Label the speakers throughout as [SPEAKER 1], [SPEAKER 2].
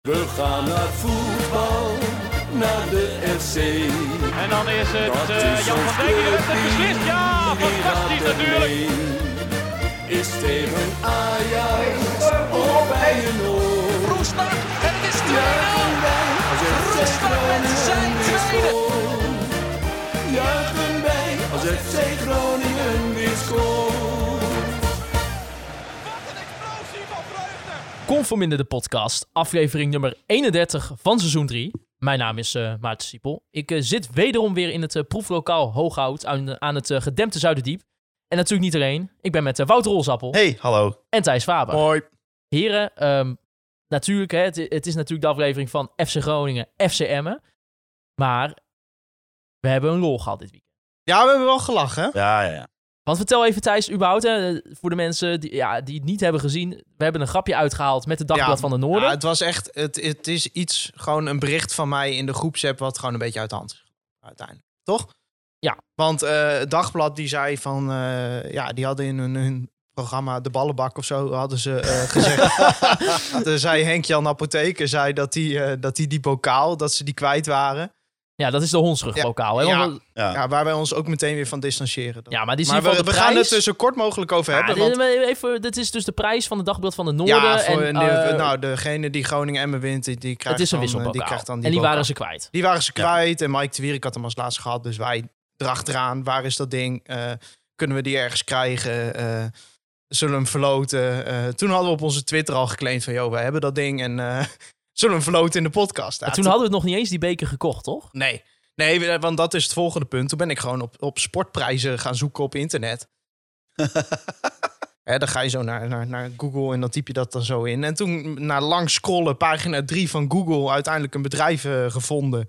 [SPEAKER 1] We gaan naar voetbal, naar de FC.
[SPEAKER 2] En dan is het
[SPEAKER 1] Dat
[SPEAKER 2] eh,
[SPEAKER 1] is eh,
[SPEAKER 2] Jan
[SPEAKER 1] ons
[SPEAKER 2] van Dijk die de wedstrijd
[SPEAKER 1] clubteam.
[SPEAKER 2] beslist. Ja,
[SPEAKER 1] Iedereen
[SPEAKER 2] fantastisch
[SPEAKER 1] gaat er
[SPEAKER 2] natuurlijk.
[SPEAKER 1] mee. Is tegen Ajax of bij een oor.
[SPEAKER 3] Roestak en het is 2-0.
[SPEAKER 1] Als FC
[SPEAKER 3] Roestak met zijn
[SPEAKER 1] Groningen
[SPEAKER 3] tweede.
[SPEAKER 1] scoort, juichen wij als FC Groningen weer scoort.
[SPEAKER 4] Conforminder de podcast, aflevering nummer 31 van seizoen 3. Mijn naam is eh, Maarten Siepel. Ik eh, zit wederom weer in het eh, proeflokaal Hooghout aan, aan het eh, gedempte Zuiderdiep. En natuurlijk niet alleen. Ik ben met eh, Wouter Rolsappel
[SPEAKER 5] Hey, hallo.
[SPEAKER 4] en Thijs Faber.
[SPEAKER 5] Hoi.
[SPEAKER 4] Heren, ehm, natuurlijk, hè, het, het is natuurlijk de aflevering van FC Groningen, FC Emmen. Maar we hebben een lol gehad dit weekend.
[SPEAKER 5] Ja, we hebben wel gelachen.
[SPEAKER 6] Ja, ja, ja.
[SPEAKER 4] Want vertel even Thijs, überhaupt, hè, voor de mensen die, ja, die het niet hebben gezien. We hebben een grapje uitgehaald met de Dagblad
[SPEAKER 5] Ja,
[SPEAKER 4] van de Noorden.
[SPEAKER 5] Ja, Nou, het was echt, het, het is iets, gewoon een bericht van mij in de groepsapp wat gewoon een beetje uit de hand is gelopen, uiteindelijk. Toch?
[SPEAKER 4] Ja.
[SPEAKER 5] Want eh, het Dagblad die zei van, eh, ja, die hadden in hun, hun programma De Ballenbak of zo, hadden ze eh, gezegd. Toen zei Henk-Jan Apotheker, zei dat die, eh, dat die die bokaal, dat ze die kwijt waren.
[SPEAKER 4] Ja, dat is de hondsrugbokaal. hè?
[SPEAKER 5] Ja.
[SPEAKER 4] Want we-
[SPEAKER 6] Ja.
[SPEAKER 5] Ja, waar wij ons ook meteen weer van distancieren.
[SPEAKER 4] Ja, maar die is in
[SPEAKER 5] maar
[SPEAKER 4] ieder
[SPEAKER 5] we,
[SPEAKER 4] geval
[SPEAKER 5] we
[SPEAKER 4] de
[SPEAKER 5] gaan
[SPEAKER 4] prijs.
[SPEAKER 5] het er zo kort mogelijk over
[SPEAKER 4] Ja,
[SPEAKER 5] hebben.
[SPEAKER 4] dit-
[SPEAKER 5] want
[SPEAKER 4] even, dit is dus de prijs van de Dagblad van de Noorden.
[SPEAKER 5] Ja, voor
[SPEAKER 4] en,
[SPEAKER 5] de-
[SPEAKER 4] eh,
[SPEAKER 5] nou, degene die Groningen Emmen wint, die, die krijgt
[SPEAKER 4] het is een
[SPEAKER 5] dan, eh,
[SPEAKER 4] wisselbokaal.
[SPEAKER 5] Die krijgt dan die
[SPEAKER 4] en die
[SPEAKER 5] bokaal.
[SPEAKER 4] waren ze kwijt.
[SPEAKER 5] die waren ze kwijt en Mike de Wierik had hem als laatste gehad. Dus wij erachteraan, waar is dat ding? Eh, kunnen we die ergens krijgen? Eh, zullen we hem verloten? Eh, toen hadden we op onze Twitter al geclaimd van... joh, we hebben dat ding en eh, zullen we hem verloten in de podcast? Ja,
[SPEAKER 4] En toen hadden we nog niet eens die beker gekocht, toch?
[SPEAKER 5] Nee. Nee, we- want dat is het volgende punt. Toen ben ik gewoon op, op sportprijzen gaan zoeken op internet. Hè, dan ga je zo naar, naar, naar Google en dan typ je dat dan zo in. En toen, na lang scrollen, pagina 3 van Google, uiteindelijk een bedrijf eh, gevonden.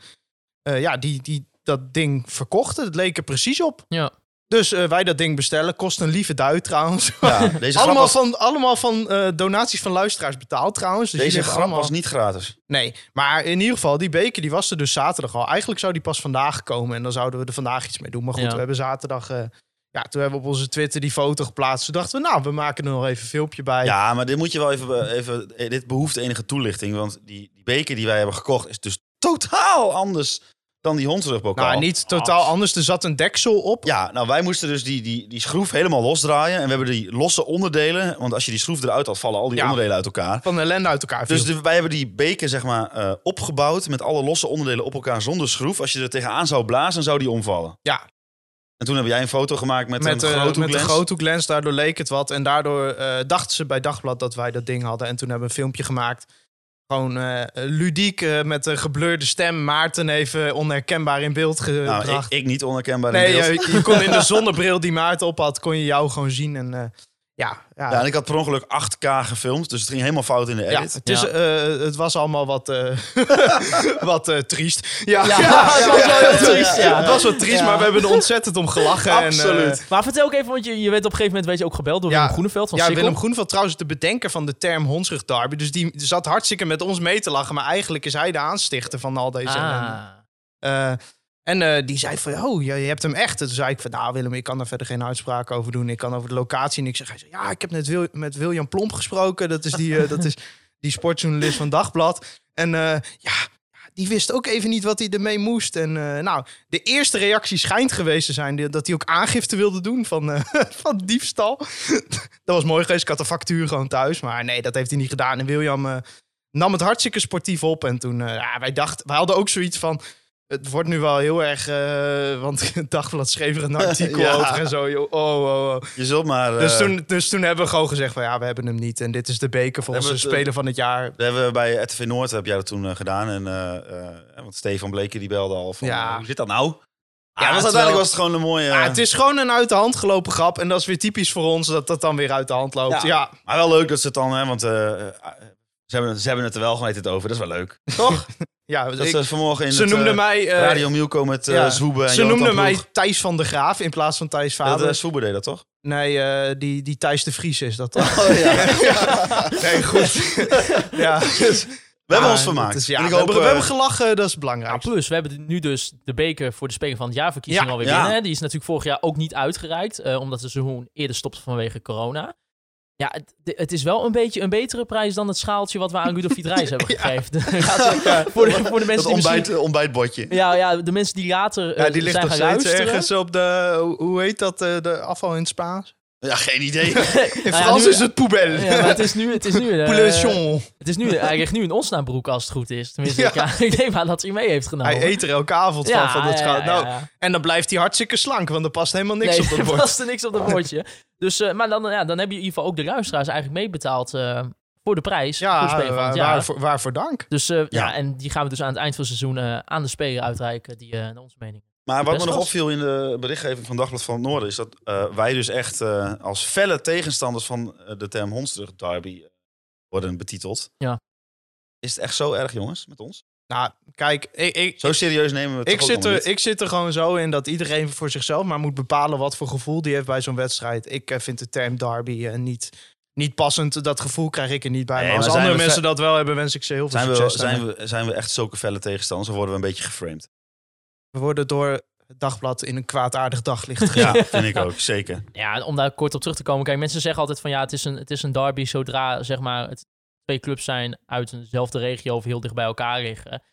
[SPEAKER 5] Eh, ja, die, die dat ding verkochten. Het leek er precies op.
[SPEAKER 4] Ja.
[SPEAKER 5] Dus eh, wij dat ding bestellen. Kost een lieve duit trouwens.
[SPEAKER 6] ja deze grap,
[SPEAKER 5] allemaal,
[SPEAKER 6] was,
[SPEAKER 5] van, allemaal van eh, donaties van luisteraars betaald trouwens. Dus
[SPEAKER 6] deze
[SPEAKER 5] jullie hebben
[SPEAKER 6] grap
[SPEAKER 5] allemaal-
[SPEAKER 6] was niet gratis.
[SPEAKER 5] Nee, maar in ieder geval, die beker die was er dus zaterdag al. Eigenlijk zou die pas vandaag komen en dan zouden we er vandaag iets mee doen. Maar goed,
[SPEAKER 4] Ja.
[SPEAKER 5] we hebben zaterdag... eh, ja, toen hebben we op onze Twitter die foto geplaatst. Toen dachten we, nou, we maken er nog even een filmpje bij.
[SPEAKER 6] Ja, maar dit moet je wel even, be- even eh, dit behoeft enige toelichting, want die, die beker die wij hebben gekocht is dus totaal anders dan die hondsrugbokaal.
[SPEAKER 5] nou, niet totaal anders. Er zat een deksel op.
[SPEAKER 6] Ja, nou wij moesten dus die, die, die schroef helemaal losdraaien en we hebben die losse onderdelen, want als je die schroef eruit had vallen al die
[SPEAKER 5] Ja.
[SPEAKER 6] onderdelen uit elkaar.
[SPEAKER 5] Van ellende uit elkaar.
[SPEAKER 6] Dus
[SPEAKER 5] viel.
[SPEAKER 6] de- wij hebben die beker zeg maar eh, opgebouwd met alle losse onderdelen op elkaar zonder schroef. Als je er tegenaan zou blazen, zou die omvallen.
[SPEAKER 5] Ja.
[SPEAKER 6] En toen heb jij een foto gemaakt met,
[SPEAKER 5] met,
[SPEAKER 6] een
[SPEAKER 5] eh,
[SPEAKER 6] grote
[SPEAKER 5] met de groothoeklens, daardoor leek het wat. En daardoor eh, dachten ze bij Dagblad dat wij dat ding hadden. En toen hebben we een filmpje gemaakt. Gewoon eh, ludiek, eh, met een geblurde stem. Maarten even onherkenbaar in beeld gebracht.
[SPEAKER 6] Nou, ik, ik niet onherkenbaar in
[SPEAKER 5] Nee, eh,
[SPEAKER 6] beeld.
[SPEAKER 5] je, je kon in de zonnebril die Maarten op had, kon je jou gewoon zien. En eh, ja, ja,
[SPEAKER 6] Ja,
[SPEAKER 5] ja,
[SPEAKER 6] en ik had per ongeluk 8K gefilmd, dus het ging helemaal fout in de edit.
[SPEAKER 5] het, is,
[SPEAKER 4] Ja.
[SPEAKER 5] eh, het was allemaal wat, eh, wat eh, triest. Ja,
[SPEAKER 4] Ja, het was wel heel triest, ja.
[SPEAKER 5] het was wel triest, maar we hebben er ontzettend om gelachen. En, eh,
[SPEAKER 6] Absoluut.
[SPEAKER 4] Maar vertel ook even, want je, je werd op een gegeven moment weet je, ook gebeld door
[SPEAKER 5] Ja.
[SPEAKER 4] Willem Groeneveld van
[SPEAKER 5] ja,
[SPEAKER 4] Sikkel.
[SPEAKER 5] Willem Groenveld trouwens de bedenker van de term hondsrug derby. Dus die zat hartstikke met ons mee te lachen. Maar eigenlijk is hij de aanstichter van al deze ellende.
[SPEAKER 4] Ah.
[SPEAKER 5] Eh, en eh, die zei van, oh, je, je hebt hem echt. En toen zei ik van, nou Willem, ik kan daar verder geen uitspraak over doen. Ik kan over de locatie niks zeggen. Hij zei, ja, ik heb net Wil- met William Plomp gesproken. Dat is die, eh, dat is die sportjournalist van Dagblad. En eh, ja, die wist ook even niet wat hij ermee moest. En eh, nou, de eerste reactie schijnt geweest te zijn... die- dat hij ook aangifte wilde doen van, eh, van diefstal. dat was mooi geweest. Ik had de factuur gewoon thuis. Maar nee, dat heeft hij niet gedaan. En William... eh, Nam het hartstikke sportief op. En toen, eh, ja, wij dachten, wij hadden ook zoiets van. Het wordt nu wel heel erg, eh, want het dagblad schreef er een artikel
[SPEAKER 6] Ja.
[SPEAKER 5] over en zo. joh. Oh, oh, oh.
[SPEAKER 6] Je zult maar... eh,
[SPEAKER 5] Dus, toen, dus toen hebben we gewoon gezegd van ja, we hebben hem niet. En dit is de beker voor
[SPEAKER 6] We
[SPEAKER 5] onze
[SPEAKER 6] hebben het, eh,
[SPEAKER 5] speler van het jaar.
[SPEAKER 6] dat hebben we bij RTV Noord heb jij dat toen eh, gedaan. En, eh, eh, want Stefan Bleken die belde al van,
[SPEAKER 5] Ja.
[SPEAKER 6] eh, hoe zit dat nou?
[SPEAKER 5] het
[SPEAKER 6] Ja, was
[SPEAKER 5] is
[SPEAKER 6] uiteindelijk
[SPEAKER 5] wel-
[SPEAKER 6] was het gewoon een mooie...
[SPEAKER 5] Ah, het is gewoon een uit de hand gelopen grap. En dat is weer typisch voor ons, dat dat dan weer uit de hand loopt.
[SPEAKER 6] Ja.
[SPEAKER 5] Ja,
[SPEAKER 6] Maar wel leuk dat ze het dan... Hè, want eh, eh, ze, hebben, ze hebben het er wel gewoon het over. Dat is wel leuk. Toch?
[SPEAKER 5] ja.
[SPEAKER 6] dat
[SPEAKER 5] ik-
[SPEAKER 6] ze vanmorgen in
[SPEAKER 5] ze
[SPEAKER 6] het, eh,
[SPEAKER 5] noemden mij... eh,
[SPEAKER 6] Radio Mielco met eh
[SPEAKER 5] ja.
[SPEAKER 6] Zwoebe en
[SPEAKER 5] Ze
[SPEAKER 6] Jonathan
[SPEAKER 5] noemden mij
[SPEAKER 6] Ploeg.
[SPEAKER 5] Thijs van der Graaf in plaats van Thijs
[SPEAKER 6] Dat, eh,
[SPEAKER 5] Faber.
[SPEAKER 6] Zwoebe deed dat, toch?
[SPEAKER 5] Nee, eh, die, die Thijs de Vries is dat. dan.
[SPEAKER 6] Oh,
[SPEAKER 5] Nee, goed. ja. dus-
[SPEAKER 6] We hebben
[SPEAKER 5] Ah,
[SPEAKER 6] ons
[SPEAKER 5] dat
[SPEAKER 6] vermaakt.
[SPEAKER 5] is- ja,
[SPEAKER 6] En
[SPEAKER 5] we,
[SPEAKER 6] ik hoop,
[SPEAKER 5] hebben, we
[SPEAKER 6] eh,
[SPEAKER 5] hebben gelachen, dat is
[SPEAKER 4] Ja,
[SPEAKER 5] belangrijk.
[SPEAKER 4] plus, we hebben nu dus de beker voor de Speler van het Jaar verkiezing
[SPEAKER 5] Ja,
[SPEAKER 4] alweer
[SPEAKER 6] ja.
[SPEAKER 4] binnen. hè. Die is natuurlijk vorig jaar ook niet uitgereikt, eh, omdat de seizoen eerder stopte vanwege corona. Ja, het, de- het is wel een beetje een betere prijs dan het schaaltje wat we aan Rudolf Fiedrijs hebben gegeven. Gaat ze- voor, de, voor de
[SPEAKER 6] Dat
[SPEAKER 4] mensen die
[SPEAKER 6] ontbijt,
[SPEAKER 4] misschien...
[SPEAKER 6] ontbijtbotje.
[SPEAKER 4] Ja, ja, de mensen die later eh,
[SPEAKER 5] Ja, die ligt
[SPEAKER 4] zijn
[SPEAKER 5] nog
[SPEAKER 4] gaan
[SPEAKER 5] steeds
[SPEAKER 4] luisteren.
[SPEAKER 5] ergens op de, hoe- hoe heet dat, eh, de afval in het Spaans?
[SPEAKER 6] Ja, geen idee.
[SPEAKER 5] In
[SPEAKER 4] Nou ja,
[SPEAKER 5] Frans
[SPEAKER 4] nu-
[SPEAKER 5] is het poubelle.
[SPEAKER 4] Ja, maar het is nu... Het is nu eh,
[SPEAKER 5] Pouletion.
[SPEAKER 4] Het is nu, eh, hij ligt nu een onsnabroek als het goed is. Tenminste,
[SPEAKER 5] Ja.
[SPEAKER 4] ik, ja, ik neem aan dat hij mee heeft genomen.
[SPEAKER 5] eh, Hij eet er elke avond van, van dat schaal. Nou,
[SPEAKER 4] ja.
[SPEAKER 5] En dan blijft hij hartstikke slank, want er past helemaal niks
[SPEAKER 4] nee,
[SPEAKER 5] op dat
[SPEAKER 4] er
[SPEAKER 5] bord.
[SPEAKER 4] paste niks op dat bordje. Dus, eh, maar dan, ja, dan heb je in ieder geval ook de luisteraars eigenlijk meebetaald eh, voor de prijs. voor
[SPEAKER 5] Ja,
[SPEAKER 4] het spelen van
[SPEAKER 5] waar,
[SPEAKER 4] het jaar.
[SPEAKER 5] waarvoor, waarvoor dank.
[SPEAKER 4] Dus eh, ja.
[SPEAKER 6] Ja.
[SPEAKER 4] en die gaan we dus aan het eind van het seizoen eh, aan de speler uitreiken, die eh, naar onze mening.
[SPEAKER 6] Maar wat
[SPEAKER 4] Best
[SPEAKER 6] me nog
[SPEAKER 4] was.
[SPEAKER 6] opviel in de berichtgeving van Dagblad van het Noorden... is dat eh, wij dus echt eh, als felle tegenstanders van eh, de term Hondsrug Derby eh, worden betiteld.
[SPEAKER 4] Ja.
[SPEAKER 6] Is het echt zo erg, jongens, met ons?
[SPEAKER 5] Nou, kijk, ik, ik,
[SPEAKER 6] Zo serieus nemen we het
[SPEAKER 5] ik,
[SPEAKER 6] toch ook
[SPEAKER 5] zit
[SPEAKER 6] nog
[SPEAKER 5] er,
[SPEAKER 6] niet?
[SPEAKER 5] ik zit er gewoon zo in dat iedereen voor zichzelf maar moet bepalen wat voor gevoel die heeft bij zo'n wedstrijd. Ik eh, vind de term derby eh, niet, niet passend. Dat gevoel krijg ik er niet bij.
[SPEAKER 6] Nee,
[SPEAKER 5] maar als
[SPEAKER 6] maar zijn
[SPEAKER 5] andere
[SPEAKER 6] we
[SPEAKER 5] mensen dat wel hebben, wens ik ze heel veel
[SPEAKER 6] Zijn we,
[SPEAKER 5] succes.
[SPEAKER 6] zijn, we, zijn we echt zulke felle tegenstanders of worden we een beetje geframed?
[SPEAKER 5] We worden door het dagblad in een kwaadaardig daglicht gezet.
[SPEAKER 6] Ja, vind ik ook, zeker.
[SPEAKER 4] Ja, en om daar kort op terug te komen. Kijk, mensen zeggen altijd van ja, het is een, het is een derby zodra zeg maar het twee clubs zijn uit dezelfde regio of heel dicht bij elkaar liggen.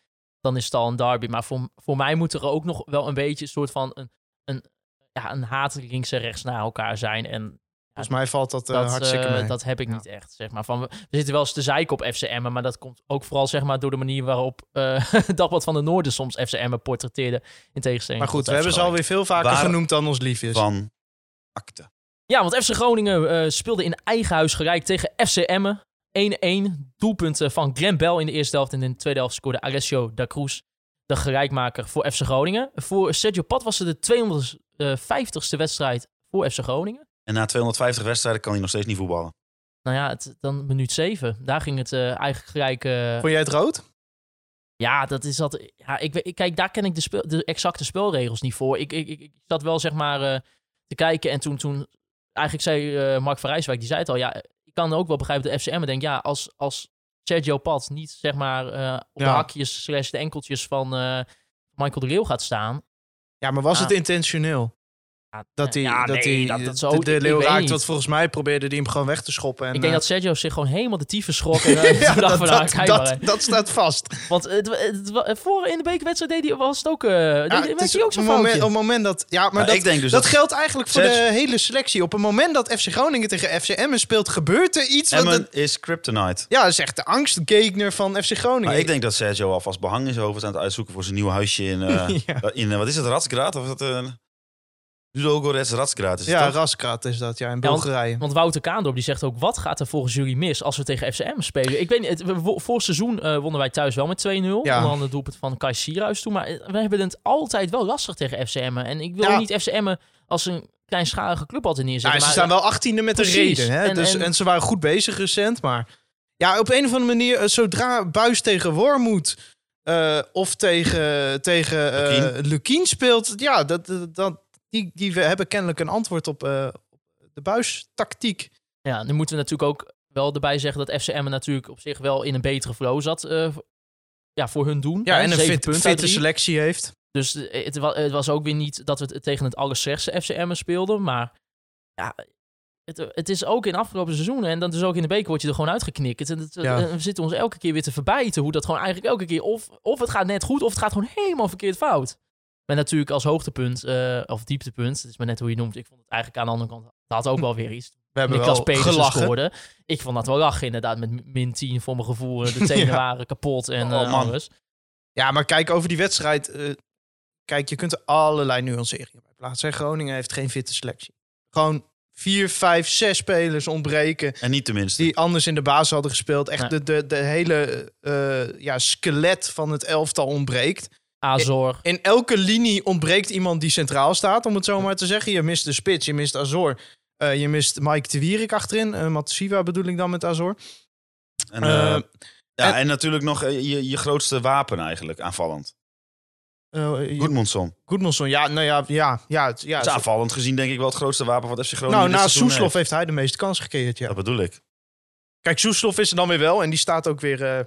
[SPEAKER 4] Dan is het al een derby. Maar voor, voor mij moet er ook nog wel een beetje een soort van een, een, ja, een haat links en rechts naar elkaar zijn. En
[SPEAKER 5] Volgens mij valt dat, eh,
[SPEAKER 4] dat,
[SPEAKER 5] hartstikke
[SPEAKER 4] eh,
[SPEAKER 5] mee.
[SPEAKER 4] dat heb ik
[SPEAKER 5] Ja.
[SPEAKER 4] niet echt. Zeg maar. van, we, we zitten wel eens te zeiken op FCM'en, maar dat komt ook vooral zeg maar, door de manier waarop eh Dagblad van de Noorden soms FCM'en portretteerde. In tegenstelling
[SPEAKER 5] maar goed,
[SPEAKER 4] tot
[SPEAKER 5] we hebben
[SPEAKER 4] FC
[SPEAKER 5] ze alweer veel vaker
[SPEAKER 6] Waar-
[SPEAKER 5] genoemd dan ons lief is.
[SPEAKER 6] Van akte.
[SPEAKER 4] Ja, want FC Groningen eh, speelde in eigen huis gelijk tegen FC Emmen. 1-1, doelpunten van Glenn Bell in de eerste helft. En in de tweede helft scoorde Alessio da Cruz de gelijkmaker voor FC Groningen. Voor Sergio Pat was het de 250ste wedstrijd voor FC Groningen.
[SPEAKER 6] En na 250 wedstrijden kan hij nog steeds niet voetballen.
[SPEAKER 4] Nou ja, het, dan minuut 7. Daar ging het eh, eigenlijk gelijk... eh,
[SPEAKER 5] Vond jij het rood?
[SPEAKER 4] Ja, dat is dat. Ja, ik, weet- ik- kijk, daar ken ik de, speel, de exacte spelregels niet voor. Ik, ik, ik, ik zat wel zeg maar eh, te kijken en toen, toen eigenlijk zei eh, Mark van Rijswijk, die zei het al, ja, ik kan ook wel begrijpen dat FCM denkt, ja, als, als Sergio Pat niet zeg maar eh, op de
[SPEAKER 5] Ja.
[SPEAKER 4] hakjes slash de enkeltjes van eh, Michael de Leeuw gaat staan.
[SPEAKER 5] Ja, maar was
[SPEAKER 4] Ah.
[SPEAKER 5] het intentioneel?
[SPEAKER 4] Ja,
[SPEAKER 5] Dat hij,
[SPEAKER 4] ja,
[SPEAKER 5] dat
[SPEAKER 4] nee,
[SPEAKER 5] hij
[SPEAKER 4] dat, dat
[SPEAKER 5] de,
[SPEAKER 4] zo,
[SPEAKER 5] de leeuw
[SPEAKER 4] ik, ik weet
[SPEAKER 5] raakt,
[SPEAKER 4] niet.
[SPEAKER 5] want volgens mij probeerde hij hem gewoon weg te schoppen. En,
[SPEAKER 4] ik denk dat
[SPEAKER 5] eh,
[SPEAKER 4] Sergio zich gewoon helemaal de tyfus schrok. En, eh,
[SPEAKER 5] ja,
[SPEAKER 4] toen dacht
[SPEAKER 5] dat,
[SPEAKER 4] van, nou,
[SPEAKER 5] dat,
[SPEAKER 4] kijk maar,
[SPEAKER 5] dat,
[SPEAKER 4] hè.
[SPEAKER 5] dat staat vast.
[SPEAKER 4] Want het, het, het- voor in de bekerwedstrijd deed hij, was het ook, eh deed,
[SPEAKER 5] Ja,
[SPEAKER 4] deed
[SPEAKER 5] het is
[SPEAKER 4] hij ook zo'n
[SPEAKER 5] op het moment-
[SPEAKER 4] foutje.
[SPEAKER 5] Op het moment dat... Ja, maar
[SPEAKER 6] Maar
[SPEAKER 5] dat,
[SPEAKER 6] ik denk dus
[SPEAKER 5] dat
[SPEAKER 6] dat-
[SPEAKER 5] geldt eigenlijk voor
[SPEAKER 6] Zet-
[SPEAKER 5] de hele selectie. Op het moment dat FC Groningen tegen FC Emmen speelt, gebeurt er iets. wat
[SPEAKER 6] Emmen
[SPEAKER 5] het-
[SPEAKER 6] is kryptonite.
[SPEAKER 5] ja, dat is echt de angstgegner van FC Groningen.
[SPEAKER 6] Maar ik denk dat Sergio alvast behang is over is aan het uitzoeken voor zijn nieuw huisje in, eh,
[SPEAKER 5] Ja.
[SPEAKER 6] in eh, wat is het, Ratsgraad? Of is dat een... Ludogorets Ratsgraad is het
[SPEAKER 5] ja,
[SPEAKER 6] toch?
[SPEAKER 5] Raskrat is dat, ja, in
[SPEAKER 4] Ja, want-
[SPEAKER 5] Bulgarije.
[SPEAKER 4] Want Wouter Kaandorp die zegt ook, wat gaat er volgens jullie mis als we tegen FCM spelen? Ik weet niet, het, we- vo- vorig seizoen eh, wonnen wij thuis wel met 2-0. Onder andere het doelpunt van Kai Sierhuis toen. Maar eh, we hebben het altijd wel lastig tegen FCM'en. En ik wil
[SPEAKER 5] Ja.
[SPEAKER 4] niet FCM'en als een kleinschalige club altijd
[SPEAKER 5] Nou,
[SPEAKER 4] neerzetten.
[SPEAKER 5] ze
[SPEAKER 4] maar,
[SPEAKER 5] staan wel achttiende met een
[SPEAKER 4] precies.
[SPEAKER 5] reden. Hè?
[SPEAKER 4] En-
[SPEAKER 5] dus,
[SPEAKER 4] en-
[SPEAKER 5] en, ze waren goed bezig recent. Maar ja, op een of andere manier, eh, zodra Buis tegen Wormoed eh, of tegen, tegen eh,
[SPEAKER 6] Lukien.
[SPEAKER 5] Lukien speelt, ja, dat, dat, dat- die, die we hebben kennelijk een antwoord op eh, op de Buis-tactiek.
[SPEAKER 4] eh, ja, nu moeten we natuurlijk ook wel erbij zeggen dat FCM'en natuurlijk op zich wel in een betere flow zat. eh, ja, voor hun doen.
[SPEAKER 5] Ja,
[SPEAKER 4] Hè,
[SPEAKER 5] en een
[SPEAKER 4] zeven
[SPEAKER 5] fit-
[SPEAKER 4] punten uit
[SPEAKER 5] fitte
[SPEAKER 4] drie.
[SPEAKER 5] selectie heeft.
[SPEAKER 4] Dus eh, het, wa- het was ook weer niet dat we het tegen het allerslechtste FCM'en speelden. Maar ja, het, het is ook in afgelopen seizoenen. En dan dus ook in de beker word je er gewoon uitgeknikkerd. En het-
[SPEAKER 5] Ja.
[SPEAKER 4] eh, we zitten ons elke keer weer te verbijten. Hoe dat gewoon eigenlijk elke keer... Of, of het gaat net goed, of het gaat gewoon helemaal verkeerd fout. Met natuurlijk als hoogtepunt, eh, of dieptepunt. Het is maar net hoe je het noemt. Ik vond het eigenlijk aan de andere kant... Dat had ook wel weer iets.
[SPEAKER 5] We hebben
[SPEAKER 4] Niklas
[SPEAKER 5] wel
[SPEAKER 4] Petersen
[SPEAKER 5] gelachen.
[SPEAKER 4] scoorde. Ik vond dat wel lachen inderdaad. Met min 10 voor mijn gevoel. eh, De tenen
[SPEAKER 5] Ja.
[SPEAKER 4] waren kapot en
[SPEAKER 6] Oh,
[SPEAKER 4] eh,
[SPEAKER 6] man.
[SPEAKER 4] alles.
[SPEAKER 5] Ja, maar kijk, over die wedstrijd... eh, kijk, je kunt er allerlei nuanceringen bij plaatsen. hè. Groningen heeft geen fitte selectie. Gewoon vier, vijf, zes spelers ontbreken.
[SPEAKER 6] En niet tenminste.
[SPEAKER 5] die anders in de baas hadden gespeeld. Echt
[SPEAKER 4] Ja.
[SPEAKER 5] de, de, de hele eh, ja, skelet van het elftal ontbreekt.
[SPEAKER 4] Azor.
[SPEAKER 5] In elke linie ontbreekt iemand die centraal staat, om het zo maar te zeggen. Je mist de spits, je mist Azor. eh, je mist Mike de Wierik achterin. eh Matsiwa bedoel ik dan met Azor.
[SPEAKER 6] En, eh,
[SPEAKER 5] eh,
[SPEAKER 6] ja, en, natuurlijk nog eh, je, je grootste wapen eigenlijk, aanvallend.
[SPEAKER 5] Eh, eh,
[SPEAKER 6] Goedmondson.
[SPEAKER 5] Goedmanson, ja, nou ja, ja, ja. het- ja
[SPEAKER 6] Dat
[SPEAKER 5] het-
[SPEAKER 6] is aanvallend gezien denk ik wel het grootste wapen wat FC Groningen
[SPEAKER 5] nou,
[SPEAKER 6] dit
[SPEAKER 5] na
[SPEAKER 6] seizoen
[SPEAKER 5] Soeslof
[SPEAKER 6] heeft.
[SPEAKER 5] heeft hij de meeste kans gecreëerd, ja.
[SPEAKER 6] Dat bedoel ik.
[SPEAKER 5] Kijk, Soeslof is er dan weer wel en die staat ook weer... eh,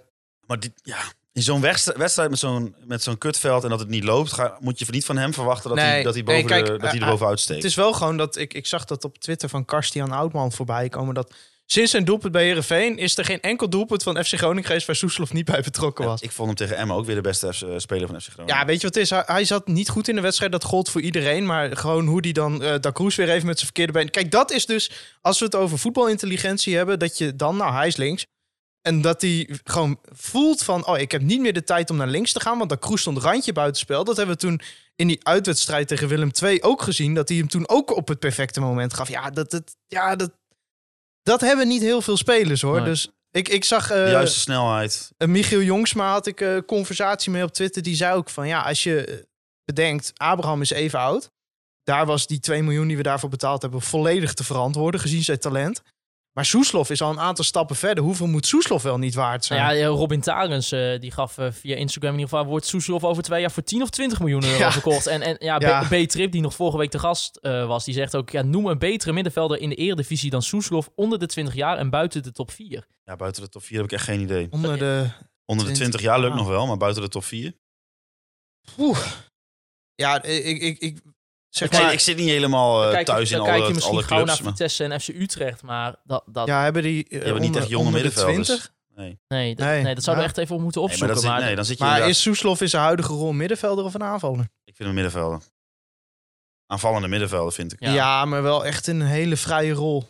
[SPEAKER 6] Maar die, ja, in zo'n wedst- wedstrijd met zo'n, met zo'n kutveld en dat het niet loopt, ga, moet je niet van hem verwachten dat, hij,
[SPEAKER 5] Nee,
[SPEAKER 6] dat, hij,
[SPEAKER 5] nee,
[SPEAKER 6] boven
[SPEAKER 5] kijk,
[SPEAKER 6] de- dat hij
[SPEAKER 5] eh,
[SPEAKER 6] er bovenuit
[SPEAKER 5] Het
[SPEAKER 6] steekt.
[SPEAKER 5] is wel gewoon dat ik, ik zag dat op Twitter van Karstian Oudman voorbij komen. Dat Sinds zijn doelpunt bij Herenveen is er geen enkel doelpunt van FC Groningen geweest waar Soeslof niet bij betrokken was.
[SPEAKER 6] Ik vond hem tegen Emma ook weer de beste FC speler van FC Groningen.
[SPEAKER 5] Ja, weet je wat het is? Hij, hij zat niet goed in de wedstrijd. Dat gold voor iedereen. Maar gewoon hoe die dan eh Da Cruz weer even met zijn verkeerde been... Kijk, dat is dus... Als we het over voetbalintelligentie hebben... dat je dan... Nou, hij is links. En dat hij gewoon voelt van... Oh, ik heb niet meer de tijd om naar links te gaan. Want Da Cruz stond randje buitenspel. Dat hebben we toen in die uitwedstrijd tegen Willem II ook gezien. Dat hij hem toen ook op het perfecte moment gaf. Ja, dat, dat, ja, dat, dat hebben niet heel veel spelers, hoor.
[SPEAKER 4] Nee.
[SPEAKER 5] Dus... Ik, ik zag eh,
[SPEAKER 6] De juiste snelheid.
[SPEAKER 5] eh, Michiel Jongsma had ik een conversatie mee op Twitter. Die zei ook van ja, als je eh, bedenkt, Abraham is even oud. Daar was die 2 miljoen die we daarvoor betaald hebben volledig te verantwoorden, gezien zijn talent. Maar Soeslof is al een aantal stappen verder. Hoeveel moet Soeslof wel niet waard zijn?
[SPEAKER 4] Nou ja, Robin Tarens eh, die gaf eh, via Instagram in ieder geval... wordt Soeslof over twee jaar voor 10 of 20 miljoen euro
[SPEAKER 5] Ja.
[SPEAKER 4] verkocht. En, en ja, B-
[SPEAKER 5] Ja.
[SPEAKER 4] B-Trip, die nog vorige week te gast eh, was... die zegt ook, ja, noem een betere middenvelder in de eredivisie... dan Soeslof onder de 20 jaar en buiten de top 4.
[SPEAKER 6] Ja, buiten de top 4 heb ik echt geen idee.
[SPEAKER 5] Onder de.
[SPEAKER 6] Onder de
[SPEAKER 5] 20.
[SPEAKER 6] 20 jaar lukt
[SPEAKER 4] Ah.
[SPEAKER 6] nog wel, maar buiten de top 4.
[SPEAKER 5] Oeh. Ja, eh, ik, ik, ik zeg
[SPEAKER 6] Ik,
[SPEAKER 5] maar.
[SPEAKER 6] ik zit niet helemaal eh,
[SPEAKER 4] Kijk,
[SPEAKER 6] thuis in
[SPEAKER 4] dan
[SPEAKER 6] alle,
[SPEAKER 4] kijk je
[SPEAKER 6] alle
[SPEAKER 4] misschien
[SPEAKER 6] clubs.
[SPEAKER 4] gauw naar
[SPEAKER 6] maar-
[SPEAKER 4] Vitesse en FC Utrecht... maar dat, dat,
[SPEAKER 5] ja, hebben die. eh,
[SPEAKER 6] Die hebben niet
[SPEAKER 5] onder-
[SPEAKER 6] echt jonge
[SPEAKER 5] onder de
[SPEAKER 6] middenvelders.
[SPEAKER 5] 20?
[SPEAKER 4] nee, dat,
[SPEAKER 5] Nee.
[SPEAKER 4] nee, dat zouden
[SPEAKER 5] Ja.
[SPEAKER 4] we echt even moeten
[SPEAKER 6] Nee, maar
[SPEAKER 4] opzoeken.
[SPEAKER 6] dat zit-
[SPEAKER 4] maar
[SPEAKER 6] nee, dan zit je
[SPEAKER 5] Maar
[SPEAKER 6] inderdaad-
[SPEAKER 5] is Soeslof in zijn huidige rol een middenvelder of een aanvaller?
[SPEAKER 6] Ik vind hem middenvelder. Aanvallende middenvelder vind ik.
[SPEAKER 4] Ja.
[SPEAKER 5] Ja. maar wel echt een hele vrije rol.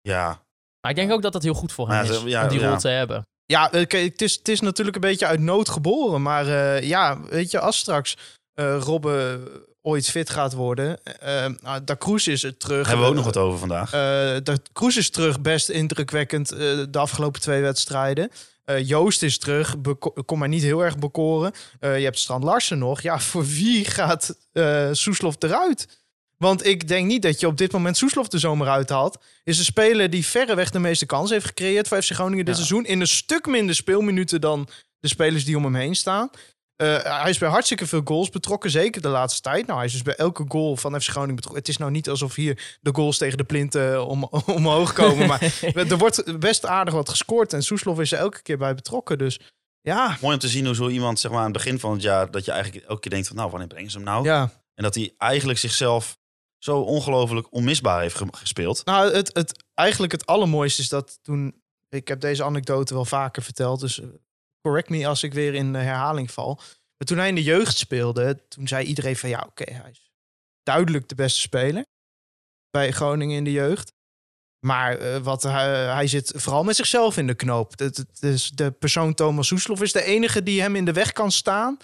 [SPEAKER 6] Ja,
[SPEAKER 4] maar ik denk ook dat dat heel goed voor hem
[SPEAKER 6] Ja,
[SPEAKER 4] is,
[SPEAKER 6] ze- ja,
[SPEAKER 4] om die
[SPEAKER 6] ja.
[SPEAKER 4] rol te hebben.
[SPEAKER 5] Ja, eh, kijk, het is, het is natuurlijk een beetje uit nood geboren. Maar eh, ja, weet je, als straks eh Robben ooit fit gaat worden. eh, eh, nou, da Cruz is er terug.
[SPEAKER 6] hebben we ook nog wat over vandaag.
[SPEAKER 5] Eh, da Cruz is terug, best indrukwekkend eh, de afgelopen twee wedstrijden. Eh, Joost is terug, beko- kon mij niet heel erg bekoren. Eh, je hebt Strand Larsen nog. Ja, voor wie gaat eh Soeslof eruit? Want ik denk niet dat je op dit moment Soeslof de zomer uithaalt. Is een speler die verreweg de meeste kans heeft gecreëerd voor FC Groningen dit
[SPEAKER 4] Ja.
[SPEAKER 5] seizoen. In een stuk minder speelminuten dan de spelers die om hem heen staan. Eh, hij is bij hartstikke veel goals betrokken, zeker de laatste tijd. Nou, hij is dus bij elke goal van FC Groningen betrokken. Het is nou niet alsof hier de goals tegen de plinten eh, om, omhoog komen. maar er wordt best aardig wat gescoord. En Soeslof is er elke keer bij betrokken. Dus ja,
[SPEAKER 6] Mooi om te zien hoe zo iemand zeg maar, aan het begin van het jaar... dat je eigenlijk elke keer denkt van nou, wanneer brengen ze hem nou?
[SPEAKER 5] ja.
[SPEAKER 6] En dat hij eigenlijk zichzelf zo ongelooflijk onmisbaar heeft ge- gespeeld.
[SPEAKER 5] Nou, het, het, eigenlijk het allermooiste is dat toen... Ik heb deze anekdote wel vaker verteld, dus eh, correct me als ik weer in de herhaling val. Maar toen hij in de jeugd speelde, toen zei iedereen van... Ja, oké, hij is duidelijk de beste speler bij Groningen in de jeugd. Maar eh, wat, hij- hij zit vooral met zichzelf in de knoop. Dat- dat is de persoon Thomas Soeslof is de enige die hem in de weg kan staan...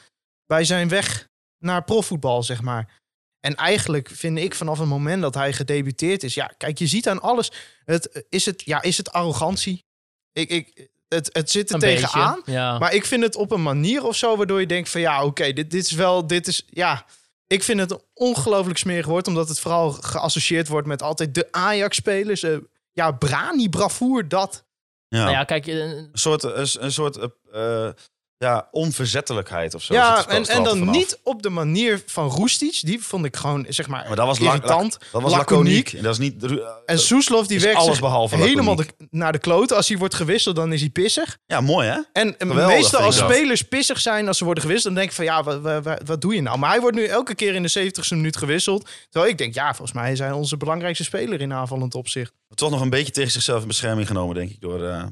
[SPEAKER 5] bij zijn weg naar profvoetbal, zeg maar. En eigenlijk vind ik vanaf het moment dat hij gedebuteerd is, ja, kijk, je ziet aan alles. Het, eh, is, het, ja, is het arrogantie? Ik, ik, het, het zit er
[SPEAKER 4] Een
[SPEAKER 5] tegenaan.
[SPEAKER 4] beetje, ja.
[SPEAKER 6] Ah.
[SPEAKER 5] Maar ik vind het op een manier of zo waardoor je denkt van ja, oké, dit, dit is wel, dit is, ja. Ik vind het een ongelooflijk smerig woord, omdat het vooral geassocieerd wordt met altijd de Ajax-spelers. Eh, ja, Brani, bravoer, dat.
[SPEAKER 6] Ja.
[SPEAKER 4] Nou ja, kijk, eh,
[SPEAKER 6] Een soort, een, een soort eh, eh, ja, onverzettelijkheid of zo. zit er
[SPEAKER 5] ja,
[SPEAKER 6] spel-
[SPEAKER 5] en, en
[SPEAKER 6] straalt er
[SPEAKER 5] dan
[SPEAKER 6] vanaf.
[SPEAKER 5] niet op de manier van Roestic. Die vond ik gewoon, zeg maar,
[SPEAKER 6] Maar dat was lang-
[SPEAKER 5] irritant,
[SPEAKER 6] Dat was
[SPEAKER 5] laconiek.
[SPEAKER 6] laconiek. En Dat is niet... ru- eh,
[SPEAKER 5] En Soeslof, die
[SPEAKER 6] Is
[SPEAKER 5] werkt
[SPEAKER 6] alles
[SPEAKER 5] zich
[SPEAKER 6] behalve
[SPEAKER 5] helemaal
[SPEAKER 6] laconiek.
[SPEAKER 5] de- naar de kloten. Als hij wordt gewisseld, dan is hij pissig.
[SPEAKER 6] Ja, mooi hè?
[SPEAKER 5] En eh,
[SPEAKER 6] Geweldig,
[SPEAKER 5] meestal
[SPEAKER 6] vind
[SPEAKER 5] als
[SPEAKER 6] ik dat.
[SPEAKER 5] spelers pissig zijn als ze worden gewisseld, dan denk ik van ja, wa- wa- wa- wat doe je nou? Maar hij wordt nu elke keer in de 70ste minuut gewisseld. Terwijl ik denk, ja, volgens mij is hij onze belangrijkste speler in aanvallend opzicht.
[SPEAKER 6] Toch nog een beetje tegen zichzelf in bescherming genomen, denk ik. Door, eh,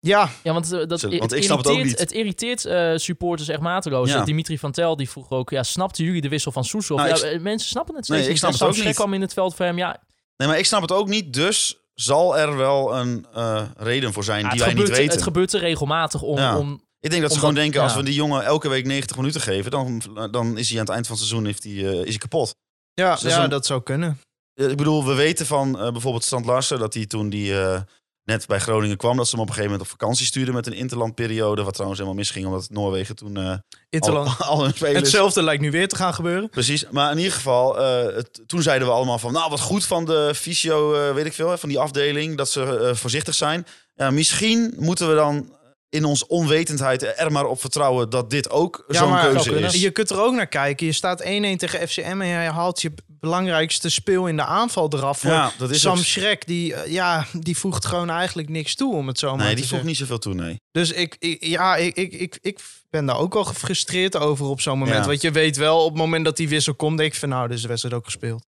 [SPEAKER 5] Ja,
[SPEAKER 4] Ja, want, eh, dat,
[SPEAKER 6] Zo,
[SPEAKER 4] i-
[SPEAKER 6] want
[SPEAKER 4] het
[SPEAKER 6] ik snap het ook
[SPEAKER 4] irriteert-
[SPEAKER 6] niet.
[SPEAKER 4] Het irriteert eh, supporters echt mateloos.
[SPEAKER 6] Ja.
[SPEAKER 4] Dimitri van Tel die vroeg ook, ja, snapten jullie de wissel van Soeslof?
[SPEAKER 6] Nou,
[SPEAKER 4] ja,
[SPEAKER 6] ik s-
[SPEAKER 4] eh, mensen snappen het
[SPEAKER 6] Nee,
[SPEAKER 4] steeds
[SPEAKER 6] ik
[SPEAKER 4] niet.
[SPEAKER 6] snap
[SPEAKER 4] En
[SPEAKER 6] het ook
[SPEAKER 4] Sam Schrek
[SPEAKER 6] niet.
[SPEAKER 4] kwam in het veld voor hem, ja,
[SPEAKER 6] Nee, maar ik snap het ook niet. Dus zal er wel een eh, reden voor zijn
[SPEAKER 4] ja,
[SPEAKER 6] die
[SPEAKER 4] het,
[SPEAKER 6] wij
[SPEAKER 4] gebeurt,
[SPEAKER 6] niet weten.
[SPEAKER 4] het gebeurt er regelmatig om...
[SPEAKER 6] Ja.
[SPEAKER 4] om
[SPEAKER 6] ik denk dat ze
[SPEAKER 4] omdat-
[SPEAKER 6] gewoon denken, als
[SPEAKER 4] ja.
[SPEAKER 6] we die jongen elke week 90 minuten geven, dan, dan is hij aan het eind van het seizoen heeft hij, eh, is hij kapot.
[SPEAKER 5] ja,
[SPEAKER 6] Dus dat is
[SPEAKER 5] ja
[SPEAKER 6] een-
[SPEAKER 5] dat zou kunnen.
[SPEAKER 6] Eh, Ik bedoel, we weten van eh, bijvoorbeeld Strand Larsen dat hij toen die eh, net bij Groningen kwam, dat ze hem op een gegeven moment op vakantie stuurden met een interlandperiode, wat trouwens helemaal misging, omdat Noorwegen toen eh, al,
[SPEAKER 5] Interland.
[SPEAKER 6] al hun spelers...
[SPEAKER 5] Hetzelfde lijkt nu weer te gaan gebeuren.
[SPEAKER 6] Precies, maar in ieder geval, eh, het- toen zeiden we allemaal van, nou wat goed van de fysio, eh, weet ik veel, hè, van die afdeling, dat ze eh, voorzichtig zijn. Ja, misschien moeten we dan in ons onwetendheid er maar op vertrouwen dat dit ook zo'n
[SPEAKER 5] maar-
[SPEAKER 6] keuze
[SPEAKER 5] zou
[SPEAKER 4] kunnen.
[SPEAKER 6] is.
[SPEAKER 5] Je kunt er ook naar kijken. Je staat 1-1 tegen FCM en je haalt je belangrijkste speel in de aanval eraf. Voor
[SPEAKER 6] Ja, dat is
[SPEAKER 5] Sam
[SPEAKER 6] ook-
[SPEAKER 5] Schrek, die, eh, ja, die voegt gewoon eigenlijk niks toe, om het zo maar
[SPEAKER 6] Nee,
[SPEAKER 5] te
[SPEAKER 6] die
[SPEAKER 5] zeggen.
[SPEAKER 6] voegt niet zoveel toe, nee.
[SPEAKER 5] Dus ik, ik- ja, ik, ik, ik, ik ben daar ook wel gefrustreerd over op zo'n moment.
[SPEAKER 6] Ja.
[SPEAKER 5] Want je weet wel, op het moment dat die wissel komt, denk ik van nou, dus de wedstrijd ook gespeeld.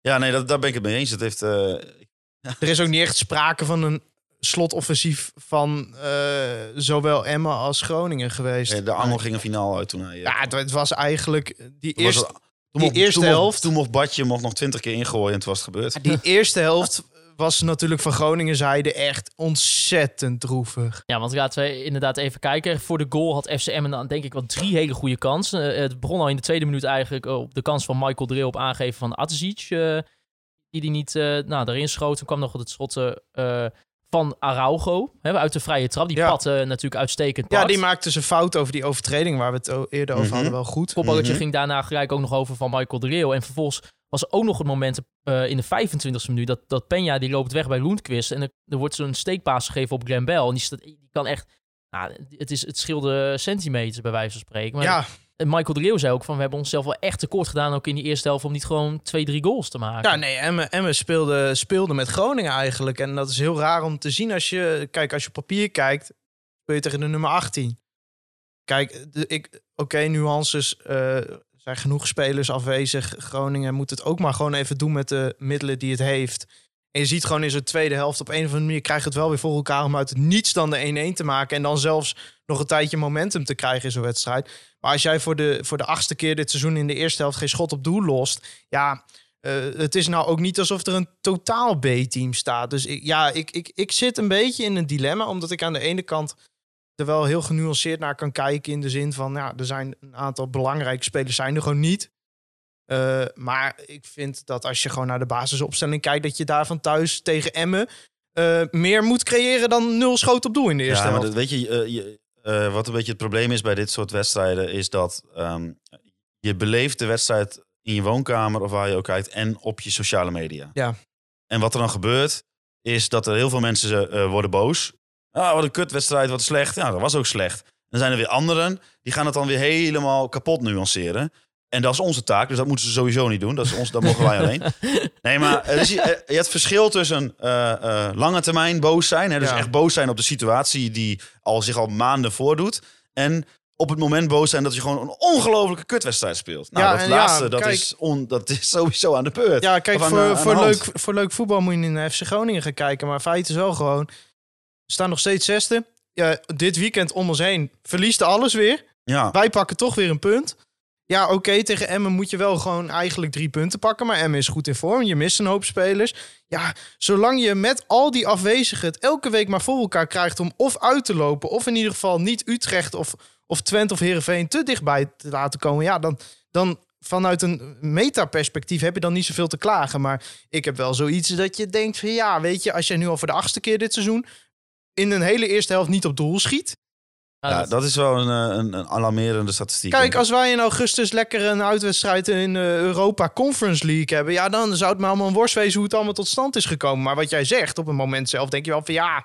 [SPEAKER 6] Ja, nee, dat, daar ben ik het mee eens. Dat heeft, eh, ik
[SPEAKER 5] Er is ook niet echt sprake van een slotoffensief van eh, zowel Emma als Groningen geweest.
[SPEAKER 6] Eh, De angel ging een finale uit toen hij... eh,
[SPEAKER 5] Ja, het, het was eigenlijk eh, die
[SPEAKER 6] toen was
[SPEAKER 5] eerste,
[SPEAKER 6] het- toen
[SPEAKER 5] die eerste
[SPEAKER 6] toen
[SPEAKER 5] helft.
[SPEAKER 6] Mocht, toen mocht Badje mocht nog twintig keer ingooien en toen was het gebeurd.
[SPEAKER 5] die eerste helft was natuurlijk van Groningen zijde echt ontzettend droevig.
[SPEAKER 4] Ja, want laten we inderdaad even kijken. Voor de goal had FCM dan denk ik wel drie hele goede kansen. Eh, het begon al in de tweede minuut eigenlijk eh, op de kans van Michael Drill op aangeven van Atzic. eh, die die niet eh nou, daarin schoot. Toen kwam nog het schot eh, van Araujo hè, uit de vrije trap. Die
[SPEAKER 5] Ja.
[SPEAKER 4] patte natuurlijk uitstekend
[SPEAKER 5] Ja,
[SPEAKER 4] pad.
[SPEAKER 5] die maakte zijn fout over die overtreding waar we het o- eerder over
[SPEAKER 6] Mhm.
[SPEAKER 5] hadden wel goed.
[SPEAKER 4] kopballetje ging daarna gelijk ook nog over van Michael Drill. En vervolgens was er ook nog het moment eh, in de 25e minuut dat, dat Peña die loopt weg bij Lundqvist. En er, er wordt zo'n steekpaas gegeven op Glenn Bell. En die, staat, die kan echt... Nou, het, is, het scheelde centimeters bij wijze van spreken. Maar
[SPEAKER 5] Ja,
[SPEAKER 4] En Michael de Leeuw zei ook van... we hebben onszelf wel echt tekort gedaan... ook in die eerste helft... om niet gewoon twee, drie goals te maken.
[SPEAKER 5] ja, nee, Emmen Emme speelde, speelde met Groningen eigenlijk. En dat is heel raar om te zien als je, kijk, als je op papier kijkt, speel je tegen de nummer 18. Kijk, de- ik- oké, nuances, eh, zijn genoeg spelers afwezig. Groningen moet het ook maar gewoon even doen met de middelen die het heeft. En je ziet gewoon in zijn tweede helft op een of andere manier krijgt het wel weer voor elkaar om uit het niets dan de 1-1 te maken. En dan zelfs nog een tijdje momentum te krijgen in zo'n wedstrijd. Maar als jij voor de, voor de achtste keer dit seizoen in de eerste helft geen schot op doel lost. Ja, eh, het is nou ook niet alsof er een totaal B-team staat. Dus ik, ja, ik, ik, ik zit een beetje in een dilemma. Omdat ik aan de ene kant er wel heel genuanceerd naar kan kijken. In de zin van, ja, er zijn een aantal belangrijke spelers zijn er gewoon niet. Eh, maar ik vind dat als je gewoon naar de basisopstelling kijkt, dat je daar van thuis tegen Emmen eh, meer moet creëren dan nul schoten op doel in de eerste
[SPEAKER 6] Ja, maar
[SPEAKER 5] helft.
[SPEAKER 6] dat, weet je, eh, je, eh, wat een beetje het probleem is bij dit soort wedstrijden, is dat ehm, je beleeft de wedstrijd in je woonkamer of waar je ook kijkt en op je sociale media.
[SPEAKER 5] Ja.
[SPEAKER 6] En wat er dan gebeurt, is dat er heel veel mensen eh, worden boos. Ah, wat een kutwedstrijd, wat slecht. Ja, dat was ook slecht. En dan zijn er weer anderen, die gaan het dan weer helemaal kapot nuanceren. En dat is onze taak, dus dat moeten ze sowieso niet doen. Dat, is ons, dat mogen wij alleen. Nee, maar er is, eh, je hebt verschil tussen eh, eh, lange termijn boos zijn. Hè, dus
[SPEAKER 5] Ja.
[SPEAKER 6] echt boos zijn op de situatie die al zich al maanden voordoet. En op het moment boos zijn dat je gewoon een ongelofelijke kutwedstrijd speelt. Nou,
[SPEAKER 5] Ja,
[SPEAKER 6] dat
[SPEAKER 5] en
[SPEAKER 6] laatste,
[SPEAKER 5] ja,
[SPEAKER 6] dat,
[SPEAKER 5] kijk.
[SPEAKER 6] is on, dat is sowieso aan de beurt.
[SPEAKER 5] Ja, kijk,
[SPEAKER 6] Of aan
[SPEAKER 5] voor,
[SPEAKER 6] de- aan de
[SPEAKER 5] voor,
[SPEAKER 6] hand.
[SPEAKER 5] leuk, voor leuk voetbal moet je in de FC Groningen gaan kijken. Maar feit is wel gewoon, we staan nog steeds zesde. Ja, dit weekend om ons heen verliest alles weer.
[SPEAKER 6] Ja.
[SPEAKER 5] Wij pakken toch weer een punt. Ja, oké, tegen Emmen moet je wel gewoon eigenlijk drie punten pakken. Maar Emmen is goed in vorm. Je mist een hoop spelers. Ja, zolang je met al die afwezigen het elke week maar voor elkaar krijgt om of uit te lopen... of in ieder geval niet Utrecht of, of Twente of Heerenveen te dichtbij te laten komen... ja, dan, dan vanuit een metaperspectief heb je dan niet zoveel te klagen. Maar ik heb wel zoiets dat je denkt van... ja, weet je, als jij nu al voor de achtste keer dit seizoen... in een hele eerste helft niet op doel schiet...
[SPEAKER 4] Nou,
[SPEAKER 6] Ja,
[SPEAKER 4] dat-
[SPEAKER 6] dat is wel een, eh, een, een alarmerende statistiek.
[SPEAKER 5] Kijk, als wij in augustus lekker een uitwedstrijd in eh, Europa Conference League hebben, ja, dan zou het maar allemaal een worst wezen hoe het allemaal tot stand is gekomen. Maar wat jij zegt, op het moment zelf denk je wel van ja,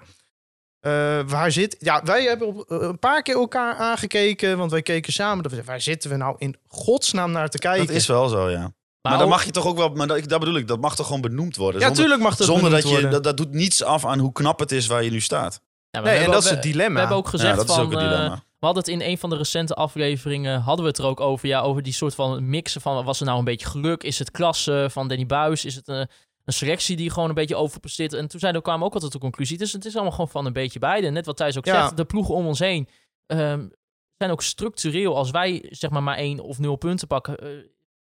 [SPEAKER 5] eh, waar zit. Ja, wij hebben op, eh, een paar keer elkaar aangekeken, want wij keken samen. dat we zeiden, Waar zitten we nou in godsnaam naar te kijken?
[SPEAKER 6] Dat is wel zo, ja. Maar,
[SPEAKER 4] Maar
[SPEAKER 6] dan
[SPEAKER 4] ook-
[SPEAKER 6] mag je toch ook wel... Maar dat, dat bedoel ik, dat mag toch gewoon benoemd worden?
[SPEAKER 5] ja,
[SPEAKER 6] Zonder-
[SPEAKER 5] tuurlijk mag dat
[SPEAKER 6] Zonder
[SPEAKER 5] benoemd
[SPEAKER 6] dat je...
[SPEAKER 5] worden.
[SPEAKER 6] Dat, dat doet niets af aan hoe knap het is waar je nu staat.
[SPEAKER 4] ja, maar we
[SPEAKER 5] nee, en
[SPEAKER 4] hebben
[SPEAKER 5] dat
[SPEAKER 4] ook-
[SPEAKER 5] is het
[SPEAKER 4] we-
[SPEAKER 5] dilemma.
[SPEAKER 4] We hebben ook gezegd
[SPEAKER 6] ja, dat
[SPEAKER 4] van...
[SPEAKER 6] is ook een
[SPEAKER 4] eh,
[SPEAKER 6] dilemma.
[SPEAKER 4] we hadden het in een van de recente afleveringen... hadden we het er ook over. Ja, over die soort van mixen van... was er nou een beetje geluk? Is het klasse van Danny Buis? Is het een, een selectie die gewoon een beetje overpresteert? En toen zeiden, we kwamen ook altijd tot de conclusie... Dus het is allemaal gewoon van een beetje beide. Net wat Thijs ook
[SPEAKER 5] Ja.
[SPEAKER 4] zegt, de ploegen om ons heen... ehm, zijn ook structureel, als wij zeg maar maar één of nul punten pakken... eh,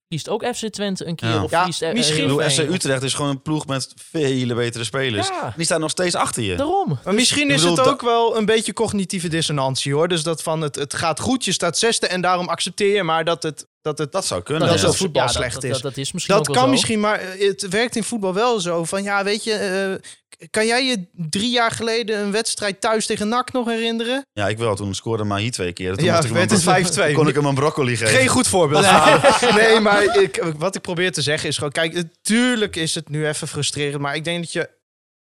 [SPEAKER 4] verliest ook FC Twente een keer.
[SPEAKER 6] Ja.
[SPEAKER 4] Of
[SPEAKER 5] Ja,
[SPEAKER 4] verliest, eh,
[SPEAKER 5] misschien.
[SPEAKER 6] Ik bedoel, FC
[SPEAKER 4] Heerenveen.
[SPEAKER 6] Utrecht is gewoon een ploeg met vele betere spelers.
[SPEAKER 4] Ja.
[SPEAKER 6] Die staan nog steeds achter je.
[SPEAKER 4] Daarom.
[SPEAKER 5] Maar misschien is
[SPEAKER 6] ik bedoel,
[SPEAKER 5] het
[SPEAKER 6] da-
[SPEAKER 5] ook wel een beetje cognitieve dissonantie hoor. Dus dat van het, het gaat goed, je staat zesde en daarom accepteer je maar dat het, dat het
[SPEAKER 6] Dat zou kunnen.
[SPEAKER 5] Dat is
[SPEAKER 6] ja.
[SPEAKER 5] het voetbal
[SPEAKER 4] Nou, dat-
[SPEAKER 5] slecht
[SPEAKER 4] dat,
[SPEAKER 5] is.
[SPEAKER 4] Dat, dat is misschien
[SPEAKER 5] Dat
[SPEAKER 4] ook
[SPEAKER 5] kan
[SPEAKER 4] wel zo.
[SPEAKER 5] misschien, maar eh, het werkt in voetbal wel zo. Van ja, weet je, eh, k- kan jij je drie jaar geleden een wedstrijd thuis tegen NAC nog herinneren?
[SPEAKER 6] Ja, ik wel. Toen scoorde Mahi twee keer. Toen
[SPEAKER 5] Ja,
[SPEAKER 6] moest ik hem
[SPEAKER 5] werd
[SPEAKER 6] een
[SPEAKER 5] het
[SPEAKER 6] bro-
[SPEAKER 5] 5-2.
[SPEAKER 6] Kon ik hem een broccoli geven.
[SPEAKER 5] Geen goed voorbeeld. Ah. Nee, nee, maar ik, wat ik probeer te zeggen is gewoon: kijk, natuurlijk is het nu even frustrerend. Maar ik denk dat je,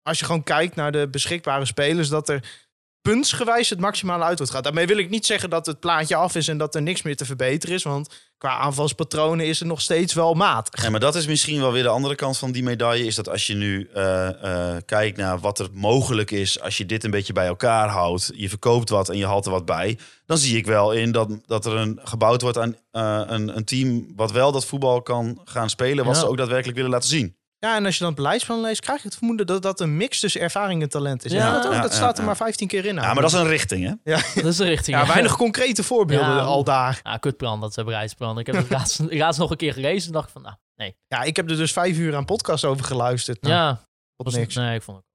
[SPEAKER 5] als je gewoon kijkt naar de beschikbare spelers, dat er puntsgewijs het maximale uit wordt gaat. Daarmee wil ik niet zeggen dat het plaatje af is en dat er niks meer te verbeteren is. Want qua aanvalspatronen is er nog steeds wel maat.
[SPEAKER 6] Ja, maar dat is misschien wel weer de andere kant van die medaille. Is dat als je nu eh, eh, kijkt naar wat er mogelijk is. Als je dit een beetje bij elkaar houdt. Je verkoopt wat en je haalt er wat bij. Dan zie ik wel in dat, dat er een, gebouwd wordt aan eh, een, een team. Wat wel dat voetbal kan gaan spelen. Wat
[SPEAKER 4] Ja.
[SPEAKER 6] ze ook daadwerkelijk willen laten zien.
[SPEAKER 5] Ja, en als je dan het beleidsplan leest, krijg je het vermoeden dat dat een mix tussen ervaring en talent is.
[SPEAKER 4] Ja.
[SPEAKER 5] Ja, dat, ook,
[SPEAKER 6] Ja,
[SPEAKER 5] dat
[SPEAKER 6] ja,
[SPEAKER 5] staat er
[SPEAKER 6] ja.
[SPEAKER 5] maar 15 keer in.
[SPEAKER 6] Ja, maar dat is een richting, hè?
[SPEAKER 4] Dat is de richting.
[SPEAKER 5] ja, weinig concrete voorbeelden
[SPEAKER 4] Ja.
[SPEAKER 5] al daar.
[SPEAKER 4] Ah, kutbrand, dat is bereidsbrand. Ik heb het laatst, laatst nog een keer gelezen en dacht ik van, nou, nee.
[SPEAKER 5] Ja, ik heb er dus vijf uur aan podcast over geluisterd. Nou,
[SPEAKER 4] ja,
[SPEAKER 5] tot
[SPEAKER 4] was
[SPEAKER 5] niks.
[SPEAKER 4] Nee, ik vond het.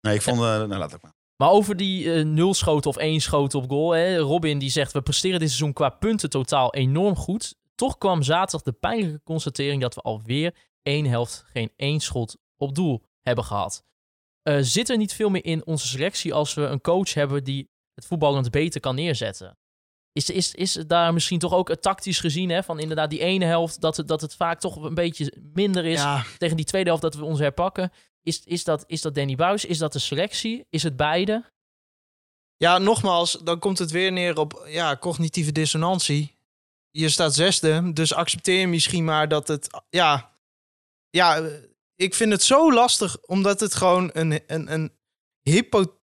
[SPEAKER 6] Nee, ik vond... eh nou, laat het maar.
[SPEAKER 4] Maar over die eh nul schoten of één schoten op goal. Hè, Robin die zegt, we presteren dit seizoen qua punten totaal enorm goed. Toch kwam zaterdag de pijnlijke constatering dat we alweer één helft geen één schot op doel hebben gehad. Eh, zit er niet veel meer in onze selectie als we een coach hebben die het voetballend beter kan neerzetten? Is, is, is het daar misschien toch ook eh, tactisch gezien, hè, van inderdaad die ene helft, dat het, dat het vaak toch een beetje minder is
[SPEAKER 5] Ja,
[SPEAKER 4] tegen die tweede helft dat we ons herpakken. Is, is, dat, is dat Danny Buis? Is dat de selectie? Is het beide? Nou,
[SPEAKER 5] ja, nogmaals, dan komt het weer neer op ja, cognitieve dissonantie. Je staat zesde, dus accepteer misschien maar dat het... Ja, ja eh, ik vind het zo lastig, omdat het gewoon een, een, een hypo-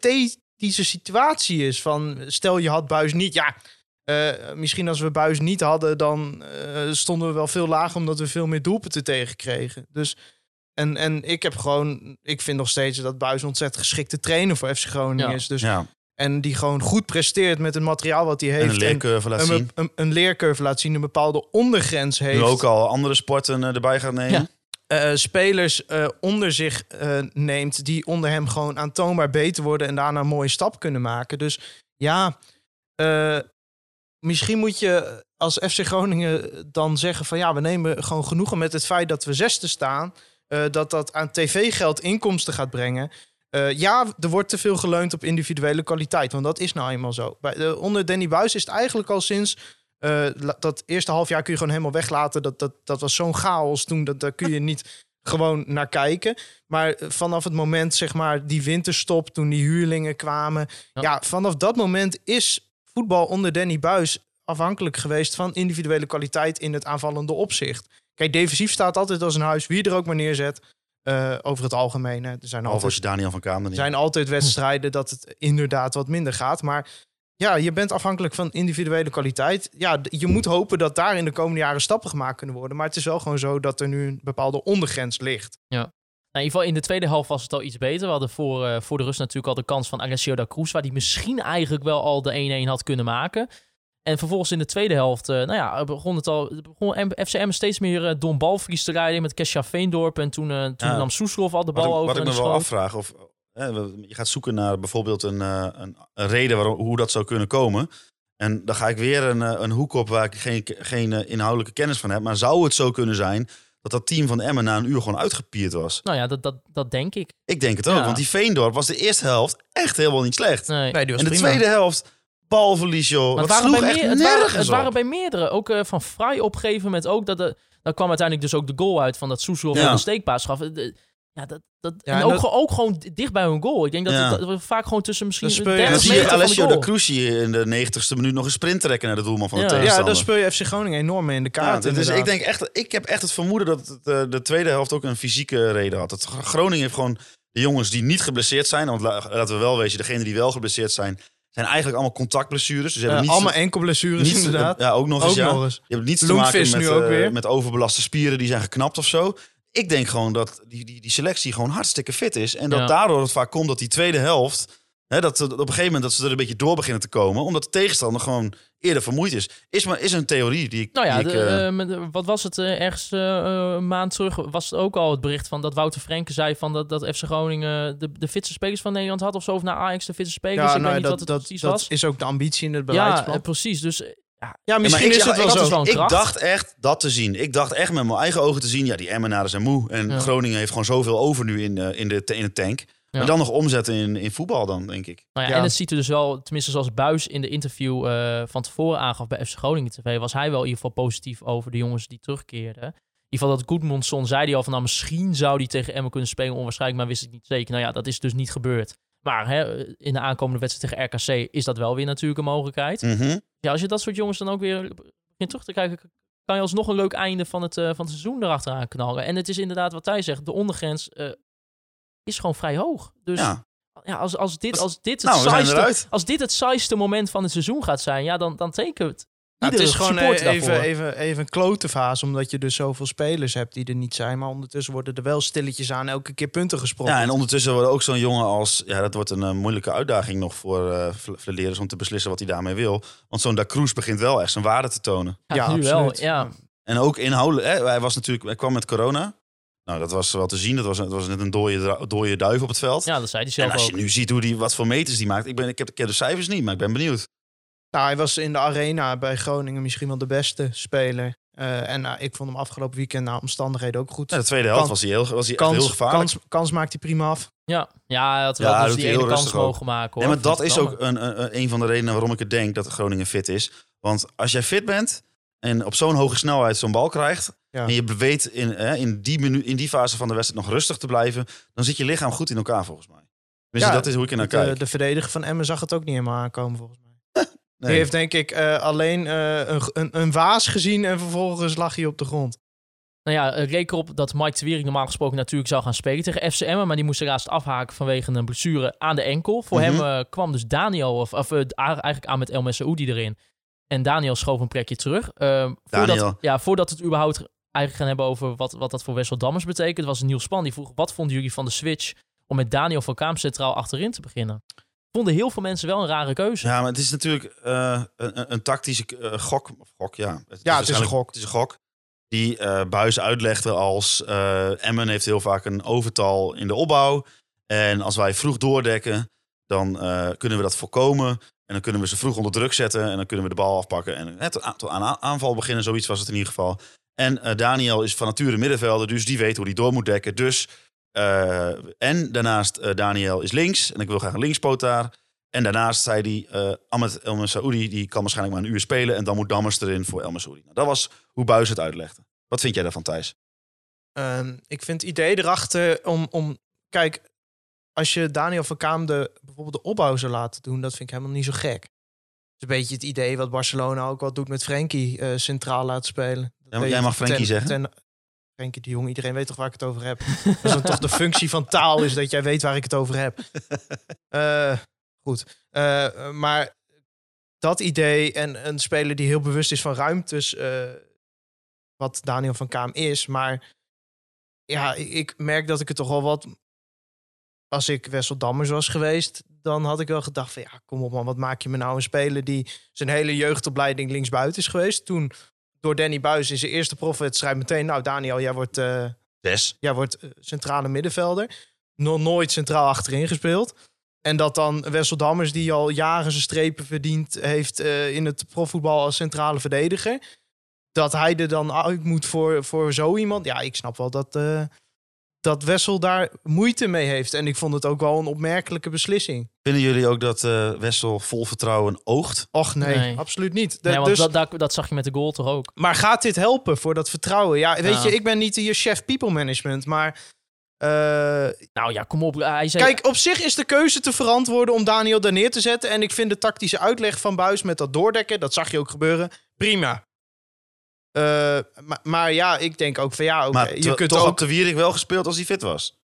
[SPEAKER 5] hypothetische situatie is. Van, stel je had Buis niet, ja... eh, misschien als we Buis niet hadden, dan eh, stonden we wel veel lager... omdat we veel meer doelpunten tegenkregen. Dus, en, en ik heb gewoon... Ik vind nog steeds dat Buis een ontzettend geschikte trainer voor FC Groningen
[SPEAKER 4] Ja.
[SPEAKER 5] is. Dus
[SPEAKER 6] Ja,
[SPEAKER 5] en die gewoon goed presteert met het materiaal wat hij
[SPEAKER 6] en een
[SPEAKER 5] heeft.
[SPEAKER 6] leercurve laat
[SPEAKER 5] en een,
[SPEAKER 6] zien.
[SPEAKER 5] een, een leercurve laat zien, een bepaalde ondergrens heeft.
[SPEAKER 6] Nu ook al andere sporten eh, erbij gaat nemen.
[SPEAKER 4] Ja.
[SPEAKER 5] Eh, spelers eh, onder zich eh, neemt die onder hem gewoon aantoonbaar beter worden en daarna een mooie stap kunnen maken. Dus ja, eh, misschien moet je als FC Groningen dan zeggen van ja, we nemen gewoon genoegen met het feit dat we zesde staan. eh, dat dat aan tv-geld inkomsten gaat brengen. Eh, ja, er wordt te veel geleund op individuele kwaliteit, want dat is nou eenmaal zo. Bij, eh, onder Danny Buis is het eigenlijk al sinds eh, la- dat eerste half jaar kun je gewoon helemaal weglaten. Dat, dat, dat was zo'n chaos toen, dat, daar kun je niet gewoon naar kijken. Maar eh, vanaf het moment, zeg maar, die winterstop, toen die huurlingen kwamen.
[SPEAKER 4] Ja.
[SPEAKER 5] Ja, vanaf dat moment is voetbal onder Danny Buis afhankelijk geweest van individuele kwaliteit in het aanvallende opzicht. Kijk, defensief staat altijd als een huis, wie je er ook maar neerzet. eh, over het algemeen. Hè. Er zijn
[SPEAKER 6] Of
[SPEAKER 5] altijd
[SPEAKER 6] als je Daniel van Kamer
[SPEAKER 5] er
[SPEAKER 6] niet...
[SPEAKER 5] zijn altijd
[SPEAKER 4] Hm.
[SPEAKER 5] wedstrijden dat het inderdaad wat minder gaat. Maar ja, je bent afhankelijk van individuele kwaliteit. Ja, d- je moet hopen dat daar in de komende jaren stappen gemaakt kunnen worden. Maar het is wel gewoon zo dat er nu een bepaalde ondergrens ligt.
[SPEAKER 4] Nou, in ieder geval in de tweede helft was het al iets beter. We hadden voor, eh, voor de rust natuurlijk al de kans van Alessio da Cruz... waar die misschien eigenlijk wel al de 1-1 had kunnen maken. En vervolgens in de tweede helft eh, nou ja, begon het al, begon M- FCM steeds meer eh Don Balvries te rijden... met Kesha Veendorp en toen, eh, toen
[SPEAKER 6] Ja.
[SPEAKER 4] nam Soeslof al de
[SPEAKER 6] Wat
[SPEAKER 4] bal
[SPEAKER 6] ik,
[SPEAKER 4] over.
[SPEAKER 6] wat ik
[SPEAKER 4] en
[SPEAKER 6] me
[SPEAKER 4] de
[SPEAKER 6] wel
[SPEAKER 4] schoot.
[SPEAKER 6] afvraag, of eh, we- je gaat zoeken naar bijvoorbeeld een, eh, een, een reden waarom, hoe dat zou kunnen komen. En dan ga ik weer een, eh, een hoek op waar ik geen, geen eh, inhoudelijke kennis van heb. Maar zou het zo kunnen zijn dat dat team van Emmen na een uur gewoon uitgepierd was?
[SPEAKER 4] Nou ja, dat, dat, dat denk ik.
[SPEAKER 6] Ik denk het ook,
[SPEAKER 4] Ja.
[SPEAKER 6] want die Veendorp was de eerste helft echt helemaal niet slecht.
[SPEAKER 4] Nee.
[SPEAKER 5] Nee, die
[SPEAKER 6] en de tweede helft, balverlies joh.
[SPEAKER 4] Maar
[SPEAKER 6] Dat
[SPEAKER 4] het waren,
[SPEAKER 6] sloeg
[SPEAKER 4] bij
[SPEAKER 6] echt
[SPEAKER 4] meer, het,
[SPEAKER 6] nergens
[SPEAKER 4] waren, het
[SPEAKER 6] op.
[SPEAKER 4] waren bij meerdere. Ook eh, van Fry opgeven met ook dat er. Daar kwam uiteindelijk dus ook de goal uit van dat Soeslof
[SPEAKER 6] Ja.
[SPEAKER 4] een steekpaas gaf. Eh, de- Ja, dat, dat,
[SPEAKER 5] Ja,
[SPEAKER 4] en
[SPEAKER 5] en
[SPEAKER 4] ook,
[SPEAKER 5] dat-
[SPEAKER 4] gewoon- ook gewoon dicht bij hun goal. Ik denk dat,
[SPEAKER 6] Ja.
[SPEAKER 4] het- dat we vaak gewoon tussen misschien
[SPEAKER 5] Dan speel je-
[SPEAKER 6] En dan
[SPEAKER 4] 30
[SPEAKER 5] dat
[SPEAKER 6] zie je
[SPEAKER 4] meter van de
[SPEAKER 6] Alessio de
[SPEAKER 4] goal.
[SPEAKER 6] Cruci in de 90ste minuut nog een sprint trekken naar de doelman van
[SPEAKER 4] Ja. Ja,
[SPEAKER 6] de
[SPEAKER 5] Ja,
[SPEAKER 6] tegenstander.
[SPEAKER 5] daar speel je FC Groningen enorm mee in de
[SPEAKER 6] Ja,
[SPEAKER 5] kaart.
[SPEAKER 6] dus ik
[SPEAKER 5] inderdaad.
[SPEAKER 6] denk echt, ik heb echt het vermoeden dat het, eh, de tweede helft ook een fysieke reden had. Het, Groningen heeft gewoon de jongens die niet geblesseerd zijn. Want la- laten we wel wezen, degenen die wel geblesseerd zijn, zijn eigenlijk allemaal contactblessures. Dus ze hebben
[SPEAKER 5] Eh,
[SPEAKER 6] niet
[SPEAKER 5] allemaal enkelblessures
[SPEAKER 6] niets-
[SPEAKER 5] inderdaad.
[SPEAKER 6] Ja, ook nog eens.
[SPEAKER 5] Ook
[SPEAKER 6] ja.
[SPEAKER 5] nog eens.
[SPEAKER 6] Je hebt niets te maken
[SPEAKER 5] Loenvis
[SPEAKER 6] met,
[SPEAKER 5] nu ook
[SPEAKER 6] eh,
[SPEAKER 5] weer.
[SPEAKER 6] met overbelaste spieren die zijn geknapt of zo. Ik denk gewoon dat die, die, die selectie gewoon hartstikke fit is. En dat
[SPEAKER 4] Ja.
[SPEAKER 6] daardoor het vaak komt dat die tweede helft. Hè, dat, dat op een gegeven moment dat ze er een beetje door beginnen te komen. Omdat de tegenstander gewoon eerder vermoeid is. Is, maar, is een theorie die ik.
[SPEAKER 4] Nou ja,
[SPEAKER 6] die ik,
[SPEAKER 4] de,
[SPEAKER 6] eh,
[SPEAKER 4] eh, met- eh, wat was het? eh, ergens eh, eh, een maand terug was het ook al het bericht van dat Wouter Frenken zei van dat, dat FC Groningen de, de fitste spelers van Nederland had of zo. Of naar Ajax de fitste spelers.
[SPEAKER 5] Ja,
[SPEAKER 4] dus, Ik
[SPEAKER 5] nou,
[SPEAKER 4] weet niet wat
[SPEAKER 5] dat,
[SPEAKER 4] het
[SPEAKER 5] dat,
[SPEAKER 4] precies
[SPEAKER 5] dat
[SPEAKER 4] was.
[SPEAKER 5] is ook de ambitie in het
[SPEAKER 4] Ja,
[SPEAKER 5] beleidsplan.
[SPEAKER 4] eh, precies. Dus eh,
[SPEAKER 5] Ja,
[SPEAKER 6] Ja,
[SPEAKER 5] misschien
[SPEAKER 6] maar
[SPEAKER 5] is
[SPEAKER 6] ik-
[SPEAKER 5] het wel
[SPEAKER 6] ik-
[SPEAKER 4] dat is dus
[SPEAKER 5] zo.
[SPEAKER 4] wel een
[SPEAKER 6] Ik
[SPEAKER 4] kracht.
[SPEAKER 6] dacht echt dat te zien. Ik dacht echt met mijn eigen ogen te zien. Ja, die Emmenaren zijn moe. En
[SPEAKER 4] Ja.
[SPEAKER 6] Groningen heeft gewoon zoveel over nu in, eh, in, de, in de tank.
[SPEAKER 4] Ja.
[SPEAKER 6] En dan nog omzetten in, in voetbal dan, denk ik.
[SPEAKER 4] Nou ja,
[SPEAKER 5] Ja.
[SPEAKER 4] En het ziet er dus wel, tenminste zoals Buis in de interview eh, van tevoren aangaf bij FC Groningen TV, was hij wel in ieder geval positief over de jongens die terugkeerden. In ieder geval dat Goedmondson zei hij al van nou misschien zou die tegen Emmen kunnen spelen, onwaarschijnlijk, maar wist ik niet zeker. Nou ja, dat is dus niet gebeurd. Maar hè, in de aankomende wedstrijd tegen RKC is dat wel weer natuurlijk een mogelijkheid.
[SPEAKER 6] Mhm.
[SPEAKER 4] Ja, als je dat soort jongens dan ook weer begint terug te kijken, kan je alsnog een leuk einde van het, eh, van het seizoen erachteraan knallen. En het is inderdaad wat hij zegt, de ondergrens eh, is gewoon vrij hoog. Dus ja.
[SPEAKER 6] Ja.
[SPEAKER 4] als, als, dit, als dit het
[SPEAKER 6] Nou, we zijn
[SPEAKER 4] saaiste
[SPEAKER 6] eruit.
[SPEAKER 4] als dit het saaiste moment van het seizoen gaat zijn, ja, dan, dan tekent
[SPEAKER 5] Nou,
[SPEAKER 4] Iedere
[SPEAKER 5] het is gewoon
[SPEAKER 4] support
[SPEAKER 5] eh,
[SPEAKER 4] daarvoor.
[SPEAKER 5] even, even, even een klote fase, omdat je dus zoveel spelers hebt die er niet zijn. Maar ondertussen worden er wel stilletjes aan elke keer punten gesproken.
[SPEAKER 6] Ja, en ondertussen wordt ook zo'n jongen als... Ja, dat wordt een eh, moeilijke uitdaging nog voor eh Fle- Flederis om te beslissen wat hij daarmee wil. Want zo'n Da Cruz begint wel echt zijn waarde te tonen.
[SPEAKER 5] Ja,
[SPEAKER 4] nu
[SPEAKER 5] absoluut.
[SPEAKER 4] wel. Ja.
[SPEAKER 6] En ook inhoudelijk. Hè, hij, was natuurlijk, hij kwam met corona. Nou, dat was wel te zien. Dat was, dat was net een dode, dra- dode duif op het veld.
[SPEAKER 4] ja, dat zei hij
[SPEAKER 6] en
[SPEAKER 4] zelf
[SPEAKER 6] als
[SPEAKER 4] ook.
[SPEAKER 6] je nu ziet hoe die, wat voor meters die maakt. Ik, ben, ik, heb, ik ken de cijfers niet, maar ik ben benieuwd.
[SPEAKER 5] Nou, hij was in de arena bij Groningen misschien wel de beste speler. Eh, en nou, ik vond hem afgelopen weekend naar omstandigheden ook goed.
[SPEAKER 6] Ja, de tweede helft
[SPEAKER 5] Kan-
[SPEAKER 6] was hij, heel, was hij echt heel
[SPEAKER 5] kans,
[SPEAKER 6] gevaarlijk.
[SPEAKER 5] kans, kans maakt hij prima af.
[SPEAKER 4] Ja. ja, hij had
[SPEAKER 6] Ja,
[SPEAKER 4] wel
[SPEAKER 6] hij
[SPEAKER 4] dus
[SPEAKER 6] doet
[SPEAKER 4] die
[SPEAKER 6] heel
[SPEAKER 4] ene kans
[SPEAKER 6] rustig ook.
[SPEAKER 4] mogen maken.
[SPEAKER 6] Nee,
[SPEAKER 4] hoor.
[SPEAKER 6] maar dat
[SPEAKER 4] Vind
[SPEAKER 6] is
[SPEAKER 4] ik wel,
[SPEAKER 6] ook een, een, een- een van de redenen waarom ik het denk dat Groningen fit is. Want als jij fit bent en op zo'n hoge snelheid zo'n bal krijgt...
[SPEAKER 5] Ja.
[SPEAKER 6] en je weet in, hè, in, die menu, in die fase van de wedstrijd nog rustig te blijven... dan zit je lichaam goed in elkaar volgens mij. Dus
[SPEAKER 5] Ja,
[SPEAKER 6] dat is hoe ik er naar
[SPEAKER 5] De,
[SPEAKER 6] kijk.
[SPEAKER 5] de verdediger van Emmen zag het ook niet helemaal aankomen volgens mij.
[SPEAKER 6] Nee.
[SPEAKER 5] Die heeft denk ik eh, alleen eh, een, een, een waas gezien en vervolgens lag hij op de grond.
[SPEAKER 4] Nou ja, eh, reken erop dat Mike de Wiering normaal gesproken natuurlijk zou gaan spelen tegen FCM. Maar die moest helaas afhaken vanwege een blessure aan de enkel. Voor
[SPEAKER 6] Mhm.
[SPEAKER 4] hem eh, kwam dus Daniel, of, of eh, a- eigenlijk aan met El Messaoudi erin. En Daniel schoof een plekje terug. Eh,
[SPEAKER 6] Daniel.
[SPEAKER 4] Voordat, ja, voordat het überhaupt eigenlijk gaan hebben over wat, wat dat voor Wessel Dammers betekent, was Niels Span die vroeg, wat vonden jullie van de switch om met Daniel van Kaam centraal achterin te beginnen? Vonden heel veel mensen wel een rare keuze.
[SPEAKER 6] Ja, maar het is natuurlijk eh, een, een- een tactische eh, gok. Of gok, ja.
[SPEAKER 5] Ja,
[SPEAKER 6] Het
[SPEAKER 5] het is een
[SPEAKER 6] waarschijnlijk-
[SPEAKER 5] gok.
[SPEAKER 6] Het is een gok. Die eh, Buis uitlegde als eh, Emmen heeft heel vaak een overtal in de opbouw. En als wij vroeg doordekken, dan eh, kunnen we dat voorkomen. En dan kunnen we ze vroeg onder druk zetten. En dan kunnen we de bal afpakken. En hè, tot aan, tot aan aanval beginnen, zoiets was het in ieder geval. En eh, Daniel is van nature middenvelder, dus die weet hoe hij door moet dekken. Dus, eh, en daarnaast, eh, Daniel is links. En ik wil graag een linkspoot daar. En daarnaast zei hij, eh Ahmed El Saoudi, die kan waarschijnlijk maar een uur spelen. En dan moet Dammers erin voor El Saoudi. Nou, dat was hoe Buis het uitlegde. Wat vind jij daarvan, Thijs?
[SPEAKER 5] Ehm, ik vind het idee erachter om, om... Kijk, als je Daniel van Kaam de, bijvoorbeeld de opbouw zou laten doen... dat vind ik helemaal niet zo gek. Het is een beetje het idee wat Barcelona ook wat doet met Frenkie eh, centraal laat spelen. Dat
[SPEAKER 6] maar
[SPEAKER 5] deed
[SPEAKER 6] jij mag
[SPEAKER 5] ten-
[SPEAKER 6] Frenkie zeggen.
[SPEAKER 5] ten- Frenkie de Jong, iedereen weet toch waar ik het over heb. dat is dan toch de functie van taal is dat jij weet waar ik het over heb. Eh, goed. Eh, maar dat idee en een speler die heel bewust is van ruimtes... eh, wat Daniel van Kaam is, maar ja, ik- ik merk dat ik het toch wel wat. Als ik Wessel Dammers was geweest, dan had ik wel gedacht van ja, kom op man, wat maak je me nou een speler die zijn hele jeugdopleiding linksbuiten is geweest. Toen door Danny Buis in zijn eerste profwedstrijd meteen, nou Daniel, jij wordt, eh,
[SPEAKER 6] Des.
[SPEAKER 5] jij wordt eh, centrale middenvelder. Nog nooit centraal achterin gespeeld. En dat dan Wessel Dammers, die al jaren zijn strepen verdiend heeft eh, in het profvoetbal als centrale verdediger. Dat hij er dan uit moet voor, voor zo iemand. Ja, ik snap wel dat, eh, dat Wessel daar moeite mee heeft. En ik vond het ook wel een opmerkelijke beslissing.
[SPEAKER 6] Vinden jullie ook dat eh, Wessel vol vertrouwen oogt?
[SPEAKER 5] Och nee,
[SPEAKER 4] Nee.
[SPEAKER 5] absoluut niet. De-
[SPEAKER 4] Nee, want
[SPEAKER 5] dus,
[SPEAKER 4] dat, dat, dat zag je met de goal toch ook.
[SPEAKER 5] Maar gaat dit helpen voor dat vertrouwen? Ja, weet
[SPEAKER 4] Ja.
[SPEAKER 5] je, ik ben niet je chef people management, maar... eh,
[SPEAKER 4] Nou ja, kom op. Hij zei,
[SPEAKER 5] Kijk, op zich is de keuze te verantwoorden om Daniel daar neer te zetten. En ik vind de tactische uitleg van Buis met dat doordekken, dat zag je ook gebeuren, prima. Eh, maar, maar ja, ik denk ook van ja, oké,
[SPEAKER 6] maar
[SPEAKER 5] je
[SPEAKER 6] to-
[SPEAKER 5] kunt
[SPEAKER 6] toch
[SPEAKER 5] ook...
[SPEAKER 6] had de Wierik wel gespeeld als hij fit was.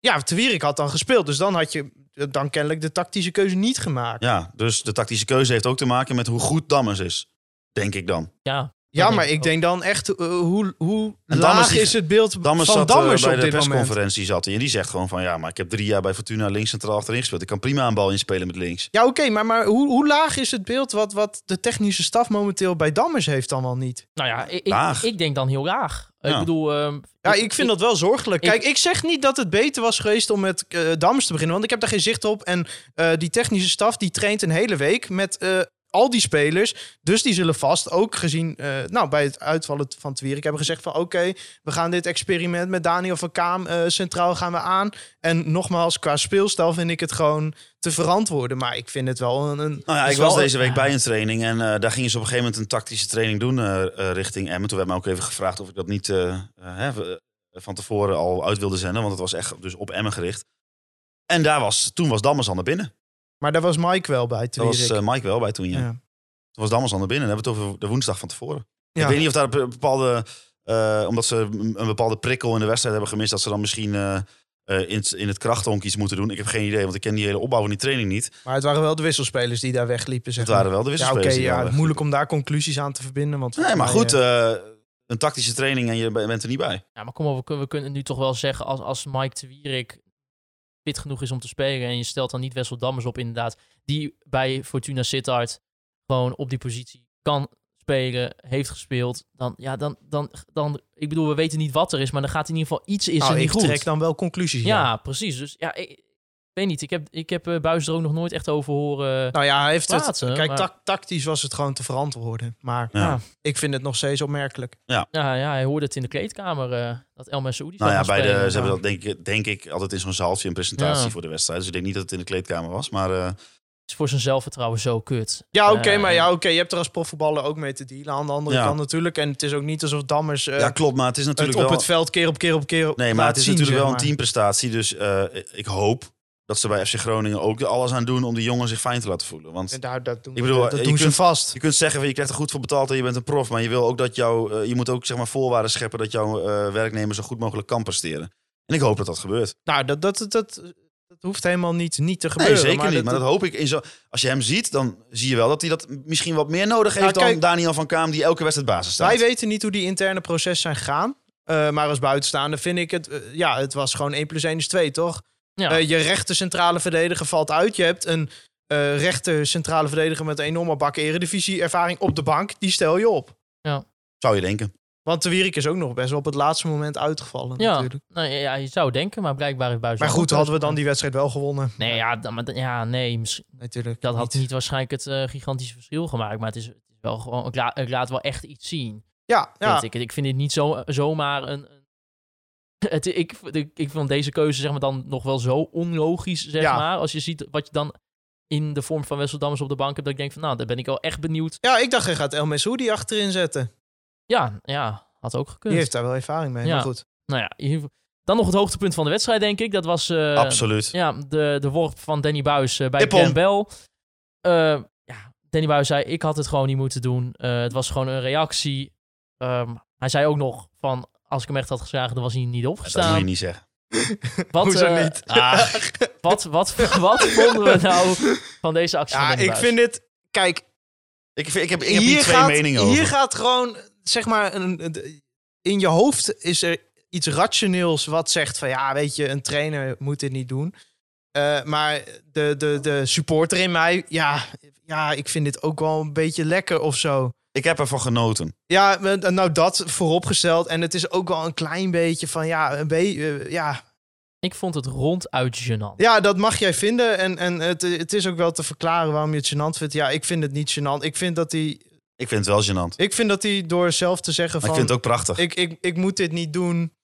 [SPEAKER 5] Ja, Te Wierik had dan gespeeld, dus dan had je dan kennelijk de tactische keuze niet gemaakt.
[SPEAKER 6] Ja, dus de tactische keuze heeft ook te maken met hoe goed Dammers is. Denk ik dan.
[SPEAKER 4] ja,
[SPEAKER 5] Ja,
[SPEAKER 4] dat
[SPEAKER 5] maar
[SPEAKER 4] denk
[SPEAKER 5] ik
[SPEAKER 4] ook.
[SPEAKER 5] denk dan echt, eh, hoe, hoe
[SPEAKER 6] En
[SPEAKER 5] laag
[SPEAKER 6] Dammers die-
[SPEAKER 5] is het beeld
[SPEAKER 6] Dammers
[SPEAKER 5] van
[SPEAKER 6] zat eh,
[SPEAKER 5] Dammers
[SPEAKER 6] bij
[SPEAKER 5] op
[SPEAKER 6] de
[SPEAKER 5] dit moment?
[SPEAKER 6] persconferentie zat hij. En die zegt gewoon van ja, maar ik heb drie jaar bij Fortuna links centraal achterin gespeeld. Ik kan prima een bal inspelen met links.
[SPEAKER 5] Ja, oké, maar, maar hoe, hoe laag is het beeld wat, wat de technische staf momenteel bij Dammers heeft dan wel niet?
[SPEAKER 4] Nou ja, ik,
[SPEAKER 6] Laag.
[SPEAKER 4] ik, ik denk dan heel laag.
[SPEAKER 6] Ja.
[SPEAKER 4] Ik bedoel... ehm,
[SPEAKER 5] Ja, ik vind dat wel zorgelijk.
[SPEAKER 4] ik-
[SPEAKER 5] Kijk, ik zeg niet dat het beter was geweest om met eh Dams te beginnen, want ik heb daar geen zicht op. En eh, die technische staf die traint een hele week met eh, al die spelers. Dus die zullen vast ook gezien, eh, nou, bij het uitvallen van Twierik hebben gezegd van oké, we gaan dit experiment met Daniel van Kaam eh, centraal gaan we aan. En nogmaals, qua speelstijl vind ik het gewoon te verantwoorden. Maar ik vind het wel een... een
[SPEAKER 6] Nou ja,
[SPEAKER 5] het
[SPEAKER 6] ik
[SPEAKER 5] is
[SPEAKER 6] was
[SPEAKER 5] Dus wel-
[SPEAKER 6] deze week bij een training en eh, daar gingen ze op een gegeven moment een tactische training doen eh, eh, richting Emmen. Toen werd mij ook even gevraagd of ik dat niet eh, eh, hè, v- eh, van tevoren al uit wilde zenden, want het was echt dus op Emmen gericht. En daar was, toen was Dammers al naar binnen.
[SPEAKER 5] Maar daar was Mike wel bij,
[SPEAKER 6] Daar was
[SPEAKER 5] Twierik.
[SPEAKER 6] eh, Mike wel bij toen, ja.
[SPEAKER 5] Ja.
[SPEAKER 6] Toen was Dammers al naar binnen. Dan hebben we het over de woensdag van tevoren.
[SPEAKER 5] Ja.
[SPEAKER 6] Ik weet niet of daar een bepaalde, eh, omdat ze een bepaalde prikkel in de wedstrijd hebben gemist, dat ze dan misschien eh, eh, in, het- in het krachthonk iets moeten doen. Ik heb geen idee, want ik ken die hele opbouw van die training niet.
[SPEAKER 5] Maar het waren wel de wisselspelers die daar wegliepen. Zeg
[SPEAKER 6] Het waren
[SPEAKER 5] maar.
[SPEAKER 6] wel de wisselspelers die
[SPEAKER 5] Ja,
[SPEAKER 6] daar
[SPEAKER 5] oké. ja,
[SPEAKER 6] wegliepen.
[SPEAKER 5] moeilijk om daar conclusies aan te verbinden. Want
[SPEAKER 6] Nee, maar goed,
[SPEAKER 5] eh,
[SPEAKER 6] eh, een tactische training en je be- bent er niet bij.
[SPEAKER 4] Ja, maar kom op, we kunnen, we kunnen het nu toch wel zeggen als, als Mike de Wierik fit genoeg is om te spelen en je stelt dan niet Wessel Dammers op inderdaad, die bij Fortuna Sittard gewoon op die positie kan spelen, heeft gespeeld, dan, ja, dan, dan, dan, ik bedoel, we weten niet wat er is, maar dan gaat in ieder geval iets is
[SPEAKER 5] nou,
[SPEAKER 4] er niet
[SPEAKER 5] ik
[SPEAKER 4] goed.
[SPEAKER 5] trek dan wel conclusies.
[SPEAKER 4] ja.
[SPEAKER 5] Ja.
[SPEAKER 4] precies. Dus ja, ik, ik weet niet, ik heb, ik heb eh, Buijs er ook nog nooit echt over horen.
[SPEAKER 5] Nou ja, hij heeft het.
[SPEAKER 4] Plaatsen,
[SPEAKER 5] kijk,
[SPEAKER 4] maar-
[SPEAKER 5] tac- tactisch was het gewoon te verantwoorden. Maar
[SPEAKER 6] Ja.
[SPEAKER 4] Ja.
[SPEAKER 5] ik vind het nog steeds opmerkelijk.
[SPEAKER 4] ja, ja, hij hoorde het in de kleedkamer eh, dat El Saoudi zou
[SPEAKER 6] Nou ja,
[SPEAKER 4] gaan
[SPEAKER 6] bij de, ze
[SPEAKER 4] spelen.
[SPEAKER 6] hebben dat denk ik, denk ik altijd in zo'n zaaltje een presentatie
[SPEAKER 4] Ja.
[SPEAKER 6] voor de wedstrijd. Dus ik denk niet dat het in de kleedkamer was. Maar eh,
[SPEAKER 4] is voor zijn zelfvertrouwen zo kut.
[SPEAKER 5] Ja, oké,
[SPEAKER 4] Eh,
[SPEAKER 5] maar ja, oké. je hebt er als profvoetballer ook mee te dealen aan de andere
[SPEAKER 6] Ja.
[SPEAKER 5] kant natuurlijk. En het is ook niet alsof Dammers eh,
[SPEAKER 6] ja, klopt. Maar het is
[SPEAKER 5] het
[SPEAKER 6] natuurlijk
[SPEAKER 5] op
[SPEAKER 6] wel...
[SPEAKER 5] het veld keer op keer op keer
[SPEAKER 6] Nee, maar
[SPEAKER 5] laat
[SPEAKER 6] het is
[SPEAKER 5] zien,
[SPEAKER 6] natuurlijk
[SPEAKER 5] zeg
[SPEAKER 6] wel een
[SPEAKER 5] maar.
[SPEAKER 6] teamprestatie. Dus eh, ik hoop dat ze bij FC Groningen ook er alles aan doen om die jongen zich fijn te laten voelen. Want
[SPEAKER 5] En daar, dat doen,
[SPEAKER 6] Ik bedoel,
[SPEAKER 5] dat
[SPEAKER 6] je
[SPEAKER 5] doen ze
[SPEAKER 6] kunt-
[SPEAKER 5] vast.
[SPEAKER 6] je kunt zeggen, van, je krijgt er goed voor betaald en je bent een prof. Maar je, wil ook dat jouw, eh, je moet ook zeg maar, voorwaarden scheppen dat jouw eh, werknemer zo goed mogelijk kan presteren. En ik hoop dat dat gebeurt.
[SPEAKER 5] Nou, dat, dat, dat, dat, dat hoeft helemaal niet, niet te
[SPEAKER 6] Nee,
[SPEAKER 5] gebeuren.
[SPEAKER 6] zeker
[SPEAKER 5] maar
[SPEAKER 6] niet. maar dat hoop ik. In zo, als je hem ziet, dan zie je wel dat hij dat misschien wat meer nodig heeft dan
[SPEAKER 5] Nou, kijk-
[SPEAKER 6] Daniel van Kaam, die elke wedstrijd basis staat.
[SPEAKER 5] Wij weten niet hoe die interne processen zijn gegaan. Eh, maar als buitenstaander vind ik het... eh, ja, het was gewoon 1 plus 1 is 2, toch?
[SPEAKER 4] Ja.
[SPEAKER 5] Eh, je rechter centrale verdediger valt uit. Je hebt een eh rechter centrale verdediger met een enorme bak eredivisie ervaring op de bank. Die stel je op.
[SPEAKER 6] Zou je denken.
[SPEAKER 5] Want de Wierik is ook nog best wel op het laatste moment uitgevallen
[SPEAKER 4] Ja,
[SPEAKER 5] natuurlijk.
[SPEAKER 4] nou, ja, ja, je zou denken, maar blijkbaar heeft Buis.
[SPEAKER 5] Maar goed, hadden we dan die wedstrijd wel gewonnen.
[SPEAKER 4] Nee, ja, dan, maar, dan- ja, nee misschien,
[SPEAKER 5] Natuurlijk
[SPEAKER 4] dat had niet waarschijnlijk het eh, gigantische verschil gemaakt. Maar het is, het is wel gewoon, ik, la- ik laat wel echt iets zien.
[SPEAKER 5] Ja, ja.
[SPEAKER 4] Vind ik. ik vind dit niet zo, eh, zomaar een. een- het, ik, ik, ik vond deze keuze zeg maar, dan nog wel zo onlogisch, zeg
[SPEAKER 5] Ja.
[SPEAKER 4] maar. Als je ziet wat je dan in de vorm van Wesseldammers op de bank hebt, dat ik denk van, nou, daar ben ik wel echt benieuwd.
[SPEAKER 5] ja, ik dacht, je gaat El Messoudi achterin zetten.
[SPEAKER 4] Ja, ja, had ook gekund.
[SPEAKER 5] Die heeft daar wel ervaring mee.
[SPEAKER 4] Ja.
[SPEAKER 5] Maar goed.
[SPEAKER 4] Nou ja, in ieder geval- dan nog het hoogtepunt van de wedstrijd, denk ik. Dat was eh,
[SPEAKER 6] Absoluut.
[SPEAKER 4] Ja, de, de worp van Danny Buis bij
[SPEAKER 6] Ippon.
[SPEAKER 4] Ben Bell. Eh, ja, Danny Buis zei, ik had het gewoon niet moeten doen. Eh, het was gewoon een reactie. Ehm, hij zei ook nog van, als ik hem echt had geslagen, dan was hij niet
[SPEAKER 6] Dat moet
[SPEAKER 4] opgestaan.
[SPEAKER 6] je niet zeggen.
[SPEAKER 4] wat,
[SPEAKER 5] Hoezo
[SPEAKER 4] eh,
[SPEAKER 5] niet?
[SPEAKER 6] Ah,
[SPEAKER 4] Wat, wat, wat, vonden we nou van deze actie van
[SPEAKER 5] Ja,
[SPEAKER 4] Danny
[SPEAKER 5] ik
[SPEAKER 4] Buis?
[SPEAKER 5] vind dit... Kijk,
[SPEAKER 6] ik, vind- ik heb, ik heb hier,
[SPEAKER 5] hier,
[SPEAKER 6] twee
[SPEAKER 5] gaat,
[SPEAKER 6] meningen
[SPEAKER 5] hier
[SPEAKER 6] over.
[SPEAKER 5] gaat gewoon, zeg maar, een, een- in je hoofd is er iets rationeels wat zegt van ja, weet je, een trainer moet dit niet doen. Eh, maar de, de, de supporter in mij, ja, ja, ik vind dit ook wel een beetje lekker of zo.
[SPEAKER 6] Ik heb ervan genoten.
[SPEAKER 5] Ja, maar, nou dat vooropgesteld. En het is ook wel een klein beetje van ja, een be- eh, ja,
[SPEAKER 4] Ik vond het ronduit gênant.
[SPEAKER 5] ja, dat mag jij vinden. En, en het, het is ook wel te verklaren waarom je het gênant vindt. Ja, ik vind het niet gênant. Ik vind dat hij,
[SPEAKER 6] Ik vind het wel gênant.
[SPEAKER 5] ik vind dat hij door zelf te zeggen
[SPEAKER 6] Maar
[SPEAKER 5] van...
[SPEAKER 6] ik vind het ook prachtig.
[SPEAKER 5] ik, ik, ik moet dit niet doen.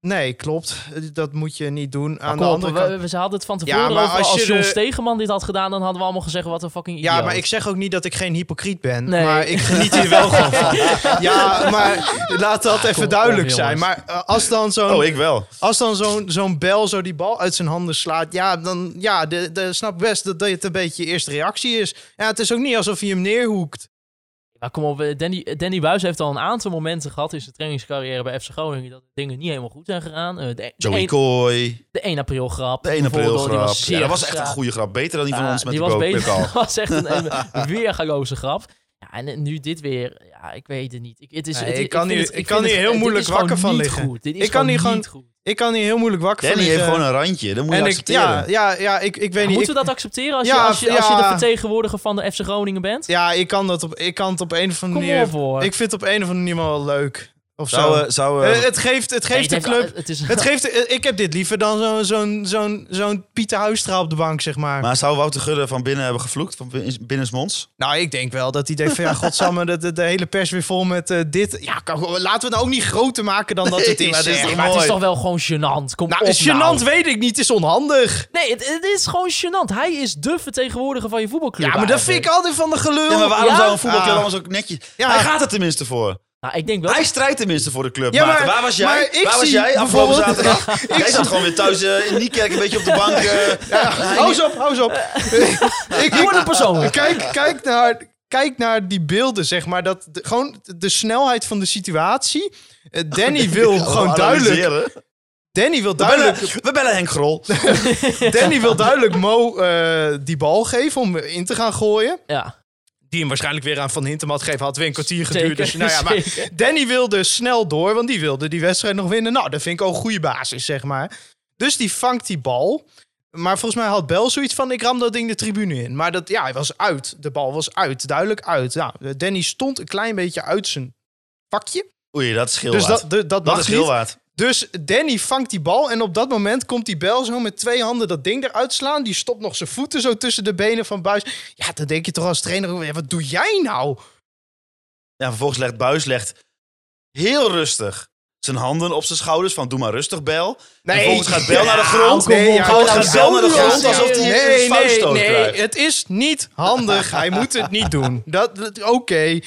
[SPEAKER 5] Nee, klopt. Dat moet je niet doen. Aan de
[SPEAKER 4] Kom op,
[SPEAKER 5] andere kant.
[SPEAKER 4] we, we- ze hadden het van tevoren
[SPEAKER 5] Ja, maar
[SPEAKER 4] over. Als,
[SPEAKER 5] als je
[SPEAKER 4] John
[SPEAKER 5] de-
[SPEAKER 4] Stegeman dit had gedaan, dan hadden we allemaal gezegd wat een fucking idioot.
[SPEAKER 5] Ja, maar ik zeg ook niet dat ik geen hypocriet ben.
[SPEAKER 4] Nee.
[SPEAKER 5] Maar ik geniet hier wel gewoon van. Ja, maar laat dat even
[SPEAKER 4] op,
[SPEAKER 5] duidelijk
[SPEAKER 4] jongens.
[SPEAKER 5] zijn. Maar eh, als dan zo'n
[SPEAKER 6] Oh, ik wel.
[SPEAKER 5] als dan zo'n zo'n bel zo die bal uit zijn handen slaat... Ja, dan ja, de, de, snap best dat dit een beetje je eerste reactie is. Ja, het is ook niet alsof je hem neerhoekt.
[SPEAKER 4] Maar kom op, eh, Danny, Danny Buis heeft al een aantal momenten gehad in zijn trainingscarrière bij FC Groningen dat dingen niet helemaal goed zijn gegaan. Eh, de, de,
[SPEAKER 6] Joey
[SPEAKER 4] een-
[SPEAKER 6] Kooi.
[SPEAKER 4] de 1 april grap.
[SPEAKER 6] De 1 april
[SPEAKER 4] bijvoorbeeld, die
[SPEAKER 6] grap.
[SPEAKER 4] zeer
[SPEAKER 6] Ja, dat was echt een
[SPEAKER 4] geslaagd.
[SPEAKER 6] goede grap. Beter dan die van
[SPEAKER 4] Ja,
[SPEAKER 6] ons met
[SPEAKER 4] die
[SPEAKER 6] de
[SPEAKER 4] was
[SPEAKER 6] kook-
[SPEAKER 4] beter.
[SPEAKER 6] Pukal.
[SPEAKER 4] Dat was echt een, een weergaloze grap. Ja, en eh, nu dit weer. Ja, ik weet het niet. Ik, het is,
[SPEAKER 5] Nee,
[SPEAKER 4] het-
[SPEAKER 5] ik kan
[SPEAKER 4] vind
[SPEAKER 5] hier-
[SPEAKER 4] het-
[SPEAKER 5] ik
[SPEAKER 4] vind
[SPEAKER 5] kan hier
[SPEAKER 4] het-
[SPEAKER 5] heel
[SPEAKER 4] dit is
[SPEAKER 5] moeilijk
[SPEAKER 4] gewoon
[SPEAKER 5] wakker van
[SPEAKER 4] niet
[SPEAKER 5] liggen.
[SPEAKER 4] Goed. Dit is
[SPEAKER 5] Ik kan hier gewoon-
[SPEAKER 4] niet goed.
[SPEAKER 5] Ik kan hier heel moeilijk wakker
[SPEAKER 6] Danny
[SPEAKER 5] van
[SPEAKER 6] heeft
[SPEAKER 5] liggen.
[SPEAKER 6] gewoon een randje. Dat moet je
[SPEAKER 5] En ik,
[SPEAKER 6] accepteren.
[SPEAKER 5] ja, ja, ja, ik, ik weet niet. ik-
[SPEAKER 4] Moeten we dat accepteren als, je,
[SPEAKER 5] Ja,
[SPEAKER 4] als, je, als je de
[SPEAKER 5] ja.
[SPEAKER 4] vertegenwoordiger van de FC Groningen bent?
[SPEAKER 5] Ja, ik kan, dat op, ik kan het op een of andere
[SPEAKER 4] Kom
[SPEAKER 5] manier...
[SPEAKER 4] op hoor.
[SPEAKER 5] Ik vind het op een of andere manier wel leuk. Of zo.
[SPEAKER 6] Zou, eh, zou, eh,
[SPEAKER 5] Eh, het geeft, het
[SPEAKER 4] Nee,
[SPEAKER 5] geeft de
[SPEAKER 4] het heeft-
[SPEAKER 5] club...
[SPEAKER 4] Het is,
[SPEAKER 5] Het geeft, eh, ik heb dit liever dan zo'n zo'n zo'n zo'n Pieter Huistra op de bank, zeg maar.
[SPEAKER 6] maar zou Wouter Gudde van binnen hebben gevloekt? Van bin- binnensmonds?
[SPEAKER 5] Nou, ik denk wel dat hij denkt van... Ja, godsamme, dat de, de hele pers weer vol met eh, dit. Ja, kan, gewoon- laten we het nou ook niet groter maken dan dat het
[SPEAKER 6] Nee,
[SPEAKER 5] is.
[SPEAKER 6] maar dit is
[SPEAKER 5] zeg.
[SPEAKER 6] toch
[SPEAKER 4] maar het is
[SPEAKER 6] mooi.
[SPEAKER 4] toch wel gewoon gênant. Kom
[SPEAKER 5] Nou,
[SPEAKER 4] op
[SPEAKER 5] gênant
[SPEAKER 4] nou.
[SPEAKER 5] weet ik niet. Het is onhandig.
[SPEAKER 4] Nee, het, het is gewoon gênant. Hij is de vertegenwoordiger van je voetbalclub.
[SPEAKER 5] Ja, maar dat vind ik altijd van de gelul.
[SPEAKER 6] Ja, maar waarom
[SPEAKER 4] ja?
[SPEAKER 6] zou een voetbalclub
[SPEAKER 5] Ah.
[SPEAKER 6] anders ook netjes...
[SPEAKER 5] Ja.
[SPEAKER 6] Hij gaat er tenminste voor.
[SPEAKER 4] Nou, ik denk wel.
[SPEAKER 6] Hij strijdt tenminste voor de club.
[SPEAKER 5] Ja, maar-
[SPEAKER 6] Maarten, waar was jij?
[SPEAKER 5] maar ik
[SPEAKER 6] waar was
[SPEAKER 5] zie
[SPEAKER 6] jij afgelopen
[SPEAKER 5] bijvoorbeeld-
[SPEAKER 6] zaterdag? jij zat gewoon weer thuis eh, in Niekerk een beetje op de bank. eh.
[SPEAKER 5] Hou eens op, hou eens op. ik
[SPEAKER 4] Voor de persoon.
[SPEAKER 5] Kijk, kijk, naar, kijk naar die beelden, zeg maar. Dat de-
[SPEAKER 6] Oh,
[SPEAKER 5] gewoon de snelheid van de situatie. Eh, Danny wil gewoon duidelijk.
[SPEAKER 6] Analyseren.
[SPEAKER 5] Danny wil
[SPEAKER 6] We bellen,
[SPEAKER 5] duidelijk,
[SPEAKER 6] we bellen Henk Grol.
[SPEAKER 5] Danny wil duidelijk Mo eh, die bal geven om in te gaan gooien.
[SPEAKER 4] Ja,
[SPEAKER 5] Die hem waarschijnlijk weer aan Van Hintermat geven. Had weer een kwartier
[SPEAKER 4] Zeker,
[SPEAKER 5] geduurd. Dus, nou ja, maar
[SPEAKER 4] zeker.
[SPEAKER 5] Danny wilde snel door, want die wilde die wedstrijd nog winnen. Nou, dat vind ik ook een goede basis, zeg maar. Dus die vangt die bal. Maar volgens mij had Bel zoiets van, ik ram dat ding de tribune in. Maar dat, ja, hij was uit. De bal was uit, duidelijk uit. Nou, Danny stond een klein beetje uit zijn pakje.
[SPEAKER 6] Oei, dat is heel
[SPEAKER 5] Dus
[SPEAKER 6] waard.
[SPEAKER 5] dat, dat, dat
[SPEAKER 6] dat
[SPEAKER 5] mag
[SPEAKER 6] is
[SPEAKER 5] niet.
[SPEAKER 6] heel waard.
[SPEAKER 5] Dus Danny vangt die bal en op dat moment komt die bel zo met twee handen dat ding eruit slaan. Die stopt nog zijn voeten zo tussen de benen van Buis. Ja, dan denk je toch als trainer, ja, wat doe jij nou?
[SPEAKER 6] Ja, vervolgens legt Buis legt heel rustig zijn handen op zijn schouders van doe maar rustig Bel.
[SPEAKER 5] Nee.
[SPEAKER 6] Vervolgens gaat Bel naar de grond.
[SPEAKER 5] Nee, ja,
[SPEAKER 6] Vervolgens
[SPEAKER 5] kom
[SPEAKER 6] gaat
[SPEAKER 5] op,
[SPEAKER 6] Bel naar de
[SPEAKER 5] ja,
[SPEAKER 6] grond
[SPEAKER 5] ja.
[SPEAKER 6] alsof hij
[SPEAKER 5] nee,
[SPEAKER 6] een vuiststoot
[SPEAKER 5] nee, nee,
[SPEAKER 6] krijgt.
[SPEAKER 5] het is niet handig. Hij moet het niet doen. Dat, dat- Oké.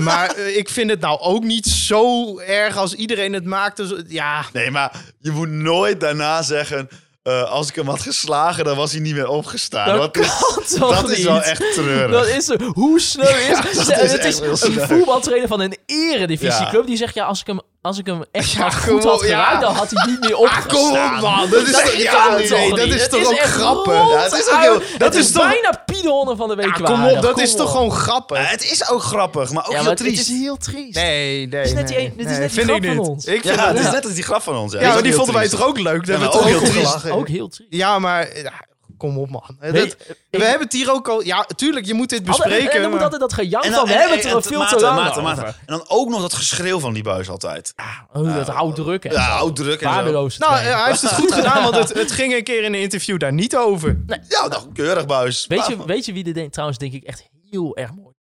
[SPEAKER 5] Maar eh, ik vind het nou ook niet zo erg als iedereen het maakt. Dus, ja,
[SPEAKER 6] Nee, maar je moet nooit daarna zeggen... eh, als ik hem had geslagen, dan was hij niet meer opgestaan.
[SPEAKER 4] Dat
[SPEAKER 6] Want is-
[SPEAKER 4] kan toch
[SPEAKER 6] dat is wel
[SPEAKER 4] niet?
[SPEAKER 6] echt treurig.
[SPEAKER 4] dat is hoe sneu is.
[SPEAKER 6] Ja, dat
[SPEAKER 4] Stel,
[SPEAKER 6] is
[SPEAKER 4] het
[SPEAKER 6] echt
[SPEAKER 4] is
[SPEAKER 6] heel
[SPEAKER 4] een
[SPEAKER 6] sneu.
[SPEAKER 4] voetbaltrainer van een eredivisieclub die zegt ja, als ik hem, als ik hem echt had goed had
[SPEAKER 5] gewoon, ja. Ah,
[SPEAKER 4] geraakt, dan had hij niet meer opgestaan.
[SPEAKER 5] Kom op, man. Dat is
[SPEAKER 4] Dat
[SPEAKER 5] toch,
[SPEAKER 4] kan
[SPEAKER 5] ja, nee,
[SPEAKER 4] toch
[SPEAKER 5] nee,
[SPEAKER 4] niet?
[SPEAKER 5] dat is
[SPEAKER 4] Het
[SPEAKER 5] toch ook
[SPEAKER 4] echt
[SPEAKER 5] grappig.
[SPEAKER 4] rond
[SPEAKER 6] Ja, het is ook heel-
[SPEAKER 4] uit.
[SPEAKER 6] dat
[SPEAKER 4] Het
[SPEAKER 6] is toch-
[SPEAKER 4] bijna Piedonnen van de week
[SPEAKER 5] Ja, kom
[SPEAKER 4] waardig.
[SPEAKER 5] op, dat
[SPEAKER 4] Kom
[SPEAKER 5] is toch
[SPEAKER 4] op.
[SPEAKER 5] gewoon
[SPEAKER 6] Ja,
[SPEAKER 5] grappig.
[SPEAKER 6] Eh, het is ook grappig, maar ook
[SPEAKER 4] Ja,
[SPEAKER 6] heel
[SPEAKER 4] maar het
[SPEAKER 6] triest.
[SPEAKER 4] is heel triest.
[SPEAKER 5] Nee, nee.
[SPEAKER 4] is net die
[SPEAKER 5] nee,
[SPEAKER 4] een- dit is
[SPEAKER 5] nee,
[SPEAKER 4] net die
[SPEAKER 5] vind
[SPEAKER 4] grap
[SPEAKER 5] ik
[SPEAKER 4] van
[SPEAKER 5] niet.
[SPEAKER 4] ons.
[SPEAKER 5] Ik
[SPEAKER 6] Ja,
[SPEAKER 5] vind
[SPEAKER 6] het
[SPEAKER 5] het-
[SPEAKER 6] is net als die grap van ons. Ja,
[SPEAKER 5] Ja,
[SPEAKER 6] is
[SPEAKER 5] maar
[SPEAKER 6] ook
[SPEAKER 5] die
[SPEAKER 6] heel
[SPEAKER 5] vonden wij
[SPEAKER 6] triest.
[SPEAKER 5] toch ook leuk? Daar
[SPEAKER 6] Ja,
[SPEAKER 5] hebben we
[SPEAKER 6] maar
[SPEAKER 5] toch
[SPEAKER 6] ook
[SPEAKER 5] ook
[SPEAKER 6] heel
[SPEAKER 5] om
[SPEAKER 6] triest.
[SPEAKER 5] gelachen.
[SPEAKER 4] Ook heel triest.
[SPEAKER 5] Ja, maar ja, kom op, man.
[SPEAKER 4] Nee,
[SPEAKER 5] Dat- we hebben het hier ook al. Ja, tuurlijk, je moet dit
[SPEAKER 4] Altijd-
[SPEAKER 5] bespreken.
[SPEAKER 4] en eh, dan moet
[SPEAKER 5] maar-
[SPEAKER 4] altijd dat gejank
[SPEAKER 6] En
[SPEAKER 4] van,
[SPEAKER 6] dan-
[SPEAKER 4] we
[SPEAKER 6] en-
[SPEAKER 4] hebben
[SPEAKER 6] en-
[SPEAKER 4] het er
[SPEAKER 6] en-
[SPEAKER 4] veel
[SPEAKER 6] Maarten,
[SPEAKER 4] te lang
[SPEAKER 6] Maarten,
[SPEAKER 4] over.
[SPEAKER 6] Maarten. En dan ook nog dat geschreeuw van die buis altijd.
[SPEAKER 4] Oh, dat houdt druk, hè.
[SPEAKER 6] Ja, oud druk en zo.
[SPEAKER 4] Waardeloos.
[SPEAKER 5] Nou,
[SPEAKER 4] trainer.
[SPEAKER 5] eh, hij heeft het goed gedaan, want het, het ging een keer in een interview daar niet over.
[SPEAKER 6] Ja, nou, keurig buis.
[SPEAKER 4] weet, je, weet je wie dit denk, trouwens, denk ik, echt heel erg mooi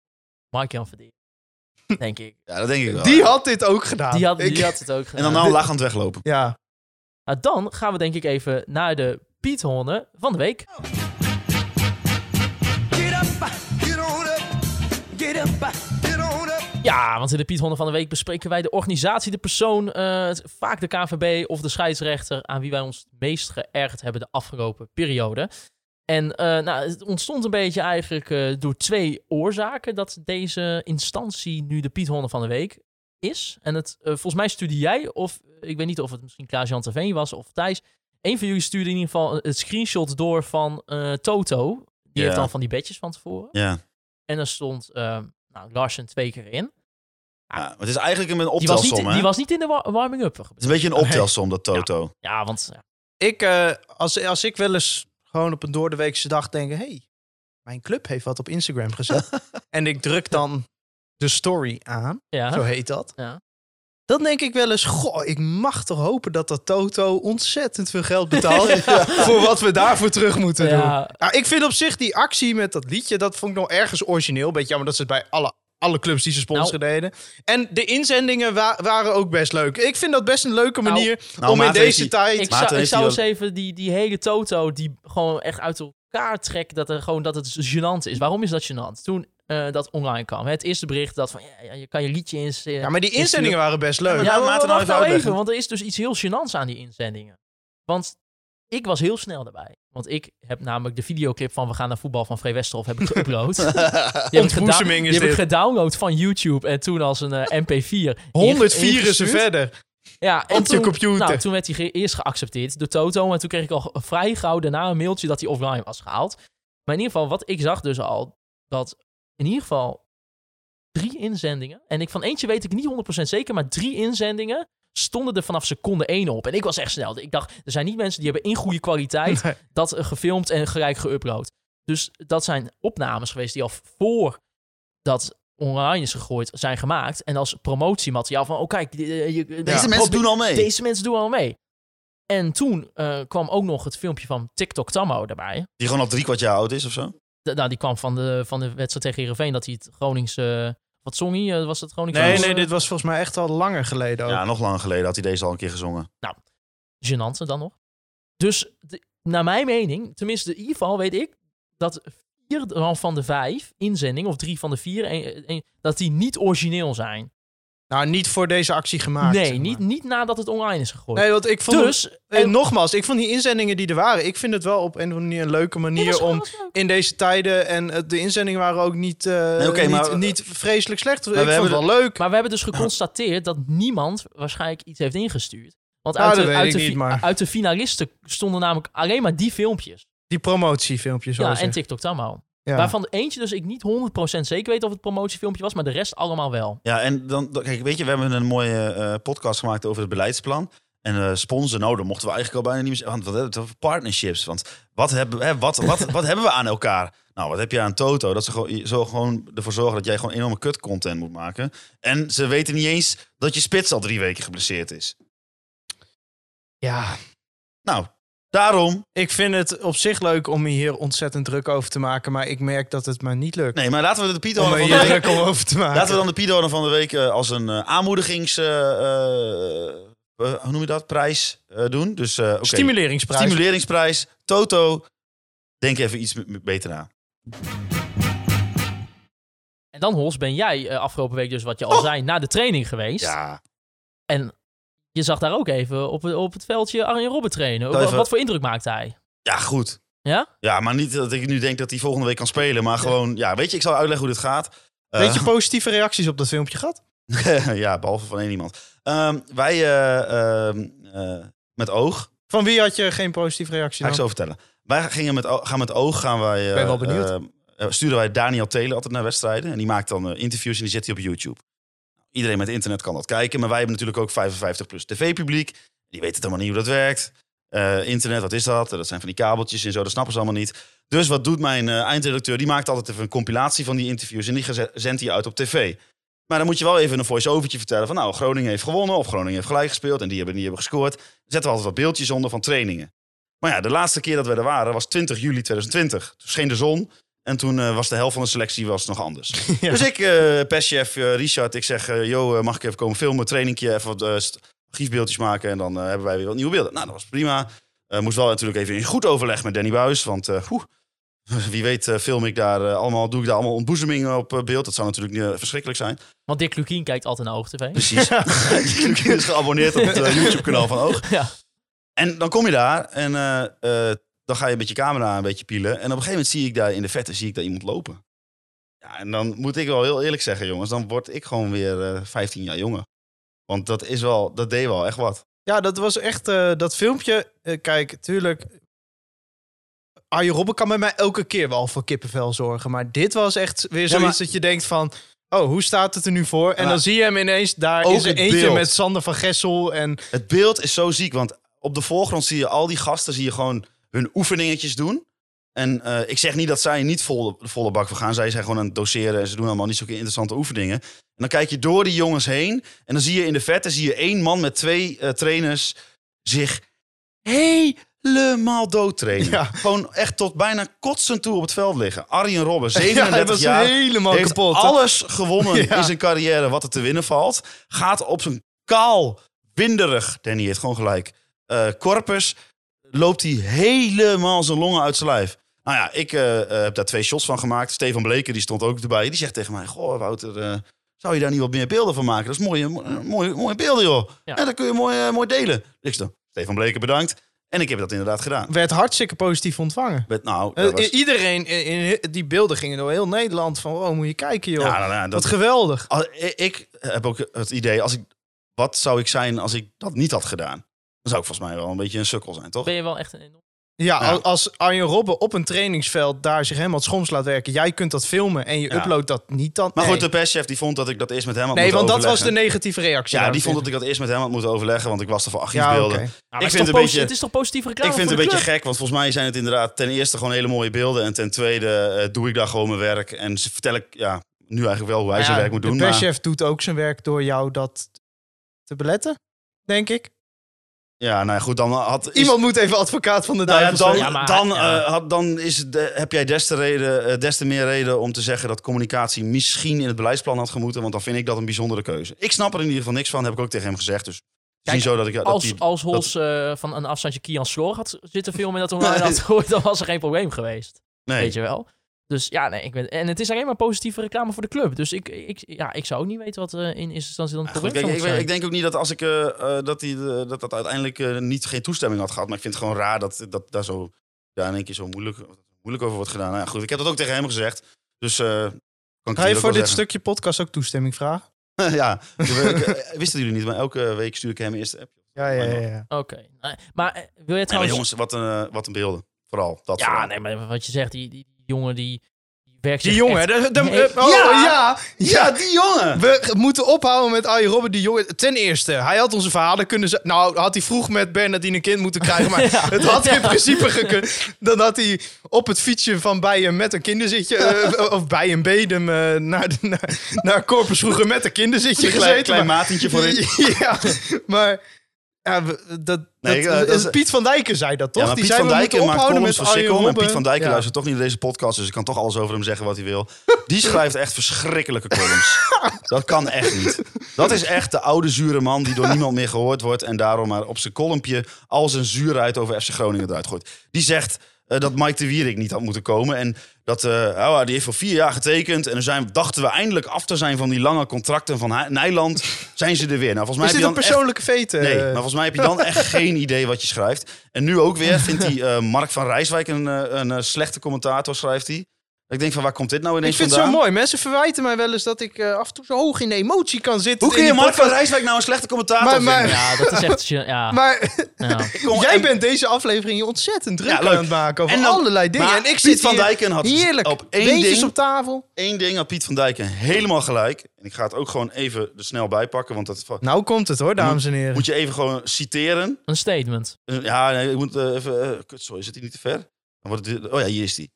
[SPEAKER 4] Mark-Jan Verdeer. Denk ik.
[SPEAKER 6] Ja, dat denk ik wel.
[SPEAKER 5] Die had dit ook gedaan.
[SPEAKER 4] Die had,
[SPEAKER 5] Ik-
[SPEAKER 4] die had het ook
[SPEAKER 6] En
[SPEAKER 4] gedaan.
[SPEAKER 6] dan nou lachend weglopen.
[SPEAKER 5] Ja.
[SPEAKER 4] Nou, dan gaan we denk ik even naar de Piet Horne van de week.
[SPEAKER 3] Get up, get on up, get up, get on up.
[SPEAKER 4] Ja, want in de Piet Honden van de Week bespreken wij de organisatie, de persoon, eh, het- vaak de KNVB of de scheidsrechter aan wie wij ons het meest geërgerd hebben de afgelopen periode. En eh, nou, het ontstond een beetje eigenlijk eh, door twee oorzaken dat deze instantie nu de Piet Honden van de Week is. En het, eh, volgens mij stuurde jij, of eh, ik weet niet of het misschien Klaas-Jan Terveen was of Thijs, een van jullie stuurde in ieder geval het screenshot door van eh, Toto. Die
[SPEAKER 6] Ja.
[SPEAKER 4] heeft dan van die bedjes van tevoren.
[SPEAKER 6] Ja.
[SPEAKER 4] En er stond eh, nou, Larsen twee keer in.
[SPEAKER 6] ja. maar Het is eigenlijk een
[SPEAKER 4] Die was, niet,
[SPEAKER 6] optelsom, hè?
[SPEAKER 4] die
[SPEAKER 6] Het
[SPEAKER 4] was niet in de wa- warming-up.
[SPEAKER 6] is een beetje een optelsom, dat Toto.
[SPEAKER 4] Ja, want ja,
[SPEAKER 5] Ik, eh, als, als ik wel eens gewoon op een doordeweekse dag denk: hé, hey, mijn club heeft wat op Instagram gezet. en ik druk dan de story aan,
[SPEAKER 4] ja.
[SPEAKER 5] zo heet dat.
[SPEAKER 4] Ja.
[SPEAKER 5] Dan denk ik wel eens, goh, ik mag toch hopen dat dat Toto ontzettend veel geld betaalt voor wat we daarvoor terug moeten doen.
[SPEAKER 4] Ja,
[SPEAKER 5] Ja, ik vind op zich die actie met dat liedje, dat vond ik nog ergens origineel. Beetje jammer dat ze het bij alle, alle clubs die ze sponsoren
[SPEAKER 4] Nou.
[SPEAKER 5] deden. En de inzendingen wa- waren ook best leuk. Ik vind dat best een leuke
[SPEAKER 4] Nou.
[SPEAKER 5] manier
[SPEAKER 6] Nou,
[SPEAKER 5] om in
[SPEAKER 6] Maarten
[SPEAKER 5] deze
[SPEAKER 6] heeft
[SPEAKER 5] tijd...
[SPEAKER 4] ik
[SPEAKER 6] Maarten
[SPEAKER 4] zou, ik
[SPEAKER 6] heeft
[SPEAKER 4] zou
[SPEAKER 6] die
[SPEAKER 4] eens even die, die hele Toto die gewoon echt uit elkaar trekt dat, er gewoon, dat het gênant is. Waarom is dat gênant? Toen eh, dat online kwam, hè, het eerste bericht dat van ja, ja, je kan je liedje in.
[SPEAKER 5] Ja, maar die inzendingen waren best leuk.
[SPEAKER 4] Ja,
[SPEAKER 6] Laat
[SPEAKER 4] maar
[SPEAKER 6] Maarten nou
[SPEAKER 4] wacht
[SPEAKER 6] even
[SPEAKER 4] nou even,
[SPEAKER 6] uitleggen.
[SPEAKER 4] want er is dus iets heel gênants aan die inzendingen. Want ik was heel snel daarbij. Want ik heb namelijk de videoclip van We gaan naar voetbal van Vree Westerhof heb ik geüpload. Die heb ik gedou-
[SPEAKER 5] Ontboezeming is
[SPEAKER 4] Die heb ik
[SPEAKER 5] dit.
[SPEAKER 4] gedownload van YouTube en toen als een eh, mp4.
[SPEAKER 5] 104 is er
[SPEAKER 4] ingestuurd.
[SPEAKER 5] verder.
[SPEAKER 4] Ja, en
[SPEAKER 5] Op je
[SPEAKER 4] toen,
[SPEAKER 5] computer.
[SPEAKER 4] Nou, toen werd hij ge- eerst geaccepteerd door Toto. En toen kreeg ik al g- vrij gauw daarna een mailtje dat hij offline was gehaald. Maar in ieder geval, wat ik zag dus al, dat in ieder geval drie inzendingen. En ik van eentje weet ik niet 100% zeker, maar drie inzendingen stonden er vanaf seconde één op. En ik was echt snel. Ik dacht, er zijn niet mensen die hebben in goede kwaliteit
[SPEAKER 5] Nee.
[SPEAKER 4] dat eh, gefilmd en gelijk geüpload. Dus dat zijn opnames geweest die al voor dat online is gegooid, zijn gemaakt. En als promotiemateriaal van, oh kijk, eh, je- eh,
[SPEAKER 6] Deze
[SPEAKER 4] probeer-
[SPEAKER 6] mensen doen al mee.
[SPEAKER 4] deze mensen doen al mee. En toen eh, kwam ook nog het filmpje van TikTok Tammo erbij.
[SPEAKER 6] Die gewoon al drie kwart jaar oud is of zo.
[SPEAKER 4] D- nou, die kwam van de, van de wedstrijd tegen Heerenveen. Dat hij het Groningse... wat zong hij? Eh, was het Groningse?
[SPEAKER 5] Nee, nee, dit was volgens mij echt al langer geleden ook.
[SPEAKER 6] Ja, nog lang geleden had hij deze al een keer gezongen.
[SPEAKER 4] Genante dan nog. Dus de- naar mijn mening, tenminste in ieder geval weet ik... dat vier dan van de vijf inzendingen, of drie van de vier... en- en- dat die niet origineel zijn.
[SPEAKER 5] Nou, niet voor deze actie gemaakt. zeg
[SPEAKER 4] nee,
[SPEAKER 5] maar.
[SPEAKER 4] niet, niet nadat het online is gegooid.
[SPEAKER 5] Nee, want ik vond...
[SPEAKER 4] dus...
[SPEAKER 5] eh, nogmaals, ik vond die inzendingen die er waren... Ik vind het wel op een of andere manier een leuke
[SPEAKER 4] Ja,
[SPEAKER 5] manier
[SPEAKER 4] dat is-
[SPEAKER 5] om...
[SPEAKER 4] dat is leuk.
[SPEAKER 5] in deze tijden. En eh, de inzendingen waren ook niet, eh,
[SPEAKER 6] oké,
[SPEAKER 5] niet,
[SPEAKER 6] maar-
[SPEAKER 5] niet vreselijk slecht.
[SPEAKER 6] we
[SPEAKER 5] ik vond het wel leuk.
[SPEAKER 4] Maar we hebben dus geconstateerd dat niemand waarschijnlijk iets heeft ingestuurd. Want
[SPEAKER 5] Nou,
[SPEAKER 4] uit,
[SPEAKER 5] dat
[SPEAKER 4] de,
[SPEAKER 5] weet
[SPEAKER 4] uit,
[SPEAKER 5] ik
[SPEAKER 4] de,
[SPEAKER 5] niet,
[SPEAKER 4] fi-
[SPEAKER 5] maar-
[SPEAKER 4] uit de finalisten stonden namelijk alleen maar die filmpjes.
[SPEAKER 5] Die promotiefilmpjes.
[SPEAKER 4] Ja,
[SPEAKER 5] zoals
[SPEAKER 4] en
[SPEAKER 5] je-
[SPEAKER 4] TikTok Tammo.
[SPEAKER 5] ja.
[SPEAKER 4] Waarvan eentje dus ik niet 100% zeker weet of het promotiefilmpje was, maar de rest allemaal wel.
[SPEAKER 6] Ja, en dan, dan- kijk, weet je, we hebben een mooie eh, podcast gemaakt over het beleidsplan. En eh sponsor, nou, dan mochten we eigenlijk al bijna niet meer zeggen. Want wat hebben we het over partnerships? Want wat hebben, we- hè, wat, wat, wat hebben we aan elkaar? Nou, wat heb je aan Toto? Dat ze gewoon, zo gewoon ervoor zorgen dat jij gewoon enorme kut content moet maken. En ze weten niet eens dat je spits al drie weken geblesseerd is.
[SPEAKER 5] ja,
[SPEAKER 6] Nou, daarom.
[SPEAKER 5] ik vind het op zich leuk om me hier ontzettend druk over te maken. Maar ik merk dat het me niet lukt.
[SPEAKER 6] Nee, maar laten we de Piet
[SPEAKER 5] om me
[SPEAKER 6] van
[SPEAKER 5] hier
[SPEAKER 6] de week
[SPEAKER 5] druk om over te maken.
[SPEAKER 6] Laten we dan de Pidoner van de week eh, als een eh, aanmoedigings... eh, eh, eh, hoe noem je dat? Prijs eh, doen. Dus, eh, oké.
[SPEAKER 5] Stimuleringsprijs.
[SPEAKER 6] Stimuleringsprijs. Toto, denk even iets m- m- beter na.
[SPEAKER 4] En dan, Hols, ben jij eh, afgelopen week dus, wat je al zei, na de training geweest.
[SPEAKER 6] Oh! Ja.
[SPEAKER 4] En je zag daar ook even op, op het veldje Arjen Robben trainen.
[SPEAKER 6] Even-
[SPEAKER 4] Wat, wat voor indruk maakte hij?
[SPEAKER 6] Ja, goed.
[SPEAKER 4] Ja?
[SPEAKER 6] Ja, maar niet dat ik nu denk dat hij volgende week kan spelen. Maar gewoon, ja, weet je, ik zal uitleggen hoe dit gaat. Eh,
[SPEAKER 5] Weet je positieve reacties op dat filmpje gehad?
[SPEAKER 6] ja, behalve van één iemand. Ehm, wij eh, ehm, eh, met oog,
[SPEAKER 5] Van wie had je geen positieve reactie?
[SPEAKER 6] ga ik
[SPEAKER 5] Dan?
[SPEAKER 6] zo vertellen. Wij gingen met, o- gaan met oog, gaan wij... eh,
[SPEAKER 5] Ben wel benieuwd.
[SPEAKER 6] ehm, eh, sturen wij Daniel Telen altijd naar wedstrijden. En die maakt dan eh, interviews en die zet hij op YouTube. Iedereen met internet kan dat kijken. Maar wij hebben natuurlijk ook 55 plus tv-publiek. Die weten helemaal niet hoe dat werkt. Eh, internet, wat is dat? Dat zijn van die kabeltjes en zo, dat snappen ze allemaal niet. Dus wat doet mijn eh, eindredacteur? Die maakt altijd even een compilatie van die interviews en die geze- zendt hij uit op tv. Maar dan moet je wel even een voice-overtje vertellen van nou, Groningen heeft gewonnen of Groningen heeft gelijk gespeeld en die hebben, die hebben gescoord. Dan zetten we altijd wat beeldjes onder van trainingen. Maar ja, de laatste keer dat we er waren was 20 juli 2020. Toen scheen de zon en toen eh, was de helft van de selectie was nog anders.
[SPEAKER 5] Ja.
[SPEAKER 6] Dus ik, eh perschef eh, Richard, ik zeg, eh, yo, eh, mag ik even komen filmen, trainingje, even wat eh, st- archiefbeeldjes maken en dan eh, hebben wij weer wat nieuwe beelden. Nou, dat was prima. Eh, moest wel natuurlijk even in goed overleg met Danny Buis, want eh, poeh, wie weet eh, film ik daar eh, allemaal, doe ik daar allemaal ontboezemingen op eh, beeld. Dat zou natuurlijk eh, verschrikkelijk zijn.
[SPEAKER 4] Want Dick Lukien kijkt altijd naar OogTV.
[SPEAKER 6] Precies. Ik is geabonneerd op het eh, YouTube-kanaal van Oog.
[SPEAKER 4] Ja.
[SPEAKER 6] En dan kom je daar en eh, eh, dan ga je met je camera een beetje pielen. En op een gegeven moment zie ik daar in de vette zie ik daar iemand lopen. Ja, en dan moet ik wel heel eerlijk zeggen, jongens, dan word ik gewoon weer eh, 15 jaar jonger. Want dat is wel, dat deed wel echt wat.
[SPEAKER 5] Ja, dat was echt eh, dat filmpje. eh, kijk, tuurlijk. Arjen Robben kan bij mij elke keer wel voor kippenvel zorgen. Maar dit was echt weer zoiets
[SPEAKER 6] maar-
[SPEAKER 5] dat je denkt van... Oh, hoe staat het er nu voor? En
[SPEAKER 6] Maar-
[SPEAKER 5] dan zie je hem ineens. Daar
[SPEAKER 6] Ook
[SPEAKER 5] is er
[SPEAKER 6] het
[SPEAKER 5] eentje
[SPEAKER 6] beeld.
[SPEAKER 5] met Sander van Gessel. En
[SPEAKER 6] Het beeld is zo ziek, want op de voorgrond zie je al die gasten, zie je gewoon hun oefeningetjes doen. En eh, ik zeg niet dat zij niet vol, de volle bak voor gaan. Zij zijn gewoon aan het doseren en ze doen allemaal niet zulke interessante oefeningen. En dan kijk je door die jongens heen en dan zie je in de verte zie je één man met twee eh, trainers zich helemaal dood trainen.
[SPEAKER 5] Ja.
[SPEAKER 6] Gewoon echt tot bijna kotsen toe op het veld liggen. Arjen Robben,
[SPEAKER 5] ja,
[SPEAKER 6] 37
[SPEAKER 5] dat was
[SPEAKER 6] jaar
[SPEAKER 5] helemaal
[SPEAKER 6] heeft
[SPEAKER 5] kapot. hè?
[SPEAKER 6] alles gewonnen
[SPEAKER 5] Ja.
[SPEAKER 6] in zijn carrière wat er te winnen valt. Gaat op zijn kaal, winderig, Danny heeft gewoon gelijk, eh, corpus, loopt hij helemaal zijn longen uit zijn lijf. Nou ja, ik eh, eh, heb daar twee shots van gemaakt. Stefan Bleken, die stond ook erbij. Die zegt tegen mij, goh Wouter, eh, zou je daar niet wat meer beelden van maken? Dat is mooie, mo- eh, mooie, mooie beelden, joh.
[SPEAKER 4] Ja.
[SPEAKER 6] Ja. dat kun je mooi, eh, mooi delen. Ik zeg, Stefan Bleken, bedankt. En ik heb dat inderdaad gedaan.
[SPEAKER 5] Werd hartstikke positief ontvangen.
[SPEAKER 6] Met, nou,
[SPEAKER 5] Eh,
[SPEAKER 6] dat was-
[SPEAKER 5] i- Iedereen, in, in- die beelden gingen door heel Nederland. Van, oh, moet je kijken, joh.
[SPEAKER 6] ja, nou, nou,
[SPEAKER 5] dat,
[SPEAKER 6] dat,
[SPEAKER 5] Wat geweldig.
[SPEAKER 6] Al- i- ik heb ook het idee, als ik, wat zou ik zijn als ik dat niet had gedaan? Dan zou ik volgens mij wel een beetje een sukkel zijn, toch?
[SPEAKER 4] Ben je wel echt een enorm...
[SPEAKER 5] Ja,
[SPEAKER 6] Ja.
[SPEAKER 5] al- als Arjen Robben op een trainingsveld daar zich helemaal het schoms laat werken. Jij kunt dat filmen en je
[SPEAKER 6] Ja.
[SPEAKER 5] uploadt dat niet dan.
[SPEAKER 6] Maar goed,
[SPEAKER 5] nee.
[SPEAKER 6] de perschef die vond dat ik dat eerst met hem had
[SPEAKER 5] nee,
[SPEAKER 6] moeten
[SPEAKER 5] want dat was de
[SPEAKER 6] overleggen.
[SPEAKER 5] negatieve reactie.
[SPEAKER 6] Ja, die
[SPEAKER 5] daarvan.
[SPEAKER 6] vond dat ik dat eerst met hem had moeten overleggen, want ik was er voor
[SPEAKER 5] Ja, oké.
[SPEAKER 6] archiefbeelden.
[SPEAKER 4] Nou, maar
[SPEAKER 6] Ik
[SPEAKER 4] het, is
[SPEAKER 6] vind
[SPEAKER 4] toch
[SPEAKER 6] een
[SPEAKER 4] posi-
[SPEAKER 6] beetje-
[SPEAKER 4] het is toch positieve reclame
[SPEAKER 6] Ik vind het
[SPEAKER 4] voor de
[SPEAKER 6] een beetje
[SPEAKER 4] club?
[SPEAKER 6] gek, want volgens mij zijn het inderdaad ten eerste gewoon hele mooie beelden. En ten tweede eh, doe ik daar gewoon mijn werk. En ze vertel ik ja, nu eigenlijk wel hoe hij
[SPEAKER 5] Ja,
[SPEAKER 6] zijn werk moet doen.
[SPEAKER 5] De
[SPEAKER 6] Maar,
[SPEAKER 5] perschef doet ook zijn werk door jou dat te beletten, denk ik.
[SPEAKER 6] ja, nou ja, goed, dan had... is-
[SPEAKER 5] Iemand moet even advocaat van de
[SPEAKER 6] Nou ja,
[SPEAKER 5] duivel
[SPEAKER 6] dan,
[SPEAKER 5] zijn.
[SPEAKER 4] Ja, maar-
[SPEAKER 6] dan,
[SPEAKER 4] ja.
[SPEAKER 6] eh, had, dan is het de- heb jij des te, reden, eh, des te meer reden om te zeggen dat communicatie misschien in het beleidsplan had gemoeten. Want dan vind ik dat een bijzondere keuze. Ik snap er in ieder geval niks van, heb ik ook tegen hem gezegd. Dus
[SPEAKER 4] Kijk,
[SPEAKER 6] misschien zo dat ik. Dat
[SPEAKER 4] Als,
[SPEAKER 6] die-
[SPEAKER 4] als Hols eh, van een afstandje Kian Sloor had zitten filmen en dat online had gehoord, dan was er geen probleem geweest.
[SPEAKER 6] nee.
[SPEAKER 4] Weet je wel? Dus ja, nee, ik ben, en het is alleen maar positieve reclame voor de club. Dus ik, ik, ja, ik zou ook niet weten wat eh, in eerste instantie dan
[SPEAKER 6] Ja,
[SPEAKER 4] het
[SPEAKER 6] goed,
[SPEAKER 4] probleem
[SPEAKER 6] kijk,
[SPEAKER 4] zou
[SPEAKER 6] ik,
[SPEAKER 4] moeten
[SPEAKER 6] weet-
[SPEAKER 4] zijn.
[SPEAKER 6] ik denk ook niet dat als ik eh, eh, dat, die, eh, dat dat uiteindelijk eh, niet geen toestemming had gehad. Maar ik vind het gewoon raar dat, dat daar zo ja, in één keer zo moeilijk, moeilijk over wordt gedaan. Nou ja, goed, ik heb dat ook tegen hem gezegd. Dus eh, kan ik
[SPEAKER 5] Ga je
[SPEAKER 6] natuurlijk
[SPEAKER 5] voor
[SPEAKER 6] ook
[SPEAKER 5] dit
[SPEAKER 6] wel zeggen.
[SPEAKER 5] stukje podcast ook toestemming vragen?
[SPEAKER 6] eh, ja, ik, eh, wisten jullie niet, maar elke week stuur ik hem eerst een app.
[SPEAKER 5] Ja, ja, ja. ja.
[SPEAKER 4] Oké. Eh, Maar eh, wil je
[SPEAKER 6] Nee, maar
[SPEAKER 4] trouwens...
[SPEAKER 6] jongens, wat een, eh, wat een beelden. Vooral. Dat
[SPEAKER 4] ja,
[SPEAKER 6] vooral.
[SPEAKER 4] nee, maar wat je zegt, die, die, die jongen die, die werkt
[SPEAKER 5] Die
[SPEAKER 4] zich
[SPEAKER 5] jongen.
[SPEAKER 4] echt-
[SPEAKER 5] de- de-
[SPEAKER 4] Nee.
[SPEAKER 5] oh,
[SPEAKER 6] Ja!
[SPEAKER 5] ja,
[SPEAKER 6] Ja, die jongen!
[SPEAKER 5] We moeten ophouden met Arjen Robben die jongen. Ten eerste, hij had onze vader kunnen zijn. Nou, had hij vroeg met Bernardine een kind moeten krijgen. Maar het had in principe gekund. Dan had hij op het fietsje van Bijen met een kinderzitje. eh, of bij een Bedem eh, naar, de- naar, naar Corpus vroeger met een kinderzitje
[SPEAKER 6] Klein-
[SPEAKER 5] gezeten.
[SPEAKER 6] klein
[SPEAKER 5] maar-
[SPEAKER 6] matentje voor in.
[SPEAKER 5] Ja, maar. Ja, we- dat,
[SPEAKER 6] Nee,
[SPEAKER 5] dat-
[SPEAKER 6] eh, dat is-
[SPEAKER 5] het- Piet van Dijken zei dat toch?
[SPEAKER 6] Ja, maar
[SPEAKER 5] die
[SPEAKER 6] Piet
[SPEAKER 5] zei,
[SPEAKER 6] van
[SPEAKER 5] we
[SPEAKER 6] Dijken
[SPEAKER 5] moeten
[SPEAKER 6] maakt
[SPEAKER 5] ophouden
[SPEAKER 6] columns
[SPEAKER 5] met
[SPEAKER 6] voor
[SPEAKER 5] Arjen
[SPEAKER 6] Sikkom. En
[SPEAKER 5] Robben.
[SPEAKER 6] Piet van Dijken
[SPEAKER 5] Ja.
[SPEAKER 6] luistert toch niet naar deze podcast, dus ik kan toch alles over hem zeggen wat hij wil. Die schrijft echt verschrikkelijke columns. dat kan echt niet. Dat is echt de oude zure man die door niemand meer gehoord wordt... en daarom maar op zijn kolompje al zijn zuurheid over FC Groningen eruit gooit. Die zegt eh, dat Mike de Wierik niet had moeten komen... en dat, eh, oh, die heeft voor vier jaar getekend... en dan zijn, dachten we eindelijk af te zijn van die lange contracten van Hij- Nijland... zijn ze er weer. Nou, volgens mij
[SPEAKER 5] Is dit
[SPEAKER 6] heb je
[SPEAKER 5] een
[SPEAKER 6] dan echt-
[SPEAKER 5] persoonlijke vete?
[SPEAKER 6] Nee,
[SPEAKER 5] eh?
[SPEAKER 6] maar volgens mij heb je dan echt geen idee wat je schrijft. En nu ook weer vindt hij eh, Mark van Rijswijk een, eh, een eh, slechte commentator, schrijft hij. Ik denk van, waar komt dit nou
[SPEAKER 5] Ik
[SPEAKER 6] ineens
[SPEAKER 5] vind het zo
[SPEAKER 6] vandaan?
[SPEAKER 5] mooi. Mensen verwijten mij wel eens dat ik eh, af en toe zo hoog in de emotie kan zitten.
[SPEAKER 6] Hoe kun
[SPEAKER 5] in
[SPEAKER 6] je
[SPEAKER 5] die
[SPEAKER 6] Mark van
[SPEAKER 5] podcast.
[SPEAKER 6] Rijswijk nou een slechte commentator
[SPEAKER 5] Maar-
[SPEAKER 6] vinden?
[SPEAKER 5] maar-
[SPEAKER 6] Ja,
[SPEAKER 4] Ja, dat is echt... gen- Ja,
[SPEAKER 5] Maar
[SPEAKER 4] ja.
[SPEAKER 6] ik kom-
[SPEAKER 5] jij
[SPEAKER 6] en-
[SPEAKER 5] bent deze aflevering hier ontzettend druk
[SPEAKER 6] Ja, leuk.
[SPEAKER 5] aan het maken over
[SPEAKER 6] En dan-
[SPEAKER 5] allerlei dingen.
[SPEAKER 6] maar
[SPEAKER 5] en ik
[SPEAKER 6] Piet
[SPEAKER 5] zit
[SPEAKER 6] van
[SPEAKER 5] hier
[SPEAKER 6] Dijken had dus
[SPEAKER 5] heerlijk
[SPEAKER 6] op één
[SPEAKER 5] beentjes
[SPEAKER 6] ding-
[SPEAKER 5] op tafel.
[SPEAKER 6] Eén ding had Piet van Dijken helemaal gelijk. En ik ga het ook gewoon even er snel bij pakken, want dat va-
[SPEAKER 5] Nou komt het hoor, dames en heren.
[SPEAKER 6] moet je even gewoon citeren.
[SPEAKER 4] Een statement.
[SPEAKER 6] Eh, Ja, nee, ik moet eh, even... eh, kut, sorry, zit hij niet te ver? Dan wordt het- oh ja, hier is hij.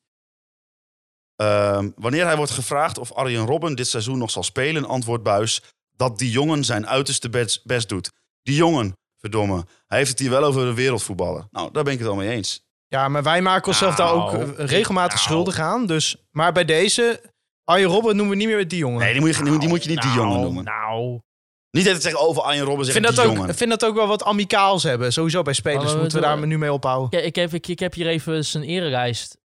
[SPEAKER 6] Ehm, wanneer hij wordt gevraagd of Arjen Robben dit seizoen nog zal spelen, antwoordt Buis dat die jongen zijn uiterste best, best doet. Die jongen, verdomme. Hij heeft het hier wel over een wereldvoetballer. Nou, daar ben ik het al mee eens.
[SPEAKER 5] Ja, maar wij maken onszelf daar ook
[SPEAKER 4] Nou,
[SPEAKER 5] eh, regelmatig
[SPEAKER 4] nou.
[SPEAKER 5] schuldig aan. Dus, maar bij deze, Arjen Robben noemen we niet meer die jongen.
[SPEAKER 6] Nee, die moet je, die, moet je niet die
[SPEAKER 4] Nou,
[SPEAKER 6] jongen noemen.
[SPEAKER 4] Nou,
[SPEAKER 6] Niet dat het zeggen over Arjen Robben,
[SPEAKER 5] ik
[SPEAKER 6] zeg
[SPEAKER 5] vind
[SPEAKER 6] die
[SPEAKER 5] dat, ook,
[SPEAKER 6] jongen.
[SPEAKER 5] ik vind dat ook wel wat amicaals hebben. Sowieso bij spelers
[SPEAKER 4] Maar we
[SPEAKER 5] moeten we daar
[SPEAKER 4] doen-
[SPEAKER 5] nu mee ophouden.
[SPEAKER 4] ik, ik, heb, ik, ik heb hier even zijn erenlijst